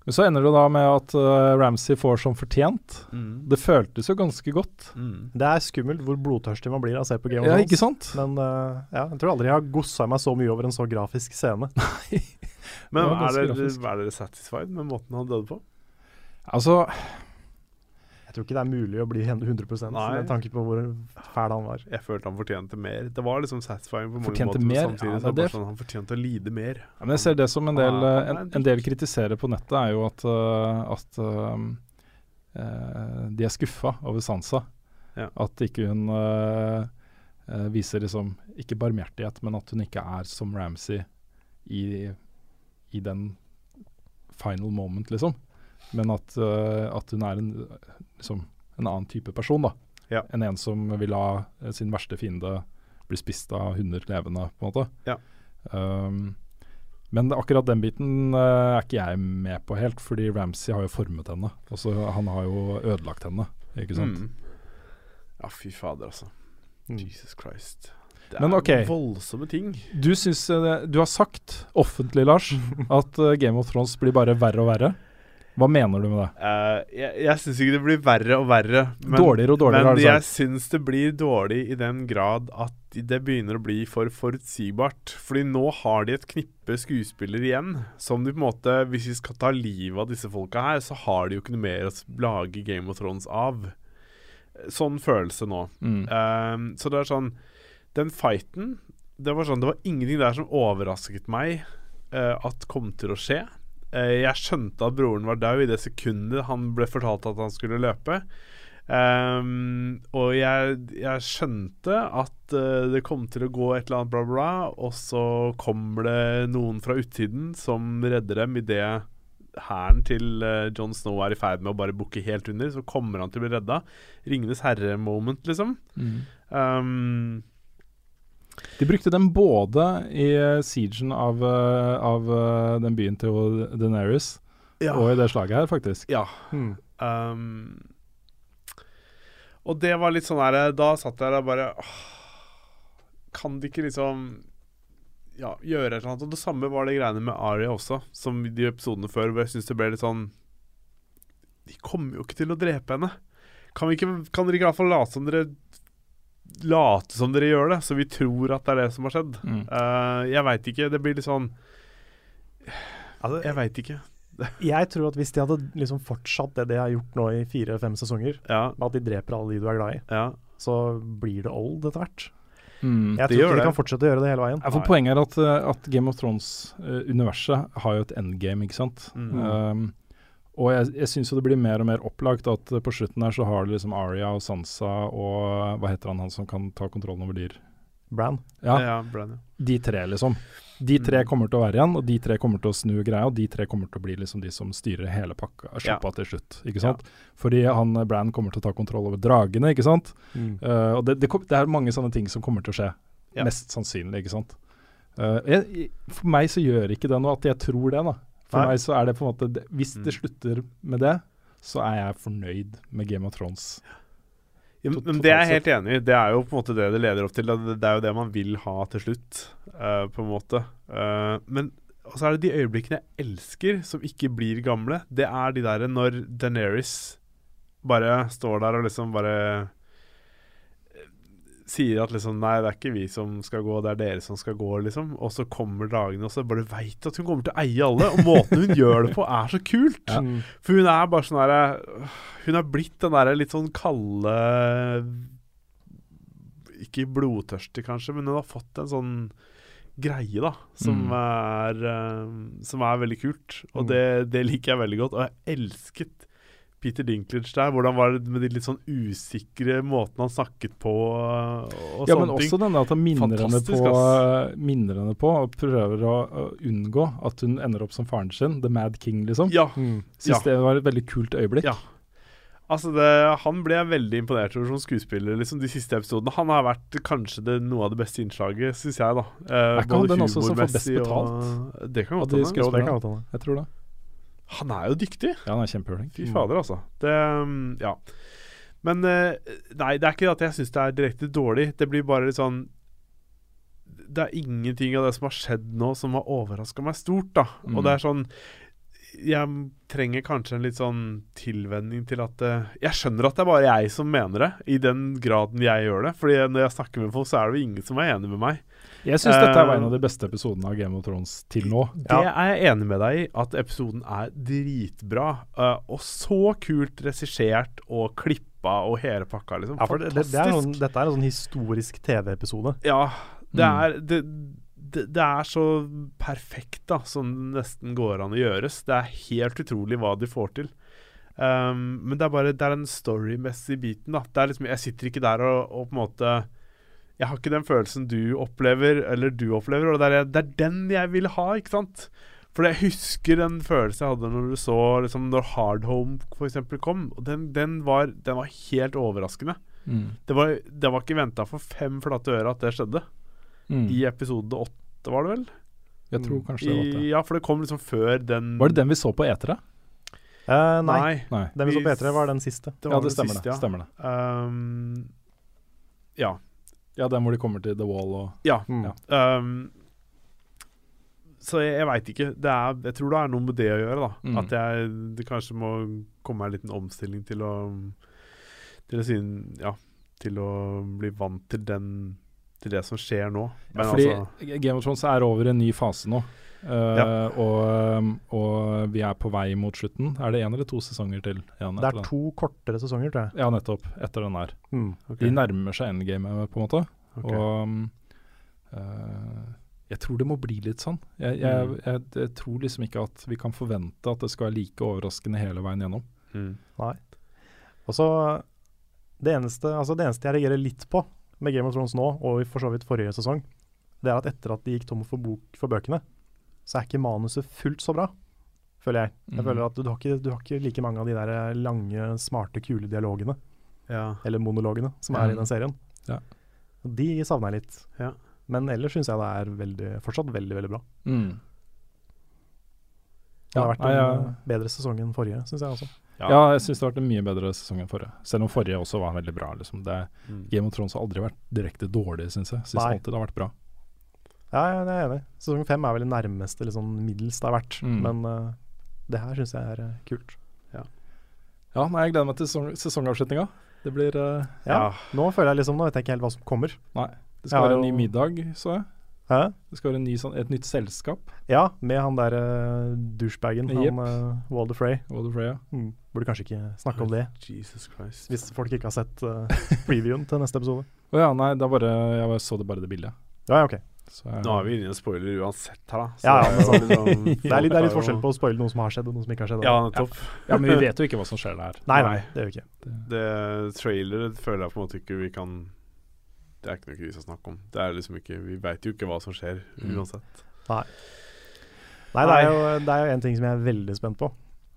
B: Men så ender det da med at uh, Ramsay får som fortjent.
D: Mm.
B: Det føltes jo ganske godt.
D: Mm.
A: Det er skummelt hvor blodtørstig man blir av å se på Game of
B: Ja,
A: Thrones.
B: ikke sant?
A: Men eh, ja, jeg tror aldri jeg har gossa meg så mye over en så grafisk scene.
D: Men
B: Det var
D: er
B: ganske
D: dere,
B: grafisk.
D: er dere satisfied med måten han døde på?
B: Altså,
A: Jeg tror ikke det er mulig å bli 100
D: Nei.
A: med tanke på hvor fæl han var.
D: Jeg følte han fortjente mer. Det var liksom satisfying på mange
B: Fortjente
D: måter. men
B: mer?
D: Samtidig
B: Ja,
D: så var
B: det er
D: det sånn, han fortjente å lide mer.
B: ja, men jeg ser det som en del
D: Ah,
B: uh, en,
D: nei, det-
B: en del kritiserer på nettet, er jo at, uh, at um, eh, de er skuffa over Sansa.
D: Ja.
B: At ikke hun uh, eh, viser liksom Ikke barmhjertighet, men at hun ikke er som Ramsay i, i den final moment, liksom. Men at, eh, at hun er en, liksom, en annen type person, da.
D: Ja.
B: Enn en som vil la eh, sin verste fiende bli spist av hunder levende, på en måte.
D: Ja.
B: Um, men akkurat den biten eh, er ikke jeg med på helt, fordi Ramsay har jo formet henne. Også, han har jo ødelagt henne, ikke sant. Mm.
D: Mm. Ja, fy fader, altså. Jesus Christ. Det
B: Men ok.
D: voldsomme ting.
B: Du, syns, eh, du har sagt offentlig, Lars, at eh, Game of Thrones blir bare verre og verre. Hva mener du med det?
D: Eh, jeg jeg syns ikke det blir verre og verre.
B: Dårligere og dårligere, har
D: men
B: du
D: jeg
B: sagt.
D: syns det blir dårlig i den grad at det begynner å bli for forutsigbart. Fordi nå har de et knippe skuespillere igjen som de på en måte Hvis vi skal ta livet av disse folka her, så har de jo ikke noe mer å s- lage Game of Thrones av. Sånn følelse nå.
B: Mm.
D: Eh, så det er sånn Den fighten Det var sånn Det var ingenting der som overrasket meg eh, at kom til å skje. Eh, jeg skjønte at broren var død i det sekundet han ble fortalt at han skulle løpe. Ehm, og jeg, jeg skjønte at eh, det kom til å gå et eller annet bla, bla, bla, og så kommer det noen fra utsiden som redder dem idet hæren til eh, Jon Snow er i ferd med å bare bukke helt under. Så kommer han til å bli redda. Ringenes herre-moment, liksom. Ehm,
B: De brukte den både i eh, siegen av, eh, av eh, den byen til Deneris,
D: ja.
B: og i det slaget her, faktisk.
D: Ja. Um, og det var litt sånn her Da satt jeg der og bare åh, Kan de ikke liksom ja, gjøre et eller annet? Og det samme var det greiene med Aria også, som i de episodene før, hvor jeg syns det ble litt sånn De kommer jo ikke til å drepe henne. Kan, vi ikke, kan dere ikke i hvert fall late som dere Late som dere gjør det, så vi tror at det er det som har skjedd?
B: Mm.
D: Eh, jeg veit ikke. Det blir litt sånn
A: Altså,
D: Jeg veit ikke.
A: Jeg tror at hvis de hadde liksom fortsatt det de har gjort nå i fire-fem sesonger,
D: Ja,
A: med at de dreper alle de du er glad i,
D: ja.
A: så blir det old etter hvert.
B: Mm.
A: Jeg
D: Det
A: tror
D: gjør
A: ikke
D: det.
A: de kan fortsette å gjøre det hele veien.
B: Ja, for Poenget er at, eh, at Game of Thrones-universet eh, har jo et endgame, ikke sant. Um, og jeg, jeg syns jo det blir mer og mer opplagt at eh, på slutten her så har du liksom Aria og Sansa og eh, hva heter han han som kan ta kontrollen over dyr?
A: Bran.
B: Ja,
D: ja Brandon.
B: de tre, liksom. De tre kommer til å være igjen, og de tre kommer til å snu greia, og de tre kommer til å bli liksom de som styrer hele pakka, slappa til slutt, ikke sant. Fordi han eh, Bran kommer til å ta kontroll over dragene, ikke sant. Eh, og det, det, kom, det er mange sånne ting som kommer til å skje,
D: Ja.
B: mest sannsynlig, ikke sant. Eh, jeg, jeg- for meg så gjør ikke det noe at jeg tror det, da. For
A: Nei.
B: meg så er det på en måte det, Hvis det slutter med det, så er jeg fornøyd med Game of Thrones.
D: Ja, men-
B: Tot-
D: men det er jeg
B: totalt
D: helt enig i. Det er jo på en måte det det leder opp til. Det, det er jo det man vil ha til slutt, eh, på en måte. Eh, men og så er det de øyeblikkene jeg elsker, som ikke blir gamle. Det er de derre når Daenerys bare står der og liksom bare eh, Sier at liksom Nei, det er ikke vi som skal gå, det er dere som skal gå, liksom. Og så kommer dagene, og så bare veit at hun kommer til å eie alle. Og måten hun gjør det på, er så kult. For hun er bare sånn derre Hun er blitt den derre litt sånn kalde Ikke blodtørstig, kanskje, men hun har fått en sånn greie, da, som
B: Mm.
D: er eh, Som er veldig kult. Og det, det liker jeg veldig godt. Og jeg elsket Peter Dinklage der. Hvordan var det med de litt sånn usikre måtene han snakket på og, og
B: Ja, men
D: sånne ting?
B: også denne at han minner henne,
D: Fantastisk,
B: på, minner henne på og prøver å, å unngå at hun ender opp som faren sin, The Mad King, liksom.
D: ja,
B: Syns
D: ja.
B: det var et veldig kult øyeblikk.
D: Ja. Altså det, Han ble jeg veldig imponert over som skuespiller liksom, de siste episodene. Han har vært kanskje det, noe av det beste innslaget, syns jeg. da eh,
B: Er ikke han
D: både
B: den også som får best
D: humormessig og- Det kan
B: Av
A: Jo,
B: de
D: godt hende.
A: det kan
B: skuespillerne.
A: godt hende.
B: Jeg tror det.
D: Han er jo dyktig.
B: Ja, han er kjempehøling.
D: Fy fader, altså. Det mm, Ja. Men eh, Nei, det er ikke det at jeg syns det er direkte dårlig. Det blir bare litt sånn Det er ingenting av det som har skjedd nå som har overraska meg stort, da. Og det er sånn Jeg trenger kanskje en litt sånn tilvenning til at eh, Jeg skjønner at det er bare jeg som mener det, i den graden jeg gjør det. Fordi når jeg snakker med folk, så er det jo ingen som er enig med meg.
B: Jeg syns dette
D: Eh,
B: var en av de beste episodene av Game of Thrones til nå.
D: Det er jeg enig med deg i, at episoden er dritbra. eh, og så kult regissert og klippa og hele pakka, liksom.
A: Ja, for det, det, det er
D: Fantastisk.
A: sånn, dette er en sånn historisk TV-episode.
D: Ja, det er det, det, det er så perfekt, da, som det nesten går an å gjøres. Det er helt utrolig hva de får til. Um, men det er bare Det er den storymessige biten, da. Det er liksom, jeg sitter ikke der og, og på en måte Jeg har ikke den følelsen du opplever, eller du opplever, og det er, det er den jeg vil ha, ikke sant? For jeg husker den følelsen jeg hadde når du så liksom, Når Hard Home f.eks. kom. Og den, den, var, den var helt overraskende. Det var, det var ikke venta for fem flate øre at det skjedde.
B: Mm.
D: I episode åtte, var det vel?
B: Jeg tror kanskje det var
D: I,
B: det.
D: ja, for det kom liksom før den
B: Var det den vi så på etere?
A: Eh, nei,
D: Nei.
B: Nei.
A: den vi så på P3, E var den siste.
D: Det
B: Ja,
D: var den Um,
B: det stemmer
D: siste,
B: det. Stemmer det.
D: Ja. Um, ja.
B: Ja, den hvor de kommer til The Wall og
D: Ja.
A: Mm.
D: Ehm, så jeg, jeg veit ikke. Det er, jeg tror det er noe med det å gjøre, da.
B: Mm.
D: At jeg det kanskje må komme meg en liten omstilling til å Til å si Ja, til å bli vant til den Til det som skjer nå. Men
B: Fordi
D: altså
B: Game of Thrones er over i en ny fase nå. Eh,
D: Ja.
B: og, um, og vi er på vei mot slutten. Er det én eller to sesonger til? igjen
A: Det
B: etter
A: er
B: den?
A: to kortere sesonger, tror jeg.
B: Ja, nettopp. Etter den der.
A: Mm.
D: ok.
B: De nærmer seg endgamet, på en måte.
D: Ok.
B: Og um, eh, jeg tror det må bli litt sånn. Jeg, jeg,
D: Mm.
B: jeg, jeg tror liksom ikke at vi kan forvente at det skal være like overraskende hele veien gjennom.
D: mm.
A: Og så det eneste, altså det eneste jeg reagerer litt på med Game of Thrones nå, og i for så vidt forrige sesong, det er at etter at de gikk tom for, bok, for bøkene, så er ikke manuset fullt så bra, føler jeg. Jeg
B: Mhm.
A: føler at du, har ikke, du har ikke like mange av de der eh, lange, smarte, kule dialogene,
D: Ja.
A: eller monologene, som er
B: Ja.
A: i den serien.
B: Mm. Ja.
A: Og de savner jeg litt.
D: Ja.
A: Men ellers syns jeg det er veldig, fortsatt veldig, veldig bra. Det
B: Mm. Ja,
A: har vært
B: nei,
A: en
B: jeg-
A: eh, bedre sesong enn forrige, syns jeg også.
B: Ja, jeg syns det har vært en mye bedre sesong enn forrige. Selv om forrige også var veldig bra. Liksom. Det,
D: Mm.
B: Game of Thrones har aldri vært direkte dårlig, syns jeg. Syns
A: Nei.
B: alltid det har vært bra.
A: Ja, ja, jeg er enig. Sesong fem er vel det nærmeste liksom, middels det har vært.
B: Mm.
A: Men eh, det her syns jeg er eh, kult.
B: Ja, nei, jeg gleder meg til sesong, sesongavslutninga. Det blir eh,
A: Ja.
D: Ja.
A: Nå føler jeg liksom Nå vet jeg ikke helt hva som kommer.
B: Nei. Det skal
A: Ja,
B: være en ny
A: og-
B: middag, så jeg.
A: Hæ?
B: Det skal være en ny, sånn, et nytt selskap.
A: Ja, med han der uh, douchebagen,
B: Jep.
A: han eh, Walder Frey.
B: Walder Frey, ja.
A: Mm. Burde kanskje ikke snakke om det,
D: Jesus Christ.
A: hvis folk ikke har sett eh, previewen til neste episode.
B: Å ja, nei, det er bare, jeg bare så det bare det bildet.
A: Ja, ja, ok.
B: Så jeg,
D: Nå er vi inne i en spoiler uansett her, da. Så
A: Ja, ja, men sånn-
D: det er jo liksom-
A: Det er litt, det er litt forskjell på å spoile noe som har skjedd, og noe som ikke har skjedd.
D: Ja, nettopp.
B: ja, Men vi vet jo ikke hva som skjer der.
A: Nei, nei, det gjør vi ikke.
D: Det trailer føler jeg på en måte ikke vi kan Det er ikke noe vi skal snakke om. Det er liksom ikke Vi veit jo ikke hva som skjer,
B: Mm.
D: uansett.
A: Nei, det er jo, det er jo en ting som jeg er veldig spent på.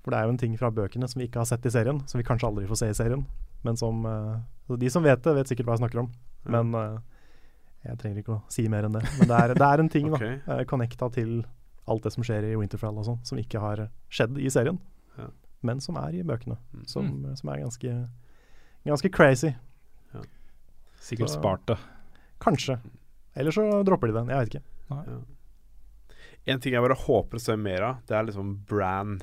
A: For det er jo en ting fra bøkene som vi ikke har sett i serien, som vi kanskje aldri får se i serien. Men som eh, så De som vet det, vet sikkert hva jeg snakker om. Men eh, jeg trenger ikke å si mer enn det. Men det er, det er en ting,
D: Ok.
A: da. eh, connecta til alt det som skjer i Winterfell og sånn, som ikke har skjedd i serien.
D: Ja.
A: Men som er i bøkene.
D: Mm.
A: Som, som er ganske, ganske crazy.
B: Sikkert
A: Så-
B: spart det.
A: Kanskje. Eller så dropper de den, jeg vet ikke.
D: En ting jeg bare håper å se mer av, det er liksom Bran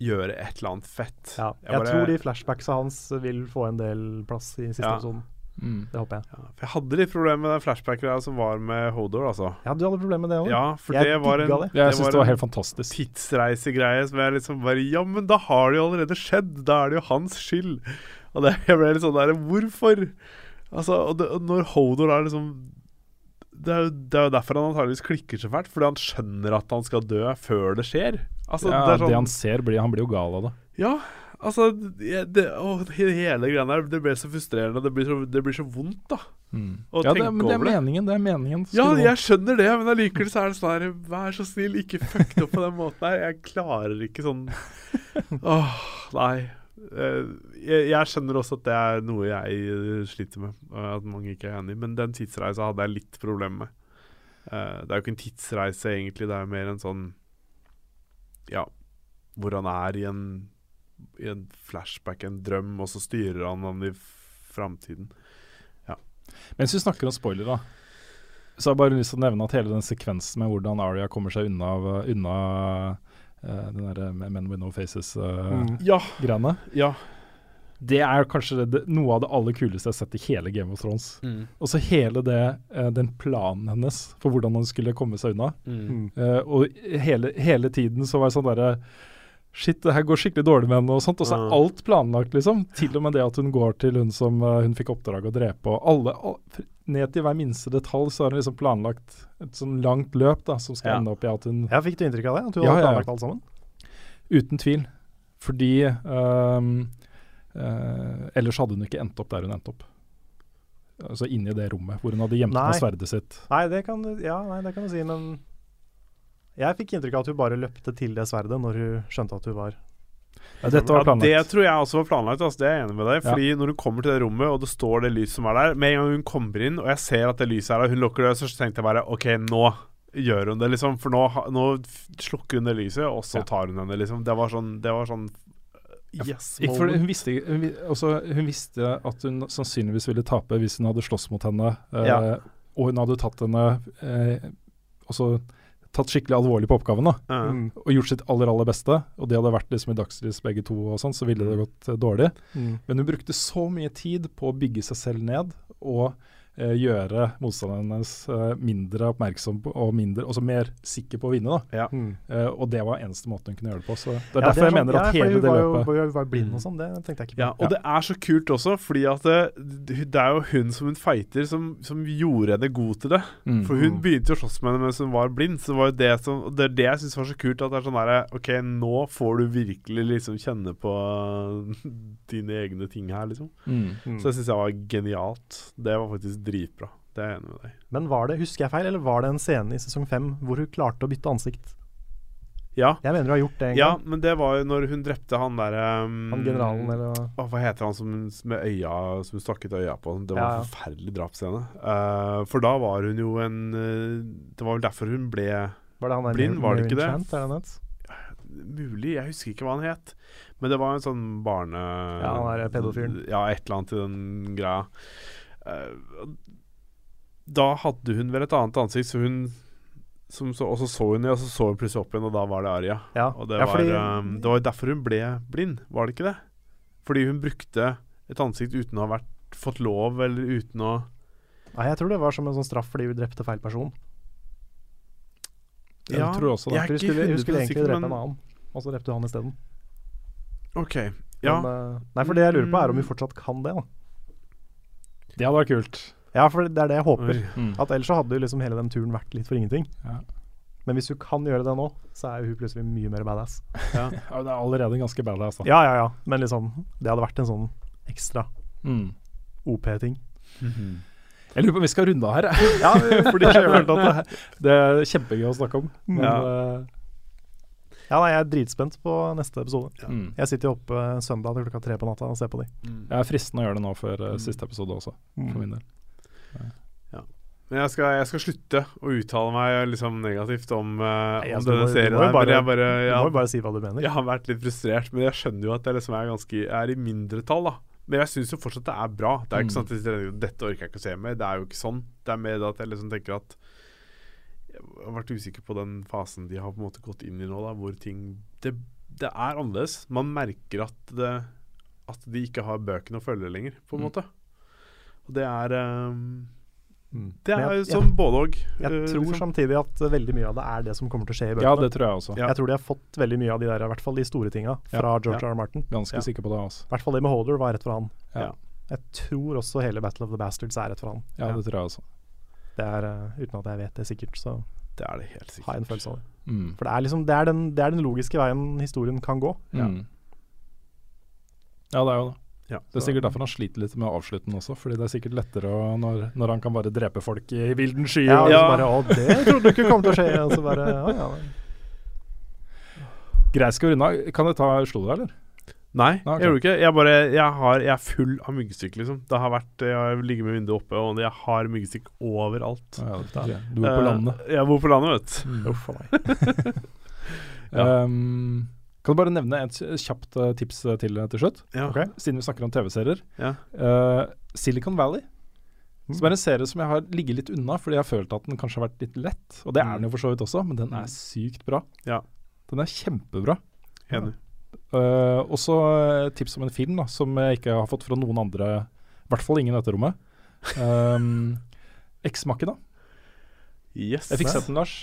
D: gjøre et eller annet fett.
A: Ja, jeg
D: bare-
A: tror de flashbacksa hans vil få en del plass i siste
D: Ja.
A: episoden.
D: Mm.
A: Det håper jeg.
D: ja, for jeg hadde litt problemer med den flashbacken som var med Hodor, altså.
A: Ja, du hadde problemer med det òg?
D: Ja, for
A: Jeg
D: det var en
A: digga det.
B: Jeg syns det var
D: en
B: helt fantastisk.
D: tidsreisegreie som jeg liksom bare Ja, men da har det jo allerede skjedd! Da er det jo hans skyld! Og det, jeg ble litt sånn der Hvorfor? Altså, og det, og når Hodor er liksom det er, jo, det er jo derfor han antageligvis klikker så fælt, fordi han skjønner at han skal dø før det skjer. Altså,
B: ja,
D: det er
B: det,
D: sånn,
B: han ser, blir, han blir jo gal av det.
D: Ja, altså det, det- åh, he- Hele greia der, det ble så frustrerende. Det blir så, det blir så vondt, da. Å
B: Mm. Ja, det,
D: tenke
B: men det er
D: over det.
B: meningen. Det er meningen.
D: Ja,
B: Skulle man-
D: jeg skjønner det, men allikevel så er det sånn her Vær så snill, ikke fuck det opp på den måten her. Jeg klarer ikke sånn Åh, nei. Eh, Jeg, jeg skjønner også at det er noe jeg eh, sliter med, og at mange ikke er enig i, men den tidsreisa hadde jeg litt problemer med. Eh, Det er jo ikke en tidsreise, egentlig. Det er mer en sånn Ja, hvor han er i en i en flashback, en drøm, og så styrer han han i framtiden.
B: Mens vi snakker om spoiler, da, så har jeg bare lyst til å nevne at hele den sekvensen med hvordan Aria kommer seg unna, av- unna eh, den derre Men with no faces-greiene,
D: Mm. Ja, ja.
B: det er kanskje det, det, noe av det aller kuleste jeg har sett i hele Game of Thrones. Og så hele det, eh, den planen hennes for hvordan hun skulle komme seg unna.
A: mm.
B: Eh, og hele, hele tiden så var jeg sånn derre Shit, det her går skikkelig dårlig med henne og sånt. Og så
D: Mm.
B: er alt planlagt, liksom. Til og med det at hun går til hun som eh, hun fikk oppdrag å drepe, og alle all, fr- Ned til hver minste detalj så har hun liksom planlagt et sånn langt løp da, som skal
D: Ja.
B: ende opp i at hun
A: Ja, fikk du inntrykk av det? At du
B: Ja,
A: hadde
B: ja, ja.
A: planlagt alt sammen?
B: Uten tvil. Fordi ehm, eh, Ellers hadde hun ikke endt opp der hun endte opp. Altså inni det rommet hvor hun hadde gjemt
A: Nei.
B: ned sverdet sitt.
A: Nei, det kan du, ja, nei, det kan du si, men jeg fikk inntrykk av at hun bare løpte til det sverdet når hun skjønte at hun var
B: Ja, dette var planlagt.
D: Ja, det tror jeg også var planlagt. Altså, det er jeg enig med deg Fordi når hun kommer til det rommet, og det står det lyset som er der Med en gang hun kommer inn, og jeg ser at det lyset er der, og hun lukker det, så tenkte jeg bare OK, nå gjør hun det, liksom. For nå, ha- nå f- slukker hun det lyset, og så
B: Ja.
D: tar hun henne, liksom. Det var sånn, det var sånn Yes,
B: Ikke fordi
D: moment.
B: hun, visste, hun, vi- også, hun visste at hun sannsynligvis ville tape hvis hun hadde slåss mot henne. eh,
D: Ja.
B: Og hun hadde tatt henne eh, også tatt skikkelig alvorlig på oppgaven da,
D: Ja.
A: Mm.
B: og gjort sitt aller aller beste. Og det hadde vært liksom i dagslys begge to, og sånn, så ville det gått eh, dårlig.
A: Mm.
B: Men hun brukte så mye tid på å bygge seg selv ned og eh, gjøre motstanderen hennes eh, mindre oppmerksom på, og mindre, også mer sikker på å vinne. da.
D: Ja.
A: Mm.
B: Eh, og det var eneste måten hun kunne gjøre det på. Så det er
A: Ja,
B: derfor
A: det er
B: jeg
A: sant.
B: mener at
A: ja, for
B: hele
A: hun
B: det
A: var jo-
B: løpet
A: Hun var jo blind og sånn, det tenkte jeg ikke på.
D: Ja, og det er så kult også, fordi at eh, det, det er jo hun som hun fighter, som, som gjorde henne god til det.
B: Mm.
D: For hun begynte jo å slåss med henne mens hun var blind, så det var jo det som og Det er det jeg syns var så kult, at det er sånn derre OK, nå får du virkelig liksom kjenne på dine egne ting her, liksom.
B: Mm.
A: Mm.
D: Så det syns jeg var genialt. Det var faktisk dritbra. Det er jeg enig med deg i.
A: Men var det, husker jeg feil, eller var det en scene i sesong fem hvor hun klarte å bytte ansikt?
D: Ja.
A: Jeg mener hun har gjort det en
D: ja,
A: gang.
D: men det var jo når hun drepte han derre um,
A: Han generalen eller hva?
D: Å, Hva heter han som, med øya, som hun stakk ut øya på? Det var
A: Ja, ja.
D: en forferdelig drapsscene. Eh, for da var hun jo en eh, Det var vel derfor hun ble
A: Var det han der
D: Blind, var det
A: Mervyn
D: ikke det?
A: Chant, er det han het?
D: Mulig, jeg husker ikke hva han het. Men det var en sånn barne...
A: Ja, han der pedofilen.
D: Ja, et eller annet i den greia. Eh, da hadde hun vel et annet ansikt, så hun som så, Og så så hun det, og så så hun plutselig opp igjen, og da var det Aria.
A: Ja,
D: Og det,
A: ja,
D: var, um, det var jo derfor hun ble blind, var det ikke det? Fordi hun brukte et ansikt uten å ha vært, fått lov, eller uten å
A: Nei, jeg tror det var som en sånn straff fordi hun drepte feil person.
B: Jeg tror også det.
D: Jeg er
A: Hun
D: ikke
A: skulle, hun
D: 100%
A: skulle egentlig
D: sikker,
A: drepe
D: men-
A: en annen, og så drepte hun han isteden.
D: OK. Ja.
A: Men, eh, Nei, for det jeg lurer på, er om hun fortsatt kan det, da.
B: Det hadde vært kult.
A: Ja, for det er det jeg håper.
D: Oi.
A: At ellers så hadde jo liksom hele den turen vært litt for ingenting.
B: Ja.
A: Men hvis hun kan gjøre det nå, så er jo hun plutselig mye mer badass.
B: Ja, det er allerede ganske badass. Da.
A: Ja, ja, ja. Men liksom, det hadde vært en sånn ekstra
B: Mm.
A: OP-ting.
B: Jeg lurer på om vi skal runde av her. jeg.
A: Ja,
B: Fordi jeg følte at det, det er kjempegøy å snakke om. Men,
D: Ja.
B: eh,
A: Ja, nei, jeg er dritspent på neste episode.
B: mm.
A: Jeg sitter jo oppe søndag til klokka tre på natta og ser på de.
B: Jeg er fristende å gjøre det nå før eh, siste episode også, for min del.
D: Men jeg skal, jeg skal slutte å uttale meg liksom negativt om, eh,
A: Nei,
D: om
A: altså,
D: denne
A: du må- du
D: serien.
A: må jo
D: her, men
A: bare-
D: jeg bare,
A: Du
D: ja,
A: må jo bare si hva du mener.
D: Jeg har vært litt frustrert, men jeg skjønner jo at jeg liksom er ganske er i mindretall, da. Men jeg syns jo fortsatt det er bra. Det er jo ikke
B: Mm.
D: sånn at jeg sier, dette orker jeg ikke å se mer. Det er jo ikke sånn. Det er mer det at jeg liksom tenker at Jeg har vært usikker på den fasen de har på en måte gått inn i nå, da, hvor ting Det, det er annerledes. Man merker at det at de ikke har bøkene å følge lenger, på en
B: Mm.
D: måte. Og det er eh,
A: Mm.
D: Det
A: Men
D: er jo
A: jeg,
D: som både og.
A: jeg,
D: eh,
A: jeg tror
D: liksom.
A: samtidig at eh, veldig mye av det er det som kommer til å skje i
B: Ja,
A: bøkene.
B: det tror jeg også.
D: Ja.
A: Jeg tror de har fått veldig mye av de der, i hvert fall de store tinga,
B: Ja,
A: fra George
D: ja.
A: R. R. Martin.
B: Ganske
D: Ja.
B: sikker på det. Altså.
A: I hvert fall det med Holder var rett for han.
B: Ja.
A: Jeg tror også hele Battle of the Bastards er rett for han.
B: Ja, det tror jeg også.
A: Det er, eh, Uten at jeg vet det sikkert, så
D: Det er det helt sikkert.
A: har jeg en følelse av det.
B: Mm.
A: For det er liksom, det er den, det er den logiske veien historien kan gå.
B: Ja. Mm. ja, det er jo det.
D: Ja.
B: Det er sikkert derfor han sliter litt med å avslutte den også, fordi det er sikkert lettere å, når, når han kan bare drepe folk i vilden sky.
A: Ja, og
B: og
A: så
B: liksom
A: bare, å, det trodde du ikke kom til å skje. Og så bare, å, ja.
B: bare, Greit, skal vi runde av? Kan jeg ta slo deg, eller?
D: Nei,
B: Ah, ok.
D: jeg gjorde ikke det. Jeg, bare, jeg, har, jeg er full av myggstikk, liksom. Det har vært, Jeg har ligget med vinduet oppe, og jeg har myggstikk overalt.
B: Ja, det tror jeg. Du bor på
D: Eh,
B: landet. Mm.
D: Jeg bor på landet, vet du.
A: Uff a meg.
D: Ja.
B: Um, kan du bare nevne et kj- kjapt eh, tips eh, til eh, til slutt?
D: Ja.
B: Ok, Siden vi snakker om TV-serier.
D: Ja. Mm.
B: Eh, Silicon Valley. Som er en serie som jeg har ligget litt unna, fordi jeg har følt at den kanskje har vært litt lett. Og det er den jo for så vidt også, men den er sykt bra.
D: Mm. Ja.
B: Den er kjempebra.
D: Enig.
B: Eh, også eh, tips om en film da, som jeg ikke har fått fra noen andre, i hvert fall ingen i dette rommet. Um, Eksmakken, da.
D: Yes.
B: Jeg fikk sett den, Lars.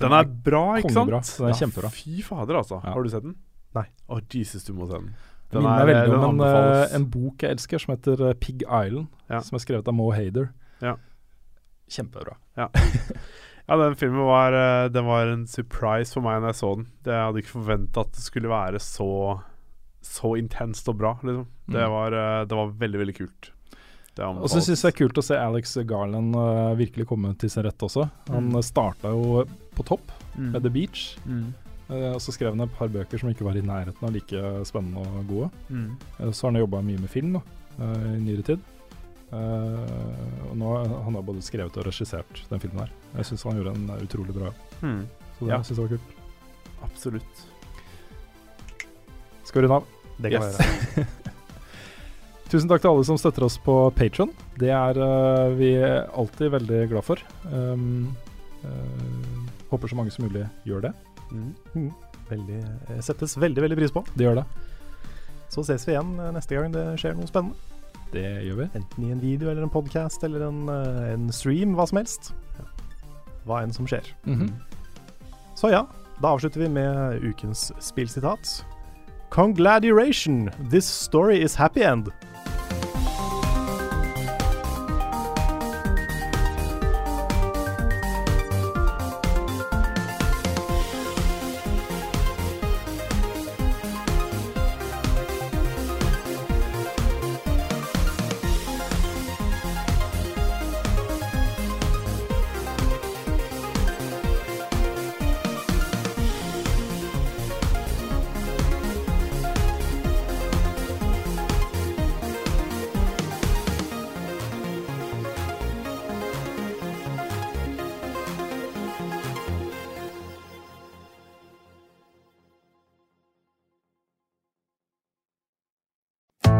D: Den er bra, ikke sant?
B: kongebra. Den er kjempebra.
D: Fy fader, altså.
B: Ja.
D: Har du sett den?
A: Nei.
D: Å, Jesus, du må se den.
B: Den minner meg veldig om en, eh,
D: anbefales.
B: en bok jeg elsker, som heter eh, Pig Island.
D: Ja.
B: Som er skrevet av Mo Hader.
D: Ja.
B: Kjempebra.
D: Ja, den filmen var, eh, den var en surprise for meg når jeg så den. Det, jeg hadde ikke forventa at det skulle være så så intenst og bra, liksom. Det,
B: Mm.
D: var, eh, det var veldig, veldig kult. Det
B: Og så syns jeg det er kult å se Alex Garland eh, virkelig komme til sin rett også. Han mm. starta jo på topp
D: Mm.
B: med The Beach,
D: Mm.
B: eh, og så skrev han et par bøker som ikke var i nærheten av like spennende og gode.
D: Mm.
B: Eh, Så har han jobba mye med film da, eh, i nyere tid. Eh, og nå Han har både skrevet og regissert den filmen her. Jeg syns han gjorde en utrolig bra jobb.
D: Mm.
B: Så det
D: Ja.
B: synes jeg var kult.
D: Absolutt.
B: Skal vi runde av?
A: Det kan
B: Yes.
A: vi gjøre.
B: Tusen takk til alle som støtter oss på Patron. Det er eh, vi alltid veldig glad for. Um, eh, håper så mange som mulig gjør det.
A: Mm. Veldig, eh, settes veldig, veldig pris på.
B: De gjør det.
A: Så ses vi igjen eh, neste gang det skjer noe spennende.
B: Det gjør vi.
A: Enten i en video eller en podkast eller en, eh, en stream, hva som helst. Hva enn som skjer. Så ja, da avslutter vi med ukens spillsitat. Congladuration! This story is happy end.